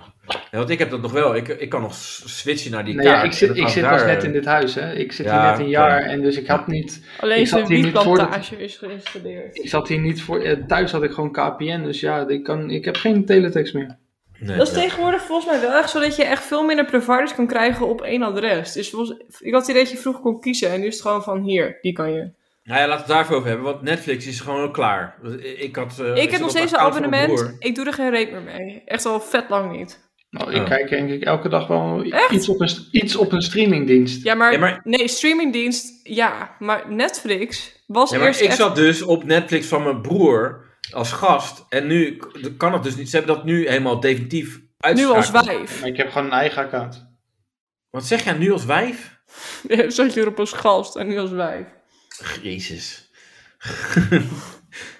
Speaker 2: ja. Want ik heb dat nog wel. Ik, ik kan nog s- switchen naar die
Speaker 3: Nee,
Speaker 2: kaart.
Speaker 3: ja, ik
Speaker 2: En
Speaker 3: zit,
Speaker 2: dan
Speaker 3: ik
Speaker 2: gaan
Speaker 3: zit
Speaker 2: we daar,
Speaker 3: pas net
Speaker 2: eh,
Speaker 3: in dit huis. Hè. Ik zit
Speaker 2: Ja,
Speaker 3: hier net een
Speaker 2: oké.
Speaker 3: jaar en dus ik had niet...
Speaker 4: Alleen
Speaker 3: Ik zat
Speaker 4: zijn
Speaker 3: hier niet voor dat-
Speaker 4: wietplantage is geïnstalleerd.
Speaker 3: Ik zat hier niet voor... eh, thuis had ik gewoon KPN, dus ja, ik, kan, ik heb geen teletext meer.
Speaker 2: nee,
Speaker 4: Dat is
Speaker 2: ja.
Speaker 4: tegenwoordig volgens mij wel echt zo dat je echt veel minder providers kan krijgen op één adres. Dus volgens- ik had het idee dat je vroeg kon kiezen en nu is het gewoon van hier, die kan je.
Speaker 2: Nou ja, laten we het daarvoor over hebben, want Netflix is gewoon al klaar. Ik, had, eh, zat
Speaker 4: ik heb nog
Speaker 2: op
Speaker 4: steeds
Speaker 2: de
Speaker 4: een
Speaker 2: account van mijn
Speaker 4: abonnement,
Speaker 2: broer.
Speaker 4: ik doe er geen reet meer mee. Echt al vet lang niet.
Speaker 3: Nou, ik
Speaker 2: Oh.
Speaker 3: kijk denk ik elke dag wel i-
Speaker 4: Echt?
Speaker 3: iets op, een, st- iets op een streamingdienst.
Speaker 4: Ja, maar,
Speaker 2: Ja, maar-
Speaker 4: nee, streamingdienst, ja. Maar Netflix was
Speaker 2: Ja, maar
Speaker 4: eerst
Speaker 2: ik
Speaker 4: echt...
Speaker 2: zat dus op Netflix van mijn broer als gast. En nu k- kan het dus niet. Ze hebben dat nu helemaal definitief
Speaker 4: nu
Speaker 2: uitgeschakeld.
Speaker 4: als wijf.
Speaker 3: Maar ik heb gewoon een eigen account.
Speaker 2: Wat zeg jij, nu als wijf?
Speaker 4: zat je erop als gast en nu als wijf.
Speaker 2: Jezus.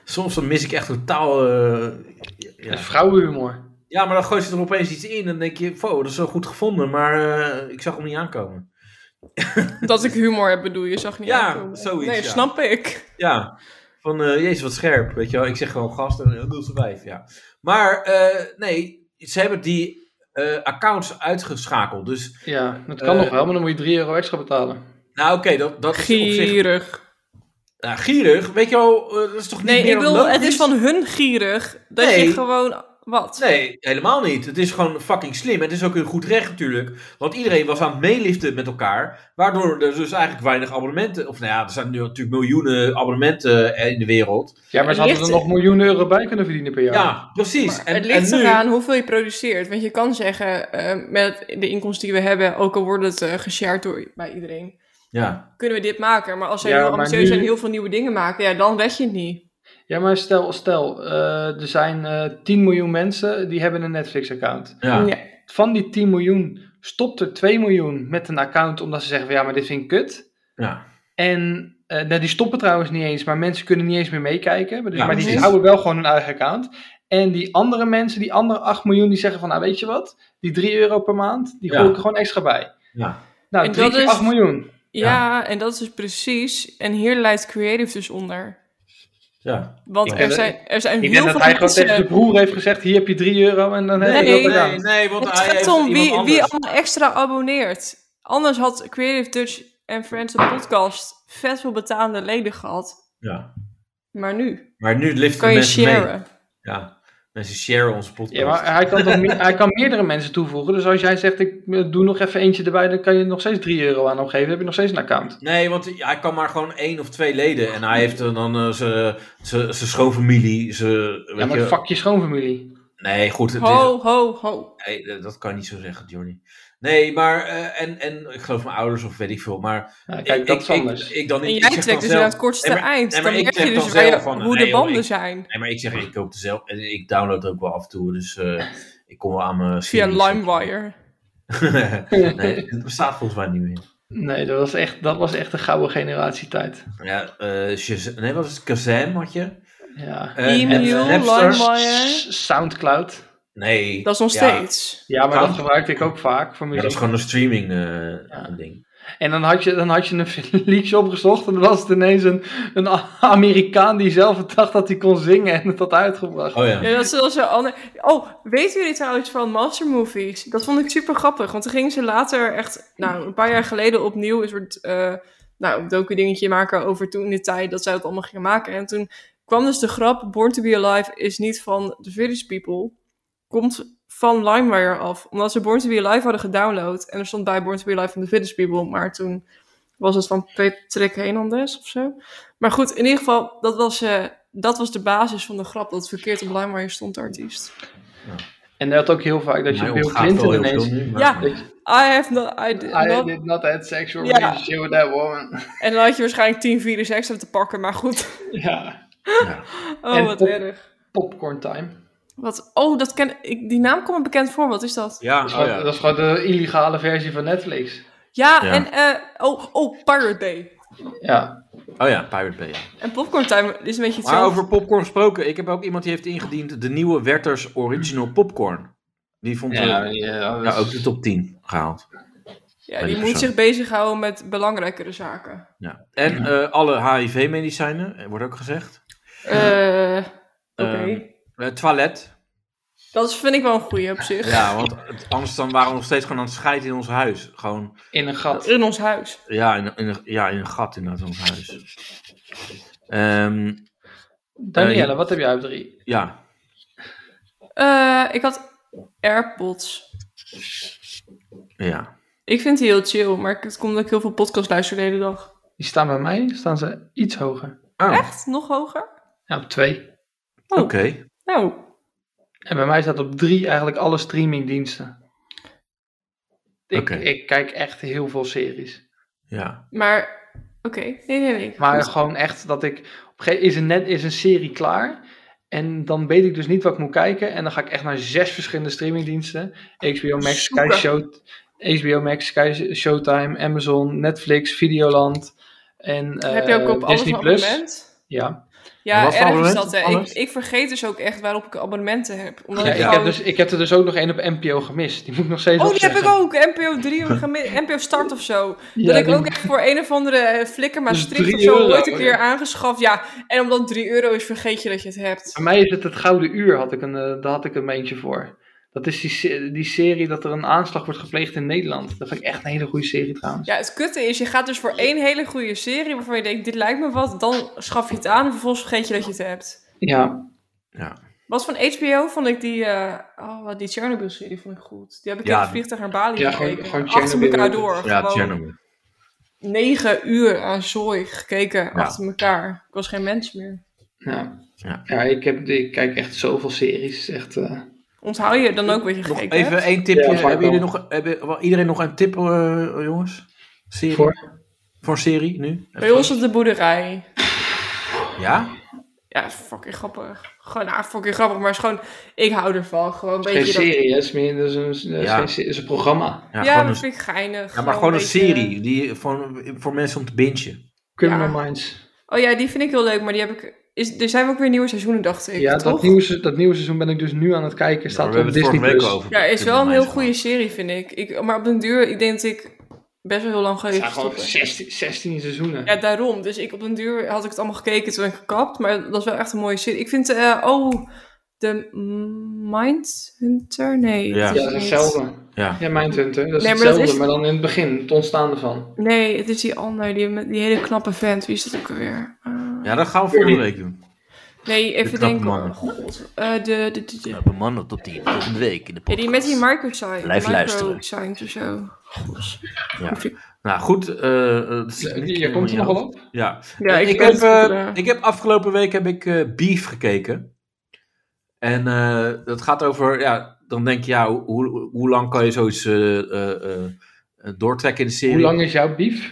Speaker 2: Soms dan mis ik echt totaal... eh, ja.
Speaker 3: Vrouwenhumor.
Speaker 2: Ja, maar dan gooit ze er opeens iets in en dan denk je, wow, dat is wel goed gevonden, maar eh, ik zag hem niet aankomen.
Speaker 4: Dat ik humor heb, bedoel je, zag niet
Speaker 2: Ja,
Speaker 4: aankomen.
Speaker 2: zoiets,
Speaker 4: Nee,
Speaker 2: ja.
Speaker 4: snap ik.
Speaker 2: Ja, van eh, jezus wat scherp, weet je wel. Ik zeg gewoon gast en eh, doe ze wijf, ja. Maar eh, nee, ze hebben die eh, accounts uitgeschakeld. Dus
Speaker 3: Ja, dat kan
Speaker 2: Eh,
Speaker 3: nog wel, maar dan moet je 3 euro extra betalen.
Speaker 2: nou oké, dat, dat is op zich...
Speaker 4: Gierig.
Speaker 2: Nou, gierig, weet je wel, eh, dat is toch niet
Speaker 4: Nee,
Speaker 2: meer
Speaker 4: ik
Speaker 2: dan
Speaker 4: wil,
Speaker 2: logisch?
Speaker 4: het is van hun gierig dat
Speaker 2: Nee.
Speaker 4: je gewoon... Wat?
Speaker 2: Nee, helemaal niet. Het is gewoon fucking slim. Het is ook een goed recht natuurlijk. Want iedereen was aan het meeliften met elkaar. Waardoor er dus eigenlijk weinig abonnementen... Of nou ja, er zijn nu natuurlijk miljoenen abonnementen eh, in de wereld.
Speaker 3: Ja, maar ze
Speaker 4: het
Speaker 3: hadden er
Speaker 4: ligt-
Speaker 3: nog miljoenen euro bij kunnen verdienen per
Speaker 2: Ja,
Speaker 3: jaar.
Speaker 2: precies.
Speaker 4: Maar het ligt
Speaker 2: en nu-
Speaker 4: eraan hoeveel je produceert. Want je kan zeggen, eh, met de inkomsten die we hebben, ook al wordt het eh, geshared door, bij iedereen,
Speaker 2: Ja.
Speaker 4: kunnen we dit maken. Maar als zij
Speaker 3: Ja,
Speaker 4: heel
Speaker 3: maar
Speaker 4: ambitieus
Speaker 3: nu-
Speaker 4: zijn en heel veel nieuwe dingen maken, ja, dan weet je het niet.
Speaker 3: Ja, maar stel, stel eh, er zijn eh 10 miljoen mensen die hebben een Netflix-account.
Speaker 2: Ja.
Speaker 4: Ja.
Speaker 3: Van die 10 miljoen stopt er 2 miljoen met een account omdat ze zeggen van ja, maar dit vind ik kut.
Speaker 2: Ja.
Speaker 3: En eh, nou, die stoppen trouwens niet eens, maar mensen kunnen niet eens meer meekijken. Maar, dus-
Speaker 2: Ja,
Speaker 3: maar die
Speaker 2: precies.
Speaker 3: houden wel gewoon hun eigen account. En die andere mensen, die andere 8 miljoen, die zeggen van nou weet je wat, die 3 euro per maand, die
Speaker 2: Ja.
Speaker 3: gooi ik er gewoon extra bij.
Speaker 2: Ja.
Speaker 3: Nou,
Speaker 4: En
Speaker 3: 3
Speaker 4: dat
Speaker 3: keer
Speaker 4: is-
Speaker 3: 8 miljoen.
Speaker 4: Ja, en dat is dus precies. En hier leidt creative dus onder.
Speaker 2: Ja.
Speaker 4: Want
Speaker 3: Ik
Speaker 4: er
Speaker 3: denk-
Speaker 4: zijn, er zijn
Speaker 3: Ik
Speaker 4: heel
Speaker 3: denk
Speaker 4: veel
Speaker 3: dat hij gewoon
Speaker 4: mensen...
Speaker 3: tegen zijn broer heeft gezegd, hier heb je 3 euro en dan heb je
Speaker 4: Nee.
Speaker 3: dat gedaan.
Speaker 2: Nee, nee, want
Speaker 4: Het
Speaker 2: hij heeft
Speaker 4: gaat om
Speaker 2: iemand
Speaker 4: wie,
Speaker 2: anders.
Speaker 4: wie allemaal extra abonneert. Anders had Creative Touch en Friends de podcast vet veel betaalde leden gehad.
Speaker 2: Ja.
Speaker 4: Maar nu
Speaker 2: Maar nu liften
Speaker 4: kan je
Speaker 2: mensen mee.
Speaker 4: sharen.
Speaker 2: Ja. Mensen sharen onze podcast.
Speaker 3: Ja, maar hij kan, toch meer- hij kan meerdere mensen toevoegen. Dus als jij zegt, ik eh, doe nog even eentje erbij, dan kan je nog steeds 3 euro aan hem geven. Dan heb je nog steeds een account.
Speaker 2: Nee, want hij kan maar gewoon één of twee leden. En hij heeft eh, dan eh, zijn zijn- zijn schoonfamilie. Zijn,
Speaker 3: ja,
Speaker 2: weet
Speaker 3: maar
Speaker 2: je...
Speaker 3: fuck je schoonfamilie.
Speaker 2: Nee, goed. Het is...
Speaker 4: Ho, ho, ho.
Speaker 2: nee, eh, dat kan je niet zo zeggen, Johnny. Nee, maar. eh, en, en ik geloof mijn ouders of weet ik veel. Maar
Speaker 3: Ja, kijk,
Speaker 2: ik,
Speaker 3: dat
Speaker 2: ik,
Speaker 3: is anders.
Speaker 2: Ik, ik dan
Speaker 4: En
Speaker 2: niet.
Speaker 4: jij
Speaker 2: ik zeg
Speaker 4: trekt
Speaker 2: dan
Speaker 4: dus naar
Speaker 2: zelf-
Speaker 4: het kortste
Speaker 2: Nee, maar-
Speaker 4: eind.
Speaker 2: nee, maar
Speaker 4: dan
Speaker 2: ik
Speaker 4: merk
Speaker 2: trek
Speaker 4: je
Speaker 2: dan
Speaker 4: dus waar je-
Speaker 2: zelf van,
Speaker 4: hoe
Speaker 2: nee,
Speaker 4: de
Speaker 2: joh,
Speaker 4: banden
Speaker 2: ik-
Speaker 4: zijn.
Speaker 2: Nee, maar ik zeg, ik koop het zelf. En ik download ook wel af en toe. Dus eh, ik kom wel aan mijn.
Speaker 4: Via
Speaker 2: series.
Speaker 4: LimeWire.
Speaker 2: nee, het bestaat volgens mij niet meer.
Speaker 3: Nee, dat was echt, dat was echt de gouden generatie tijd.
Speaker 2: Ja, eh Shaz- nee, wat is het? Kazam had je?
Speaker 3: Ja.
Speaker 2: Eh,
Speaker 4: E-mail,
Speaker 2: Napster?
Speaker 4: LimeWire.
Speaker 3: S- Soundcloud.
Speaker 2: Nee.
Speaker 4: Dat is nog
Speaker 2: Ja.
Speaker 4: steeds.
Speaker 3: Ja, maar dat
Speaker 2: Sound-
Speaker 3: gebruikte ik ook vaak voor
Speaker 2: Ja, dat
Speaker 3: muziek.
Speaker 2: is gewoon een streaming eh,
Speaker 3: Ja.
Speaker 2: ding.
Speaker 3: En dan had je, dan had je een liedje opgezocht en dan was het ineens een, een Amerikaan die zelf dacht dat hij kon zingen en het had uitgebracht.
Speaker 2: Oh ja.
Speaker 4: Ja, dat is, dat is wel ander. Oh, weten jullie trouwens van Monster Movies? Dat vond ik super grappig. Want toen gingen ze later echt, nou, een paar jaar geleden opnieuw een soort eh nou, docu-dingetje maken over toen in de tijd dat zij het allemaal gingen maken. En toen kwam dus de grap: Born to be Alive is niet van The Village People, komt van LimeWire af. Omdat ze Born to be Alive hadden gedownload. En er stond bij Born to be Alive van The Village People. Maar toen was het van Patrick Hernandez of zo. Maar goed, in ieder geval, dat was, eh, dat was de basis van de grap. Dat het verkeerd op LimeWire stond, de artiest.
Speaker 3: En dat had ook heel vaak dat je
Speaker 2: Mij
Speaker 3: Bill
Speaker 2: ontgaat wel
Speaker 3: Clinton
Speaker 2: heel
Speaker 3: ineens...
Speaker 2: veel nu, maar- Oh
Speaker 4: Ja.
Speaker 3: dat je-
Speaker 4: I have no I did
Speaker 3: I
Speaker 4: not-
Speaker 3: did not have sexual
Speaker 4: Ja.
Speaker 3: relationship with that woman.
Speaker 4: En dan had je waarschijnlijk 10 virus extra te pakken. Maar goed.
Speaker 3: Ja.
Speaker 4: Oh,
Speaker 3: En
Speaker 4: wat
Speaker 3: pop-
Speaker 4: erg.
Speaker 3: Popcorn time.
Speaker 4: Wat, oh, dat ken, ik, die naam komt me bekend voor. Wat is dat?
Speaker 2: Ja,
Speaker 3: Dat is, gewoon,
Speaker 2: oh ja.
Speaker 3: dat is gewoon de illegale versie van Netflix.
Speaker 4: Ja,
Speaker 2: Ja.
Speaker 4: en... eh, oh, oh, Pirate Bay.
Speaker 3: Ja.
Speaker 2: Oh ja, Pirate Bay. ja.
Speaker 4: En Popcorn Time is een beetje
Speaker 2: Maar
Speaker 4: hetzelfde.
Speaker 2: over popcorn gesproken. Ik heb ook iemand die heeft ingediend de nieuwe Werther's Original Popcorn. Die vond eh,
Speaker 3: Ja,
Speaker 2: ja,
Speaker 3: ja,
Speaker 2: ook de top 10 gehaald.
Speaker 4: Ja,
Speaker 2: bij
Speaker 4: die
Speaker 2: die
Speaker 4: moet
Speaker 2: persoon.
Speaker 4: zich bezighouden met belangrijkere zaken.
Speaker 2: Ja. En eh, alle HIV-medicijnen, eh, wordt ook gezegd.
Speaker 4: Eh, Oké.
Speaker 2: Ehm, Eh, toilet.
Speaker 4: dat vind ik wel een goeie op zich.
Speaker 2: Ja, want het- anders dan waren we nog steeds gewoon aan het scheiden in ons huis. Gewoon,
Speaker 3: in een gat.
Speaker 4: In ons huis.
Speaker 2: ja, in, in, een- ja, in een gat inderdaad in ons huis. Ehm,
Speaker 3: Danielle, wat heb jij op drie?
Speaker 2: ja,
Speaker 4: Eh, ik had AirPods.
Speaker 2: ja.
Speaker 4: Ik vind die heel chill, maar ik- het komt omdat ik heel veel podcasts luister de hele dag.
Speaker 3: Die staan bij mij, staan ze iets hoger.
Speaker 2: Oh,
Speaker 4: Echt? Nog hoger?
Speaker 3: Ja, op twee.
Speaker 2: Oké.
Speaker 4: Nou,
Speaker 3: En bij mij staat op drie eigenlijk alle streamingdiensten. Ik,
Speaker 2: Oké.
Speaker 3: ik kijk echt heel veel series.
Speaker 2: Ja.
Speaker 4: maar oké. Nee, nee, nee.
Speaker 3: Maar
Speaker 4: Goed.
Speaker 3: gewoon echt dat ik... Op een gegeven is een, net, is een serie klaar. En dan weet ik dus niet wat ik moet kijken. En dan ga ik echt naar zes verschillende streamingdiensten. HBO Max, Sky
Speaker 4: Zoeken.
Speaker 3: Show, HBO Max, Sky Showtime, Amazon, Netflix, Videoland. En,
Speaker 4: Heb je ook
Speaker 3: eh,
Speaker 4: op alles
Speaker 3: Disney
Speaker 4: een
Speaker 3: Plus.
Speaker 4: abonnement?
Speaker 3: Ja.
Speaker 4: Ja,
Speaker 5: Wat voor
Speaker 4: erg is
Speaker 5: abonnement?
Speaker 4: dat. Hè. Ik,
Speaker 5: Alles?
Speaker 4: ik vergeet dus ook echt waarop ik abonnementen heb. Omdat
Speaker 3: Ja,
Speaker 4: ik
Speaker 3: ik,
Speaker 4: gewoon-
Speaker 3: heb dus, ik heb er dus ook nog één op NPO gemist. Die moet ik nog steeds
Speaker 4: Oh, die heb ik
Speaker 3: opzeggen.
Speaker 4: ook. NPO 3, of gemi- NPO Start of zo.
Speaker 3: Ja,
Speaker 4: dat ik
Speaker 3: die- Dus
Speaker 4: ook echt voor een of andere eh, flikker Maastricht
Speaker 3: drie
Speaker 4: of zo
Speaker 3: euro, oh
Speaker 4: ooit een keer
Speaker 3: ja.
Speaker 4: aangeschaft. Ja, en omdat het 3 euro is, vergeet je dat je het hebt.
Speaker 3: Bij mij is het het Gouden Uur, had ik een, eh, daar had ik een eentje voor. Dat is die, se- die serie dat er een aanslag wordt gepleegd in Nederland. Dat vind ik echt een hele goede serie trouwens.
Speaker 4: Ja, het kutte is, je gaat dus voor één hele goede serie waarvan je denkt, dit lijkt me wat. Dan schaf je het aan en vervolgens vergeet je dat je het hebt.
Speaker 3: Ja,
Speaker 4: Was van HBO vond ik die, eh, oh, die Chernobyl-serie vond ik goed. Die heb ik
Speaker 2: Ja,
Speaker 4: in het vliegtuig naar Bali
Speaker 3: ja, gewoon-
Speaker 4: gekeken.
Speaker 3: gewoon
Speaker 4: achter
Speaker 3: Chernobyl.
Speaker 4: elkaar door.
Speaker 2: Ja,
Speaker 4: gewoon
Speaker 2: Chernobyl.
Speaker 4: negen uur aan zooi gekeken
Speaker 2: Ja.
Speaker 4: achter elkaar. Ik was geen mens meer.
Speaker 3: ja.
Speaker 2: Ja.
Speaker 3: ja. ik, heb, ik kijk echt zoveel series. Echt, eh,
Speaker 4: Onthoud je dan ook wat je
Speaker 2: Nog
Speaker 4: gekeken hebt?
Speaker 2: even één tipje.
Speaker 3: Ja, vaak
Speaker 2: hebben jullie
Speaker 3: wel.
Speaker 2: nog, hebben, wel iedereen nog een tip, eh, jongens? Serie?
Speaker 3: Voor?
Speaker 2: Voor serie nu?
Speaker 4: Bij ons op de boerderij.
Speaker 2: Ja?
Speaker 4: Ja, fucking grappig. Gewoon, nou, fucking grappig, maar is gewoon, ik hou ervan. Gewoon een
Speaker 3: geen
Speaker 4: beetje dat...
Speaker 3: serie, hè, het is meer dat is een, dat is
Speaker 2: Ja.
Speaker 3: geen serie, het is een programma.
Speaker 2: Ja,
Speaker 4: Ja,
Speaker 2: gewoon
Speaker 4: dat
Speaker 2: een,
Speaker 4: vind ik geinig.
Speaker 2: ja maar gewoon een
Speaker 4: beetje-
Speaker 2: serie die, voor, voor mensen om te bingen.
Speaker 3: Criminal
Speaker 4: Ja.
Speaker 3: Minds.
Speaker 4: Oh ja, die vind ik heel leuk, maar die heb ik... Is, er zijn ook weer nieuwe seizoenen, dacht ik,
Speaker 3: Ja,
Speaker 4: toch?
Speaker 3: dat nieuwe, se- dat nieuwe seizoen ben ik dus nu aan het kijken. Staat
Speaker 2: Ja,
Speaker 3: op Disney Plus.
Speaker 4: Ja, is wel een heel goede serie, vind ik. ik. Maar op den duur, ik denk dat ik best wel heel lang
Speaker 3: Het
Speaker 4: geleden
Speaker 3: zijn gewoon
Speaker 4: gestopt ben.
Speaker 3: 16, 16 seizoenen.
Speaker 4: Ja, daarom. Dus ik, op den duur had ik het allemaal gekeken, toen ben ik gekapt. Maar dat is wel echt een mooie serie. Ik vind, eh, oh, de Mindhunter? Nee.
Speaker 2: Ja.
Speaker 4: het is
Speaker 3: Ja, dat is
Speaker 4: niet.
Speaker 3: hetzelfde.
Speaker 2: Ja.
Speaker 3: Ja, Mindhunter. Dat is
Speaker 4: Nee, maar dat
Speaker 3: hetzelfde,
Speaker 4: is-
Speaker 3: maar dan in het begin, het ontstaan ervan.
Speaker 4: Nee, het is die ander, die, met die hele knappe vent. Wie is dat ook alweer? Eh,
Speaker 2: Ja, dat gaan we volgende week doen.
Speaker 4: nee, even
Speaker 2: knappe
Speaker 4: denken.
Speaker 2: man.
Speaker 4: Oh, God. Eh, de, de, de, de-
Speaker 2: hebben mannen tot die volgende week in de
Speaker 4: ja, die met die microscience.
Speaker 2: Blijf luisteren.
Speaker 4: Microscience of zo. Gosh.
Speaker 2: Ja. Nou goed, eh, eh, dat zit niet
Speaker 3: Je komt er
Speaker 2: helemaal
Speaker 3: nogal op.
Speaker 2: Ja,
Speaker 4: Ja,
Speaker 2: ik,
Speaker 4: ik,
Speaker 2: heb,
Speaker 4: heb...
Speaker 2: eh, ik heb afgelopen week heb ik eh, Beef gekeken. En eh, dat gaat over, ja, dan denk je, ja, hoe, hoe, hoe lang kan je zoiets eh, eh, eh, doortrekken in de serie?
Speaker 3: Hoe lang is jouw bief?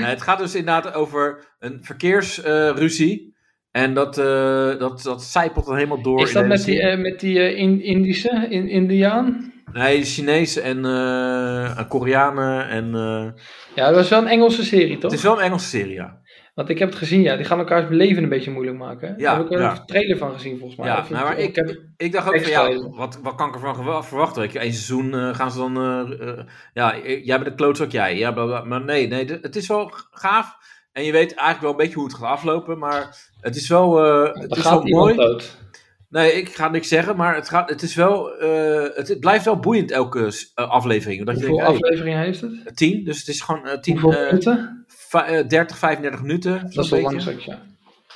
Speaker 2: Nee, het gaat dus inderdaad over een verkeersruzie. en dat, eh dat, dat zijpelt dan helemaal door.
Speaker 3: Is
Speaker 2: in
Speaker 3: dat
Speaker 2: de
Speaker 3: met die,
Speaker 2: serie.
Speaker 3: eh, met die eh, in, Indische, in, Indiaan?
Speaker 2: Nee, Chinezen en eh, Koreanen. En, eh,
Speaker 3: Ja, dat was wel een Engelse serie, toch?
Speaker 2: het is wel een Engelse serie, ja.
Speaker 3: Want ik heb het gezien, ja. Die gaan elkaars beleven een beetje moeilijk maken. hè?
Speaker 2: Ja,
Speaker 3: Daar heb ik wel
Speaker 2: ja.
Speaker 3: een trailer van gezien, volgens mij.
Speaker 2: Ja,
Speaker 3: Of niet?
Speaker 2: nou, maar ik-
Speaker 3: heb...
Speaker 2: Ik dacht ook van
Speaker 3: Extra
Speaker 2: ja,
Speaker 3: even.
Speaker 2: wat, wat kan ik ervan gewa- verwachten? Weet je, één seizoen eh, gaan ze dan. eh, eh, ja, eh, jij bent de klootzak, jij. Ja, bla, bla. maar nee, nee, d- het is wel g- gaaf. En je weet eigenlijk wel een beetje hoe het gaat aflopen. Maar het is wel, eh, het
Speaker 3: Er
Speaker 2: is wel
Speaker 3: gaat iemand
Speaker 2: mooi.
Speaker 3: dood.
Speaker 2: Nee, ik ga niks zeggen. Maar het, gaat, het, is wel, eh, het, het blijft wel boeiend elke s- eh, aflevering. Omdat je
Speaker 3: Hoeveel
Speaker 2: denkt, hey,
Speaker 3: afleveringen heeft het?
Speaker 2: 10. Dus het is gewoon eh, 10,
Speaker 3: Hoeveel
Speaker 2: eh,
Speaker 3: minuten?
Speaker 2: fi- eh, 30, 35 minuten.
Speaker 3: Dat is
Speaker 2: zo'n
Speaker 3: wel lang,
Speaker 2: beetje.
Speaker 3: zeg ik, ja.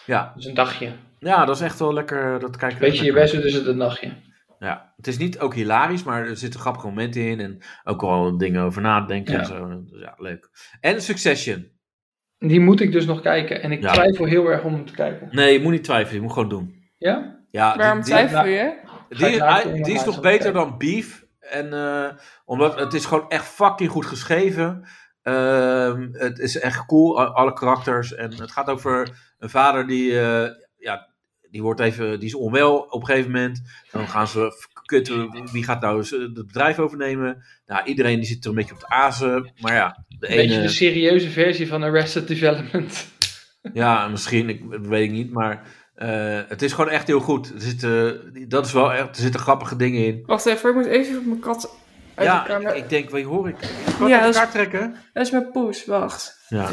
Speaker 2: Ja.
Speaker 3: Dat is een dagje.
Speaker 2: ja, dat is echt wel lekker. eh, Dat kijken we
Speaker 3: Weet je, je
Speaker 2: lekker.
Speaker 3: best doet, is het een dagje.
Speaker 2: Ja, het is niet ook hilarisch, maar er zitten grappige momenten in. En ook wel dingen over nadenken
Speaker 3: Ja.
Speaker 2: en zo. Dus ja, leuk. En Succession.
Speaker 3: Die moet ik dus nog kijken. En ik
Speaker 2: Ja.
Speaker 3: twijfel heel erg om hem te kijken.
Speaker 2: Nee, je moet niet twijfelen. Je moet gewoon doen.
Speaker 3: Ja?
Speaker 2: Ja,
Speaker 4: Waarom
Speaker 2: die,
Speaker 4: twijfel je?
Speaker 2: die,
Speaker 3: Ga ik
Speaker 2: die,
Speaker 3: later
Speaker 2: die
Speaker 3: nog
Speaker 2: is
Speaker 3: maar
Speaker 2: nog
Speaker 3: eens
Speaker 2: beter
Speaker 3: kijken.
Speaker 2: dan Beef. En eh, omdat het is gewoon echt fucking goed geschreven. Ehm, het is echt cool, a- alle karakters. En het gaat over een vader die, eh, ja, die wordt even, die is onwel op een gegeven moment. En dan gaan ze f- kutten, wie gaat nou eens, eh, het bedrijf overnemen? Nou, iedereen die zit er een beetje op de azen. Maar ja, de
Speaker 3: Een beetje
Speaker 2: ene,
Speaker 3: de serieuze versie van Arrested Development.
Speaker 2: ja, misschien, ik dat weet ik niet, maar... eh, het is gewoon echt heel goed. Er zitten, dat is wel echt, er zitten grappige dingen in.
Speaker 4: Wacht even, ik moet even op mijn kat uit
Speaker 2: ja,
Speaker 4: de kamer.
Speaker 2: ik denk, wat hoor ik?
Speaker 4: dat
Speaker 2: ja,
Speaker 4: is-
Speaker 2: elkaar trekken.
Speaker 4: Dat is mijn poes, wacht.
Speaker 2: Ja.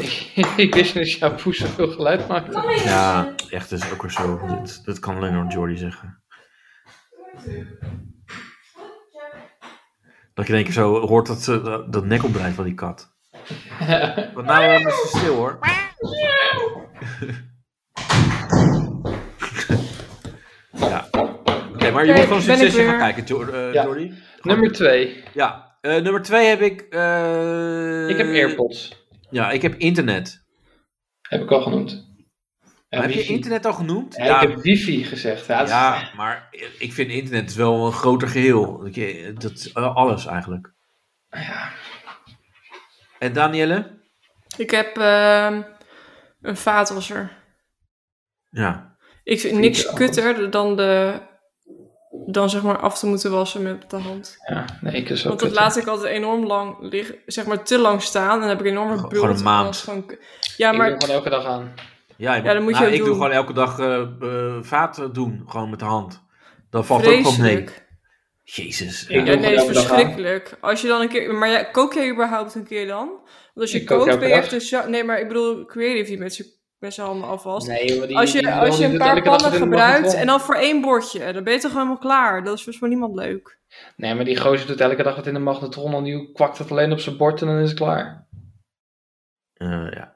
Speaker 3: ik wist niet dat jouw poes zoveel geluid maakte.
Speaker 2: ja, echt, dat is ook weer zo. Dat, dat kan alleen nog Jordy zeggen. Dat je in één keer zo hoort dat, ze- dat, dat nekopbreid van die kat. Want nou eh, is ze stil hoor. Ja. Oké, maar je
Speaker 4: Oké,
Speaker 2: moet gewoon
Speaker 4: ben ik
Speaker 2: succesje
Speaker 4: weer.
Speaker 2: gaan kijken, Jo- eh,
Speaker 3: Ja.
Speaker 2: Jordi.
Speaker 3: Nummer 2.
Speaker 2: Ja, eh, nummer twee heb ik... eh,
Speaker 3: Ik heb AirPods.
Speaker 2: Ja, ik heb internet.
Speaker 3: Heb ik al genoemd. En
Speaker 2: heb je
Speaker 3: wifi.
Speaker 2: internet al genoemd?
Speaker 3: Ja, Ik heb wifi gezegd. Ja, dat is-
Speaker 2: Ja, maar ik vind internet is wel een groter geheel. Dat je- Dat is eh, alles eigenlijk. En Danielle?
Speaker 4: Ik heb ehm, een vaatwasser.
Speaker 2: Ja.
Speaker 4: Ik vind
Speaker 3: Vind
Speaker 4: niks
Speaker 3: je wel.
Speaker 4: kutter dan de... Dan zeg maar af te moeten wassen met de hand.
Speaker 3: Ja, nee, ik is ook
Speaker 4: Want dat
Speaker 3: kut.
Speaker 4: laat ik altijd enorm lang liggen, zeg maar te lang staan. En dan heb ik een enorme
Speaker 2: Gewoon
Speaker 4: bult.
Speaker 2: een maand.
Speaker 4: en dat is gewoon k- Ja,
Speaker 3: Ik doe
Speaker 4: maar
Speaker 3: hem gewoon elke dag aan.
Speaker 2: Ja, je
Speaker 4: Ja, dat moet je
Speaker 2: nou,
Speaker 4: ook
Speaker 2: ik doe
Speaker 4: doen.
Speaker 2: gewoon elke dag eh eh, vaten doen, gewoon met de hand. Dan valt ook gewoon mee.
Speaker 4: Vreselijk.
Speaker 2: Jezus.
Speaker 4: Ja,
Speaker 2: Ja.
Speaker 3: doe
Speaker 4: nee,
Speaker 3: het
Speaker 4: dat
Speaker 3: elke
Speaker 4: is
Speaker 3: dag aan.
Speaker 4: verschrikkelijk. Als je dan een keer... Maar ja, kook jij überhaupt een keer dan? Want als je
Speaker 3: Ik kook
Speaker 4: kookt
Speaker 3: elke
Speaker 4: ben je
Speaker 3: dag.
Speaker 4: echt een... za- Nee, maar ik bedoel creative die met z'n- met z'n handen alvast.
Speaker 3: Nee, joh, die-
Speaker 4: als je,
Speaker 3: die
Speaker 4: als je
Speaker 3: doet
Speaker 4: een
Speaker 3: het
Speaker 4: paar
Speaker 3: elke dag
Speaker 4: pannen
Speaker 3: tot in de nacht
Speaker 4: gebruikt
Speaker 3: wel.
Speaker 4: en dan voor één bordje, dan ben je toch helemaal klaar. Dat is dus voor niemand leuk.
Speaker 3: Nee, maar die gozer doet elke dag wat in de magnetron. En die kwakt het alleen op zijn bord en dan is het klaar.
Speaker 2: Eh, ja.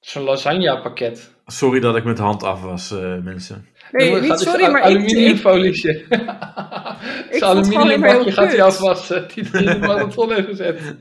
Speaker 3: Zo'n lasagne pakket.
Speaker 2: Sorry dat ik met de hand af was, eh, mensen.
Speaker 4: Nee, niet
Speaker 3: dus
Speaker 4: sorry, maar ik, ik,
Speaker 3: aluminiumfolietje.
Speaker 4: het
Speaker 3: Zo'n
Speaker 4: gewoon alleen maar heel
Speaker 3: aluminiumbakje gaat hij
Speaker 4: kut.
Speaker 3: afwassen. Die die in de magnetron heeft gezet.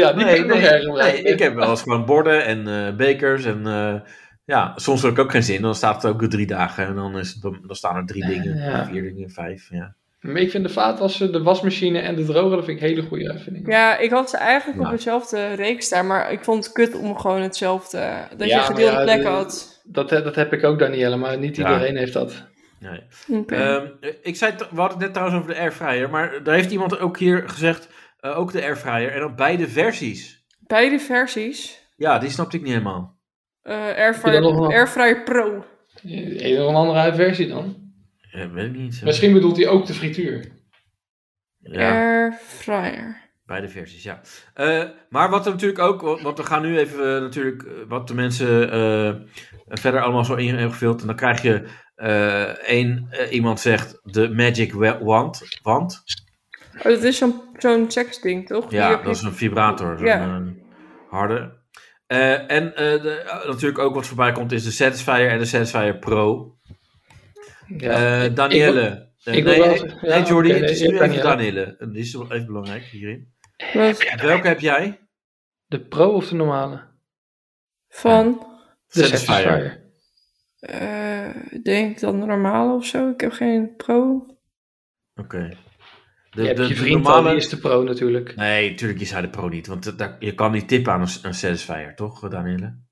Speaker 3: ja, die kan ik nog erger
Speaker 2: nee,
Speaker 3: gebruiken.
Speaker 2: ik heb wel eens gewoon borden en eh, bekers en eh, ja, soms heb ik ook geen zin. Dan staat het ook drie dagen en dan, is het, dan staan er drie dingen,
Speaker 3: Ja.
Speaker 2: vier dingen, vijf. Ja.
Speaker 3: Maar ik vind de vaatwasser, de wasmachine en de droger, dat vind ik hele goede uitvindingen.
Speaker 4: ja, ik had ze eigenlijk
Speaker 2: Ja.
Speaker 4: op hetzelfde reeks staan, maar ik vond het kut om gewoon hetzelfde, dat
Speaker 3: Ja,
Speaker 4: je
Speaker 3: maar
Speaker 4: gedeelde
Speaker 3: ja,
Speaker 4: plek
Speaker 3: de-
Speaker 4: had.
Speaker 3: Dat, he- dat heb ik ook, Danielle, maar niet
Speaker 2: Ja.
Speaker 3: iedereen heeft dat.
Speaker 2: Nee.
Speaker 4: Oké.
Speaker 2: Ehm, ik zei, t- we hadden het net trouwens over de airfryer, maar daar heeft iemand ook hier gezegd, eh, ook de airfryer en dan beide versies.
Speaker 4: Beide versies.
Speaker 2: Ja, die snapte ik niet helemaal.
Speaker 4: Eh
Speaker 3: Heb je dat
Speaker 4: Airfryer,
Speaker 3: nog wel?
Speaker 4: Airfryer Pro.
Speaker 3: Heeft nog een andere versie dan?
Speaker 2: Eh, weet ik niet. eh.
Speaker 3: Misschien bedoelt hij ook de frituur.
Speaker 2: Ja,
Speaker 4: Airfryer.
Speaker 2: beide versies, ja. Eh, maar wat er natuurlijk ook, wa- want we gaan nu even eh, natuurlijk eh, wat de mensen eh, verder allemaal zo in hebben gevuld. En dan krijg je eh één, eh, iemand zegt de magic wa- wand, wand.
Speaker 4: Oh, dat is zo'n zo'n seksding, toch? Die
Speaker 2: Ja,
Speaker 4: heb je-
Speaker 2: dat is een vibrator. Zo'n
Speaker 4: Ja.
Speaker 2: eh, harde. Eh, en eh, de- eh, natuurlijk ook wat voorbij komt is de Satisfyer en de Satisfyer Pro.
Speaker 3: Ja.
Speaker 2: Eh Danielle. Eh,
Speaker 3: ik wil
Speaker 2: nee,
Speaker 3: wel
Speaker 2: nee,
Speaker 3: zeggen-
Speaker 2: nee,
Speaker 3: ja,
Speaker 2: Jordi,
Speaker 3: oké,
Speaker 2: het is
Speaker 3: nee,
Speaker 2: nu
Speaker 3: ik
Speaker 2: even
Speaker 3: kan
Speaker 2: Danielle. En Die is wel even belangrijk hierin.
Speaker 4: Wat-
Speaker 2: Welke heb jij?
Speaker 3: de pro of de normale?
Speaker 4: van,
Speaker 3: De
Speaker 2: Satisfyer.
Speaker 3: Satisfyer.
Speaker 4: eh, ik denk dan normaal of zo. Ik heb geen Pro.
Speaker 2: Oké.
Speaker 3: Je
Speaker 2: De,
Speaker 3: hebt
Speaker 2: de-
Speaker 3: je
Speaker 2: de
Speaker 3: vriend normale... die is de pro natuurlijk.
Speaker 2: Nee, natuurlijk is hij de pro niet. Want dat- dat- je kan niet tippen aan een, een Satisfyer, toch Danielle?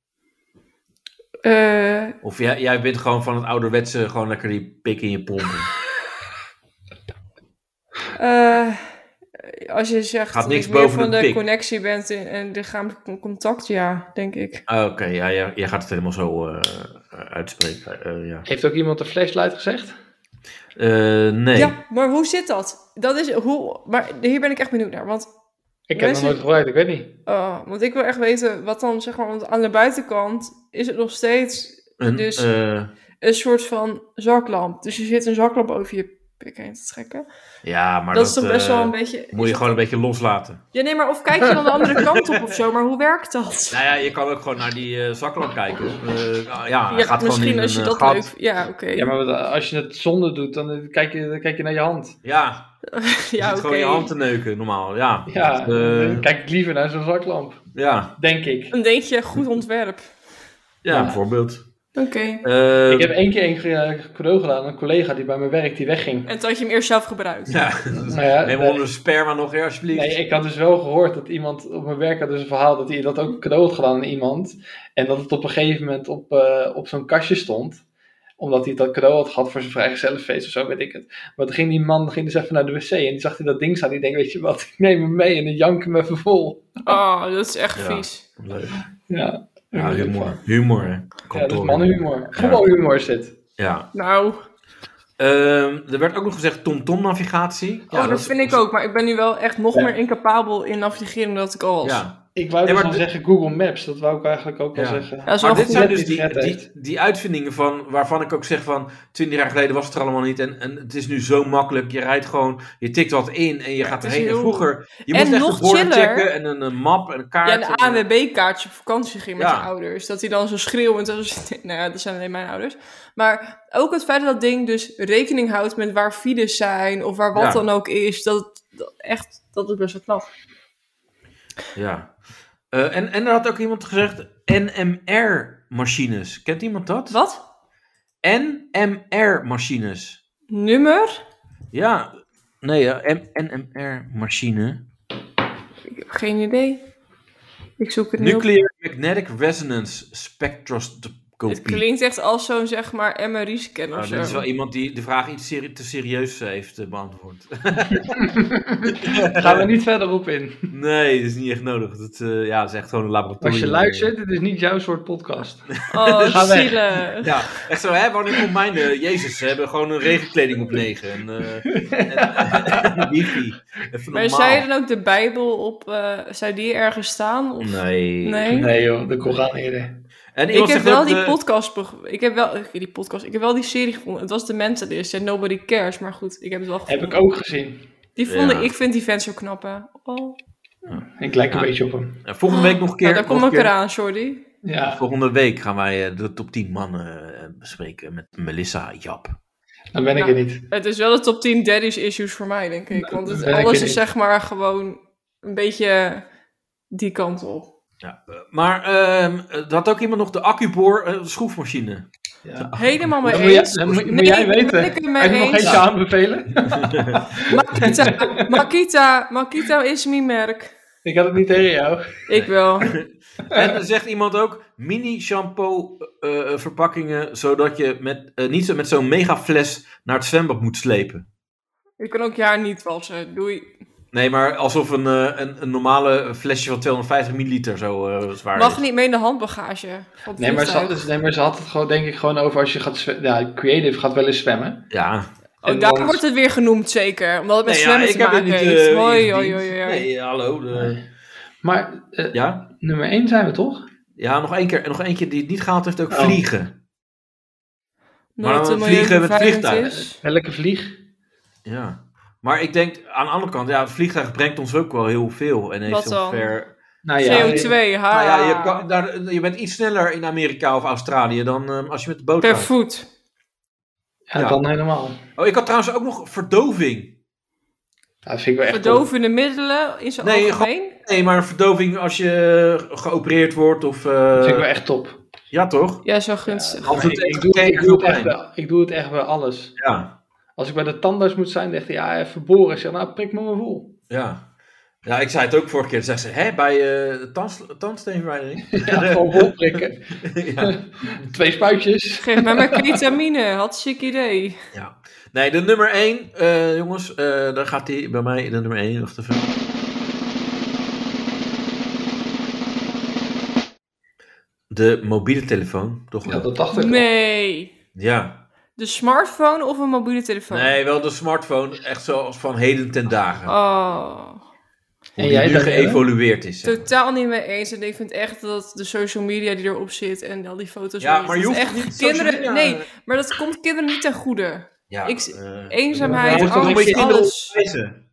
Speaker 4: Eh,
Speaker 2: Of jij, jij bent gewoon van het ouderwetse, gewoon lekker die pik in je pompen.
Speaker 4: Eh, als je zegt
Speaker 2: Gaat niks
Speaker 4: dat ik meer
Speaker 2: boven
Speaker 4: van
Speaker 2: de
Speaker 4: de,
Speaker 2: pik.
Speaker 4: connectie bent en, en lichamelijk con- contact, ja, denk ik.
Speaker 2: Ah, Oké, ja, jij, jij gaat het helemaal zo eh, eh, uitspreken. eh, ja.
Speaker 3: Heeft ook iemand de flashlight gezegd?
Speaker 2: Eh, nee.
Speaker 4: Ja, maar hoe zit dat? Dat is hoe. Maar hier ben ik echt benieuwd naar. Want,
Speaker 3: Ik heb nog
Speaker 4: Mensen-
Speaker 3: nooit gebruikt, ik weet niet.
Speaker 4: eh, want ik wil echt weten wat dan, zeg maar, want aan de buitenkant is het nog steeds
Speaker 2: Een,
Speaker 4: Dus-
Speaker 2: eh,
Speaker 4: een soort van zaklamp. Dus je zit een zaklamp over je pik heen te trekken.
Speaker 2: ja, maar
Speaker 4: dat is toch best
Speaker 2: eh,
Speaker 4: wel een beetje.
Speaker 2: Moet je gewoon een beetje loslaten.
Speaker 4: Ja, nee, maar of kijk je dan de andere kant op of zo, maar hoe werkt dat?
Speaker 2: Nou ja, je kan ook gewoon naar die eh, zaklamp kijken. Eh, nou ja, hij
Speaker 4: Ja,
Speaker 2: gaat gewoon in
Speaker 4: misschien
Speaker 2: een
Speaker 4: als je
Speaker 2: eh,
Speaker 4: dat
Speaker 2: gat.
Speaker 4: leuk. Ja, oké.
Speaker 3: Ja, maar wat- als je het zonde doet, dan eh, kijk je, dan kijk je naar je hand.
Speaker 2: Ja, je
Speaker 4: Ja,
Speaker 2: zit
Speaker 4: oké.
Speaker 2: gewoon je hand te neuken, normaal. Ja,
Speaker 3: Ja,
Speaker 2: Eh.
Speaker 3: dan kijk ik liever naar zo'n zaklamp.
Speaker 2: ja,
Speaker 3: Denk ik.
Speaker 4: Dan denk je, goed ontwerp.
Speaker 2: ja,
Speaker 3: Ja.
Speaker 2: bijvoorbeeld.
Speaker 4: Oké.
Speaker 2: Eh,
Speaker 3: Ik heb één keer een ge- eh, cadeau gedaan aan een collega die bij mijn werk die wegging.
Speaker 4: En toen had je hem eerst zelf gebruikt.
Speaker 2: Eh, Ja,
Speaker 3: Nou ja,
Speaker 2: neem
Speaker 3: nee.
Speaker 2: onder de sperma nog, hè, alsjeblieft.
Speaker 3: Nee, ik had dus wel gehoord dat iemand op mijn werk had dus een verhaal dat hij dat ook een cadeau had gedaan aan iemand. En dat het op een gegeven moment op, eh, op zo'n kastje stond. Omdat hij dat cadeau had gehad voor zijn vrijgezellenfeest of zo, weet ik het. Maar toen ging die man ging dus even naar de wc en die zag hij dat ding staan. Die denkt, weet je wat, ik neem hem mee en dan jank ik hem even vol.
Speaker 4: Oh, dat is echt
Speaker 2: Ja.
Speaker 4: vies.
Speaker 2: Leuk.
Speaker 3: Ja,
Speaker 2: Ja, humor. Humor, hè.
Speaker 3: Ja, dat is
Speaker 2: Kantoor.
Speaker 3: mannenhumor.
Speaker 2: Ja.
Speaker 3: Gewoon humor zit.
Speaker 2: Ja.
Speaker 4: Nou,
Speaker 2: Ehm, er werd ook nog gezegd TomTom-navigatie. Ja,
Speaker 4: oh, dat,
Speaker 2: is-
Speaker 4: vind ik ook. Maar ik ben nu wel echt nog
Speaker 3: Ja.
Speaker 4: meer incapabel in navigeren dan dat ik al was.
Speaker 2: Ja,
Speaker 3: Ik wou
Speaker 2: Nee,
Speaker 3: dus
Speaker 2: maar
Speaker 3: al
Speaker 2: de-
Speaker 3: zeggen Google Maps, dat wou ik eigenlijk ook wel
Speaker 2: Ja.
Speaker 3: zeggen.
Speaker 4: Dat is
Speaker 2: Maar
Speaker 4: wel
Speaker 2: dit
Speaker 4: goed.
Speaker 2: zijn
Speaker 3: dat
Speaker 2: dus
Speaker 3: hij het
Speaker 2: die,
Speaker 3: gered
Speaker 2: die, die uitvindingen van, waarvan ik ook zeg van 20 jaar geleden was het er allemaal niet. En, en het is nu zo makkelijk. Je rijdt gewoon, je tikt wat in en je gaat
Speaker 4: het is
Speaker 2: erheen. En
Speaker 4: heel-
Speaker 2: vroeger, je
Speaker 4: En
Speaker 2: moest echt
Speaker 4: nog
Speaker 2: de borden
Speaker 4: chiller.
Speaker 2: checken en een, eh, map en een kaart.
Speaker 4: Ja, de
Speaker 2: en-
Speaker 4: AWB-kaartje op vakantie ging met
Speaker 2: Ja.
Speaker 4: je ouders. Dat hij dan zo schreeuwend... Als, nou ja, dat zijn alleen mijn ouders. Maar ook het feit dat dat ding dus rekening houdt met waar files zijn... of waar wat
Speaker 2: Ja.
Speaker 4: dan ook is. Dat, dat echt, dat is best wel knap.
Speaker 2: ja. Eh, en, en er had ook iemand gezegd NMR-machines. Kent iemand dat?
Speaker 4: Wat?
Speaker 2: NMR-machines.
Speaker 4: Nummer?
Speaker 2: Ja, nee, ja, M- NMR-machine.
Speaker 4: Ik heb geen idee. Ik zoek het nu op.
Speaker 2: Nuclear Magnetic Resonance Spectroscopy.
Speaker 4: Het klinkt echt als zo'n zeg maar MRI-scanner.
Speaker 2: Nou,
Speaker 4: of zo.
Speaker 2: dit is wel iemand die de vraag iets seri- te serieus heeft eh, beantwoord.
Speaker 3: Daar gaan we niet verder op in.
Speaker 2: nee, dat is niet echt nodig. Dat, eh, ja, dat is echt gewoon een laboratorium.
Speaker 3: Als je luistert, dit is niet jouw soort podcast.
Speaker 4: Oh,
Speaker 3: Ga weg.
Speaker 4: zielig.
Speaker 2: Ja, echt zo, hè? Wanneer komt mijn eh, Jezus? Ze hebben gewoon een regenkleding op negen. En, eh, en, en wifi. Even
Speaker 4: Maar
Speaker 2: normaal.
Speaker 4: zou je dan ook de Bijbel op, eh, zou die ergens staan? Of?
Speaker 2: Nee.
Speaker 4: Nee?
Speaker 3: Nee joh, de Koran eerder.
Speaker 2: En
Speaker 4: Ik
Speaker 2: iemand
Speaker 4: heb
Speaker 2: zegt
Speaker 4: wel
Speaker 2: ook,
Speaker 4: die
Speaker 2: eh,
Speaker 4: podcast, beg- ik heb wel, eh, die podcast, ik heb wel die serie gevonden. Het was de mensen die zei Nobody Cares, maar goed, ik heb het wel
Speaker 3: Heb
Speaker 4: gevonden.
Speaker 3: ik ook gezien.
Speaker 4: Die vonden,
Speaker 2: Ja.
Speaker 4: ik vind die vent zo knap hè. Oh.
Speaker 3: Ik lijk een
Speaker 2: Ja.
Speaker 3: beetje op hem.
Speaker 2: eh, volgende week nog een keer.
Speaker 4: Nou, daar kom
Speaker 2: nog
Speaker 4: ik
Speaker 2: een keer-
Speaker 4: eraan, Jordi.
Speaker 3: Ja,
Speaker 2: Volgende week gaan wij eh, de top 10 mannen eh, bespreken met Melissa Jap.
Speaker 3: dan ben ik
Speaker 4: Ja.
Speaker 3: er niet.
Speaker 4: Het is wel de top 10 daddy's issues voor mij, denk ik. Want het,
Speaker 3: ben ik
Speaker 4: alles
Speaker 3: er
Speaker 4: is
Speaker 3: niet.
Speaker 4: zeg maar gewoon een beetje die kant op.
Speaker 2: Ja, eh, maar ehm, er had ook iemand nog de accuboor eh, schroefmachine.
Speaker 3: Ja.
Speaker 4: Helemaal mee
Speaker 3: Dat moet, jij-
Speaker 4: eens.
Speaker 3: dat moet- moet
Speaker 4: Nee,
Speaker 3: jij
Speaker 4: ben
Speaker 3: weten.
Speaker 4: ik het mee
Speaker 3: Heb je nog
Speaker 4: eens.
Speaker 3: eentje aanbevelen?
Speaker 4: Makita, Makita, Makita is mijn merk.
Speaker 3: Ik had het niet tegen jou.
Speaker 4: Ik wel.
Speaker 2: En er zegt iemand ook mini shampoo eh, eh, verpakkingen, zodat je met, eh, niet zo met zo'n mega fles naar het zwembad moet slepen.
Speaker 4: Ik kan ook je haar niet wassen. Doei.
Speaker 2: Nee, maar alsof een, eh, een, een normale flesje van 250 milliliter zo eh, zwaar
Speaker 4: Mag
Speaker 2: is.
Speaker 4: niet mee in de handbagage. Van het
Speaker 3: Nee maar, ze had,
Speaker 4: vliegtuig.
Speaker 3: het- nee, maar ze had het gewoon, denk ik gewoon over als je gaat zwemmen. Ja, creative gaat wel eens zwemmen.
Speaker 2: Ja,
Speaker 4: Oh,
Speaker 3: en
Speaker 4: daar
Speaker 3: dan-
Speaker 4: wordt het weer genoemd zeker. Omdat het met
Speaker 2: Nee, ja,
Speaker 4: zwemmen
Speaker 2: ik
Speaker 4: te
Speaker 2: heb het
Speaker 4: maken
Speaker 2: niet,
Speaker 4: heeft.
Speaker 2: eh,
Speaker 4: hoi,
Speaker 2: ingediend.
Speaker 4: hoi, hoi, hoi.
Speaker 2: Nee, hallo. de-
Speaker 3: Maar eh,
Speaker 2: Ja?
Speaker 3: nummer 1 zijn we toch?
Speaker 2: Ja, nog één keer. En nog eentje die het niet gehaald heeft, ook
Speaker 3: Oh.
Speaker 2: vliegen.
Speaker 4: Omdat
Speaker 2: Maar
Speaker 4: het
Speaker 2: dan
Speaker 4: milieu
Speaker 2: vliegen met
Speaker 4: bevrijdend
Speaker 2: vliegtuigen.
Speaker 4: is.
Speaker 3: Welke vlieg?
Speaker 2: Ja. Maar ik denk, aan de andere kant, ja, het vliegtuig brengt ons ook wel heel veel. En heeft
Speaker 4: Wat dan?
Speaker 2: ongeveer...
Speaker 3: Nou
Speaker 4: CO2, ha.
Speaker 2: Nou ja, je, kan, daar, je bent iets sneller in Amerika of Australië dan ehm, als je met de boot
Speaker 4: Per
Speaker 2: gaat.
Speaker 4: voet.
Speaker 3: Ja,
Speaker 2: Ja.
Speaker 3: dan helemaal.
Speaker 2: Oh, ik had trouwens ook nog verdoving.
Speaker 3: Ja, dat vind ik wel echt top.
Speaker 4: Verdovende middelen in zijn
Speaker 2: Nee,
Speaker 4: algemeen.
Speaker 2: Nee, maar verdoving als je eh, geopereerd wordt of... eh,
Speaker 3: Dat vind ik wel echt top.
Speaker 2: ja, toch?
Speaker 4: Ja, zo gunstig.
Speaker 2: Als
Speaker 3: Maar
Speaker 2: het
Speaker 3: ik-
Speaker 2: echt
Speaker 3: ik, doe,
Speaker 2: tegen
Speaker 3: ik, doe het
Speaker 2: pijn.
Speaker 3: echt wel, ik doe het echt wel alles.
Speaker 2: Ja,
Speaker 3: Als ik bij de tandarts moet zijn, zegt hij, ja, even boren. Ik zeg, nou, prik me maar vol.
Speaker 2: ja. Ja, ik zei het ook vorige keer. Zeg ze, hè, bij eh, de tands, tandsteenverwijdering?
Speaker 3: Ja, gewoon vol prikken.
Speaker 2: ja.
Speaker 3: Twee spuitjes.
Speaker 4: Geef mij mijn ketamine. Had ziek idee.
Speaker 2: Ja. Nee, de nummer 1, jongens, eh, daar gaat hij bij mij de nummer 1. Wacht even. De mobiele telefoon, toch
Speaker 3: Ja,
Speaker 2: wel?
Speaker 3: dat dacht ik al.
Speaker 4: Nee.
Speaker 2: Ja.
Speaker 4: De smartphone of een mobiele telefoon?
Speaker 2: Nee, wel de smartphone, echt zoals van heden ten dagen.
Speaker 4: Oh,
Speaker 2: Hoe
Speaker 3: En
Speaker 2: die
Speaker 3: jij
Speaker 2: nu
Speaker 3: dan, Jelle?
Speaker 2: geëvolueerd is. zeg maar.
Speaker 4: totaal niet mee eens. En ik vind echt dat de social media die erop zit en al die foto's.
Speaker 2: Ja,
Speaker 4: en-
Speaker 2: maar je
Speaker 4: dat is
Speaker 2: hoeft
Speaker 4: echt
Speaker 2: niet social
Speaker 4: kinderen.
Speaker 2: media-
Speaker 4: Nee, maar dat komt kinderen niet ten goede.
Speaker 2: Ja,
Speaker 4: ik-
Speaker 2: eh,
Speaker 4: Eenzaamheid,
Speaker 2: dan moet je toch een
Speaker 4: angst,
Speaker 2: beetje kinderen
Speaker 4: alles.
Speaker 2: onderwijzen.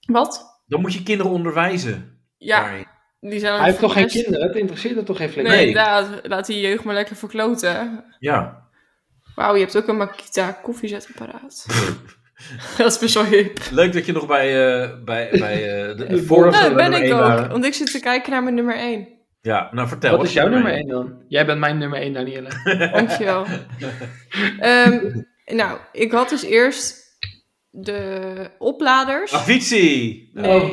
Speaker 4: Wat?
Speaker 2: Dan moet je kinderen onderwijzen.
Speaker 4: Ja,
Speaker 2: daarin.
Speaker 4: die zijn
Speaker 3: Hij heeft toch geen
Speaker 4: best-
Speaker 3: kinderen? Het interesseert er toch geen flik?
Speaker 4: Nee,
Speaker 2: Nee.
Speaker 4: inderdaad. Laat die jeugd maar lekker verkloten.
Speaker 2: Ja.
Speaker 4: Wauw, je hebt ook een Makita koffiezetapparaat. dat is best wel hip.
Speaker 2: Leuk dat je nog bij, eh, bij, bij eh, de,
Speaker 3: De
Speaker 2: vorige
Speaker 4: Nou, dat ben
Speaker 2: nummer één
Speaker 4: ik ook.
Speaker 2: waren.
Speaker 4: Want ik zit te kijken naar mijn nummer 1.
Speaker 2: Ja, nou vertel.
Speaker 3: Wat is jouw nummer
Speaker 2: één?
Speaker 3: 1 dan? Jij bent mijn nummer 1, Danielle.
Speaker 4: Dankjewel. Ehm nou, ik had dus eerst de opladers.
Speaker 2: Oh. Avicii!
Speaker 4: Nee.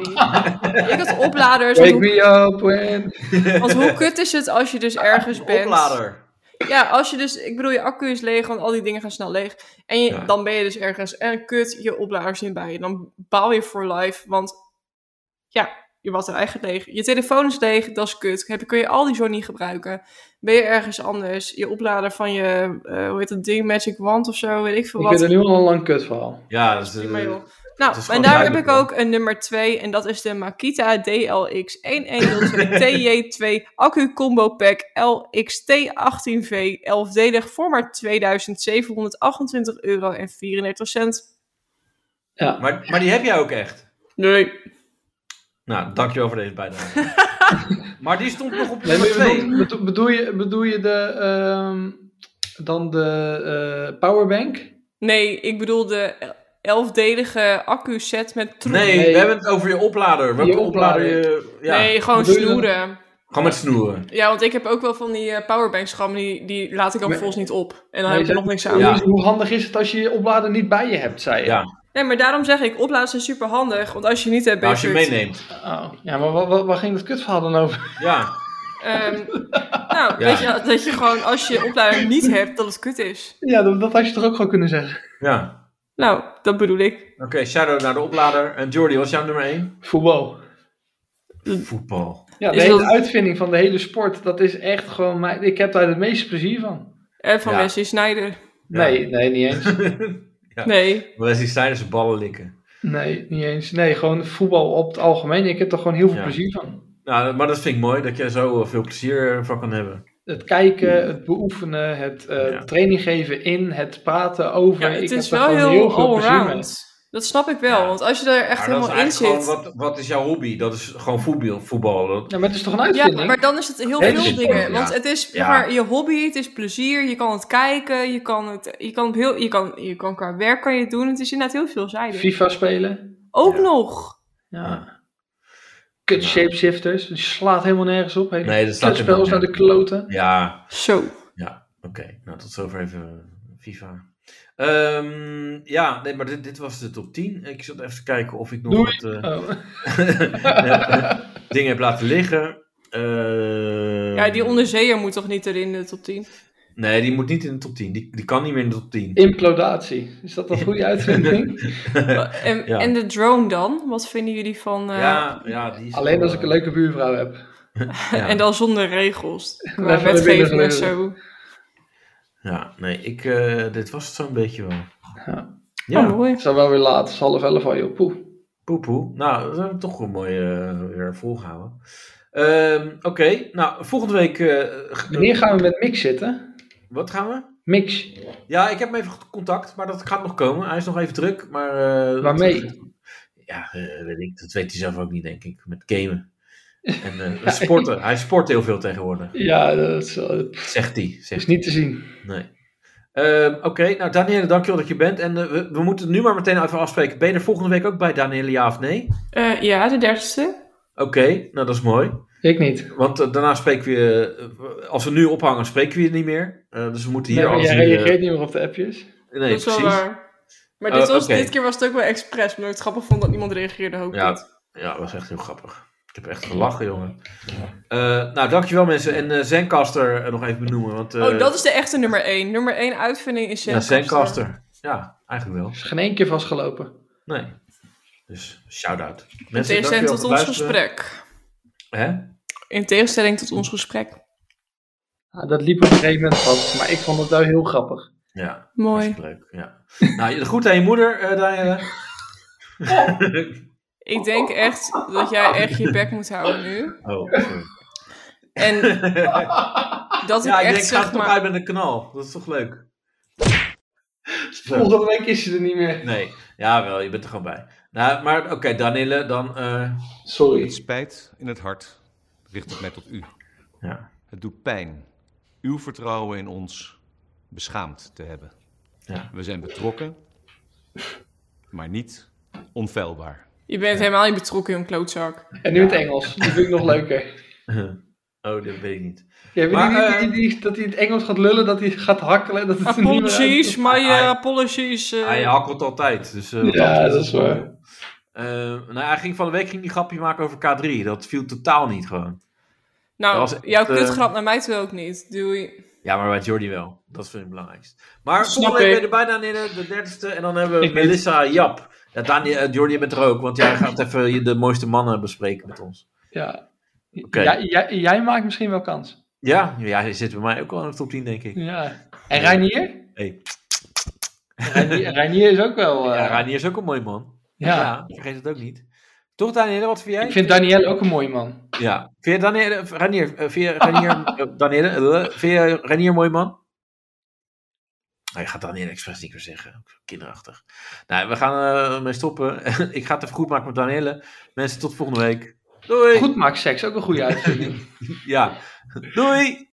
Speaker 4: ik had opladers.
Speaker 3: Wake
Speaker 4: Want,
Speaker 3: me up when...
Speaker 4: hoe- want hoe kut is het als je dus ergens bent?
Speaker 2: Oplader.
Speaker 4: Ja, als je dus, ik bedoel, je accu is leeg, want al die dingen gaan snel leeg. En je,
Speaker 2: Ja.
Speaker 4: dan ben je dus ergens en kut, je opladers niet bij je. Dan baal je voor life, want ja, je batterij gaat leeg. Je telefoon is leeg, dat is kut. Heb, je- kun je al die zo niet gebruiken. Ben je ergens anders, je oplader van je, eh, hoe heet dat ding, Magic Wand of zo, weet ik veel
Speaker 3: Ik
Speaker 4: wat.
Speaker 3: vind het nu al een lang kut verhaal.
Speaker 2: Ja, dat is... eh,
Speaker 4: Prima, joh.
Speaker 2: het is
Speaker 4: Nou, en
Speaker 2: gewoon
Speaker 4: daar heb
Speaker 2: duidelijk,
Speaker 4: ik ook een nummer 2 en dat is de Makita DLX 1102 TJ2 accu combo pack LXT18V 11-delig voor maar 2728 euro en 34 cent.
Speaker 3: Ja.
Speaker 2: maar, maar die heb jij ook echt.
Speaker 4: Nee.
Speaker 2: Nou, dankjewel voor deze bijdrage. maar die stond nog op
Speaker 3: Nee,
Speaker 2: nummer 2.
Speaker 3: bedoel, bedoel- bedoel je, bedoel je de, ehm, dan de eh, powerbank?
Speaker 4: Nee, ik bedoel de 11-delige accu set met troep.
Speaker 2: Nee,
Speaker 3: Nee.
Speaker 2: we hebben het over je oplader. Welke
Speaker 3: Je
Speaker 2: oplader
Speaker 3: oplader.
Speaker 2: je... Ja,
Speaker 4: Nee, gewoon
Speaker 3: Bedoel je dan-
Speaker 4: snoeren.
Speaker 2: gewoon met snoeren.
Speaker 4: Ja, want ik heb ook wel van die eh, powerbanks gehad, maar die, die laat ik dan
Speaker 3: Maar-
Speaker 4: vervolgens niet op. En dan
Speaker 3: Maar
Speaker 4: heb ik
Speaker 3: je
Speaker 4: er nog niks aan.
Speaker 2: Ja.
Speaker 3: Hoe, hoe handig is het als je je oplader niet bij je hebt, zei je?
Speaker 2: Ja.
Speaker 4: Nee, maar daarom zeg ik, opladen zijn super handig, want als je niet hebt, ben
Speaker 2: Nou, als je
Speaker 4: fucked.
Speaker 2: meeneemt.
Speaker 3: Oh, ja, maar wa- wa- waar ging dat kutverhaal dan over?
Speaker 2: Ja.
Speaker 4: Ehm, nou, weet je, dat je gewoon als je opleiding niet hebt, dat het kut is.
Speaker 3: Ja, dat, dat had je toch ook gewoon kunnen zeggen.
Speaker 2: Ja.
Speaker 4: Nou, dat bedoel ik.
Speaker 2: Oké, shadow naar de oplader. En Jordi, wat is jouw nummer 1?
Speaker 3: Voetbal.
Speaker 2: Voetbal.
Speaker 3: Ja, de
Speaker 4: Is
Speaker 3: hele
Speaker 4: dat-
Speaker 3: uitvinding van de hele sport, dat is echt gewoon... Mijn... Ik heb daar het meeste plezier van.
Speaker 4: En Eh, van
Speaker 2: Ja.
Speaker 4: Wesley Sneijder.
Speaker 2: Ja.
Speaker 3: Nee, nee, niet eens.
Speaker 2: Ja.
Speaker 4: Nee.
Speaker 2: Wesley Sneijder zijn ballen likken.
Speaker 3: Nee, niet eens. Nee, gewoon voetbal op het algemeen. Ik heb er gewoon heel veel
Speaker 2: Ja.
Speaker 3: plezier van.
Speaker 2: Nou, maar dat vind ik mooi, dat jij zo eh, veel plezier van kan hebben.
Speaker 3: Het kijken,
Speaker 4: Hmm.
Speaker 3: het beoefenen, het eh,
Speaker 2: Ja.
Speaker 3: training geven in, het praten over.
Speaker 4: Ja,
Speaker 3: ik
Speaker 4: het
Speaker 3: heb
Speaker 4: is
Speaker 3: er
Speaker 4: wel
Speaker 3: gewoon
Speaker 4: heel,
Speaker 3: veel plezier mee.
Speaker 4: allround. Dat snap ik wel,
Speaker 2: Ja.
Speaker 4: want als je er echt
Speaker 2: Maar dat is
Speaker 4: helemaal in
Speaker 2: eigenlijk
Speaker 4: zit...
Speaker 2: gewoon, wat, wat is jouw hobby? Dat is gewoon voetbal. voetbal. Dat-
Speaker 3: Ja, maar het is toch een
Speaker 4: Ja,
Speaker 3: uitvinding?
Speaker 4: maar dan is het heel
Speaker 3: Hele
Speaker 4: veel
Speaker 3: sport,
Speaker 4: dingen.
Speaker 2: ja.
Speaker 4: Want het is zeg
Speaker 2: Ja.
Speaker 4: maar, je hobby, het is plezier, je kan het kijken, je kan het, je kan op heel, je kan, je kan qua werk kan je het doen. Het is inderdaad heel veelzijdig.
Speaker 3: FIFA spelen.
Speaker 4: Ook
Speaker 2: Ja.
Speaker 4: nog.
Speaker 3: Ja. Kut
Speaker 4: Nou.
Speaker 3: shapeshifters. Die slaat helemaal nergens op. Hele
Speaker 2: Nee, dat staat er
Speaker 3: kutspel is naar
Speaker 2: niet.
Speaker 3: de kloten.
Speaker 2: Ja,
Speaker 4: Zo.
Speaker 2: oké. Nou, tot zover even eh, FIFA. Ehm, ja, nee, maar dit, dit was de top 10. Ik zat even te kijken of ik nog
Speaker 3: Doei.
Speaker 2: wat eh,
Speaker 3: Oh.
Speaker 2: dingen heb laten liggen. Ehm,
Speaker 4: Ja, die onderzeeër moet toch niet erin de top 10?
Speaker 2: Nee, die moet niet in de top 10. Die, die kan niet meer in de top 10.
Speaker 3: Implodatie. Is dat een goede uitvinding?
Speaker 4: En,
Speaker 2: Ja.
Speaker 4: en de drone dan? Wat vinden jullie van... eh,
Speaker 2: ja, ja, die is
Speaker 3: Alleen
Speaker 2: wel,
Speaker 3: als ik een
Speaker 2: eh,
Speaker 3: leuke buurvrouw heb.
Speaker 2: ja.
Speaker 4: En dan zonder regels. Qua
Speaker 3: Even naar
Speaker 4: wetgeving
Speaker 3: binnen
Speaker 4: en zo. Oh,
Speaker 2: Ja, nee, ik, eh, dit was het zo'n beetje wel.
Speaker 3: Ja.
Speaker 2: Ja,
Speaker 4: Oh, mooi.
Speaker 3: Het is al wel weer laat. Het is half elf al, joh. Poeh.
Speaker 2: Poepoe. Nou, we hebben toch een mooie eh, weer volgehouden. Ehm, Oké, nou, volgende week. eh, g-
Speaker 3: Wanneer gaan we met Mix zitten?
Speaker 2: Wat gaan we?
Speaker 3: Mix.
Speaker 2: Ja, ik heb hem even contact, maar dat gaat nog komen. Hij is nog even druk, maar. eh,
Speaker 3: Waarmee?
Speaker 2: Ja, eh, weet ik. Dat weet hij zelf ook niet, denk ik. Met gamen. En eh, sporten. Hij sport heel veel tegenwoordig.
Speaker 3: Ja, dat is, eh,
Speaker 2: Zegt hij. Zegt
Speaker 3: is niet te zien.
Speaker 2: Nee. Ehm, Oké, nou Danielle, dankjewel dat je bent. En eh, we, we moeten nu maar meteen even afspreken. Ben je er volgende week ook bij, Danielle, ja of nee?
Speaker 4: Eh, ja, de dertigste.
Speaker 2: Oké, nou dat is mooi.
Speaker 3: Ik niet.
Speaker 2: Want eh, daarna spreken we je, eh, als we nu ophangen, spreken we je niet meer. Eh, dus we moeten hier
Speaker 3: Nee, maar
Speaker 2: alles
Speaker 3: jij
Speaker 2: nu, eh,
Speaker 3: reageert niet meer op de appjes.
Speaker 2: nee,
Speaker 4: dat is wel
Speaker 2: precies.
Speaker 4: waar. Maar
Speaker 2: Oh,
Speaker 4: dit, was,
Speaker 2: oké.
Speaker 4: dit keer was het ook wel expres. Omdat ik het grappig vond dat niemand reageerde. Hoop ik.
Speaker 2: Ja, ja, dat was echt heel grappig. Ik heb echt gelachen, jongen. Eh, nou, dankjewel mensen. En eh Zencaster eh, nog even benoemen. Want, eh,
Speaker 4: Oh, dat is de echte nummer 1. Nummer 1 uitvinding is
Speaker 2: Ja,
Speaker 4: Zencaster.
Speaker 2: Zencaster. Ja, eigenlijk wel.
Speaker 3: Is geen één keer vastgelopen.
Speaker 2: Nee. Dus, shout-out.
Speaker 4: In
Speaker 2: Mensen,
Speaker 4: tegenstelling
Speaker 2: dankjewel
Speaker 4: tot
Speaker 2: voor
Speaker 4: ons
Speaker 2: het luisteren.
Speaker 4: gesprek.
Speaker 2: Hè?
Speaker 4: In tegenstelling tot ons gesprek.
Speaker 3: Ah, dat liep op een gegeven moment vast. Maar ik vond het wel heel grappig.
Speaker 2: Ja,
Speaker 4: Mooi.
Speaker 2: hartstikke leuk. Ja. nou, je- goed aan je moeder, eh Danielle.
Speaker 4: Ik denk echt dat jij echt je bek moet houden nu.
Speaker 2: Oh, sorry.
Speaker 4: En dat ik
Speaker 2: Ja, ik denk,
Speaker 4: echt
Speaker 2: ik ga
Speaker 4: zeg
Speaker 2: toch
Speaker 4: maar...
Speaker 2: uit met een knal. Dat is toch leuk?
Speaker 3: Volgende week is ze er niet meer.
Speaker 2: Nee, jawel, je bent er gewoon bij. Nou, maar oké, Danille, dan... eh,
Speaker 3: Sorry.
Speaker 7: Het spijt in het hart richt ik mij tot u.
Speaker 2: ja,
Speaker 7: Het doet pijn uw vertrouwen in ons beschaamd te hebben.
Speaker 2: Ja.
Speaker 7: We zijn betrokken, maar niet onfeilbaar.
Speaker 4: Je bent helemaal niet betrokken, jong klootzak.
Speaker 3: En nu het Engels. Dat vind ik nog leuker.
Speaker 2: oh, dat weet ik niet.
Speaker 3: Ja, weet je
Speaker 2: Maar, eh,
Speaker 3: die- die- die- dat hij het Engels gaat lullen, dat hij gaat hakkelen. Dat het er niet meer
Speaker 4: Apologies,
Speaker 3: uit-
Speaker 4: my eh,
Speaker 2: Hij-
Speaker 4: apologies. eh.
Speaker 2: Hij hakkelt altijd, dus... eh, wat
Speaker 3: Ja,
Speaker 2: betreft-
Speaker 3: dat is waar.
Speaker 2: Eh, nou, hij ging van de week ging die grapje maken over K3. Dat viel totaal niet gewoon.
Speaker 4: nou,
Speaker 2: dat was echt,
Speaker 4: jouw
Speaker 2: eh,
Speaker 4: kutgrap naar mij toe ook niet. Doei.
Speaker 2: Ja, maar bij Jordi wel. Dat vind ik het belangrijkste. Maar
Speaker 4: Snap
Speaker 2: volgende week ben
Speaker 4: ik.
Speaker 2: je er bijna in de dertigste. En dan hebben we
Speaker 3: Ik weet-
Speaker 2: Melissa Jap. Ja, Daniel, eh, Jordi, je bent er ook. Want jij gaat even je- de mooiste mannen bespreken met ons.
Speaker 3: Ja.
Speaker 2: Oké.
Speaker 3: Jij- jij- jij maakt misschien wel kans.
Speaker 2: Ja, ja, hij zit bij mij ook al in de top 10, denk ik.
Speaker 3: Ja. En Reinier?
Speaker 2: Hey.
Speaker 3: Reinier, Reinier is ook wel... eh,
Speaker 2: Ja, Ranier is ook een mooi man.
Speaker 3: ja.
Speaker 2: Ja, vergeet het ook niet. Toch, Danielle, wat vind jij?
Speaker 3: Ik vind Danielle ook een mooie man.
Speaker 2: Ja. Vind je Danielle, Ranier, eh, vind je Ranier, eh, Danielle, eh, vind je Ranier een mooi man? Hij gaat Danielle expres niet meer zeggen. Kinderachtig. Nou, we gaan eh, ermee stoppen. Ik ga het even goed maken met Danielle. Mensen, tot volgende week. Doei.
Speaker 3: Goed maakt seks, ook een goede uitvinding.
Speaker 2: Ja. Doei.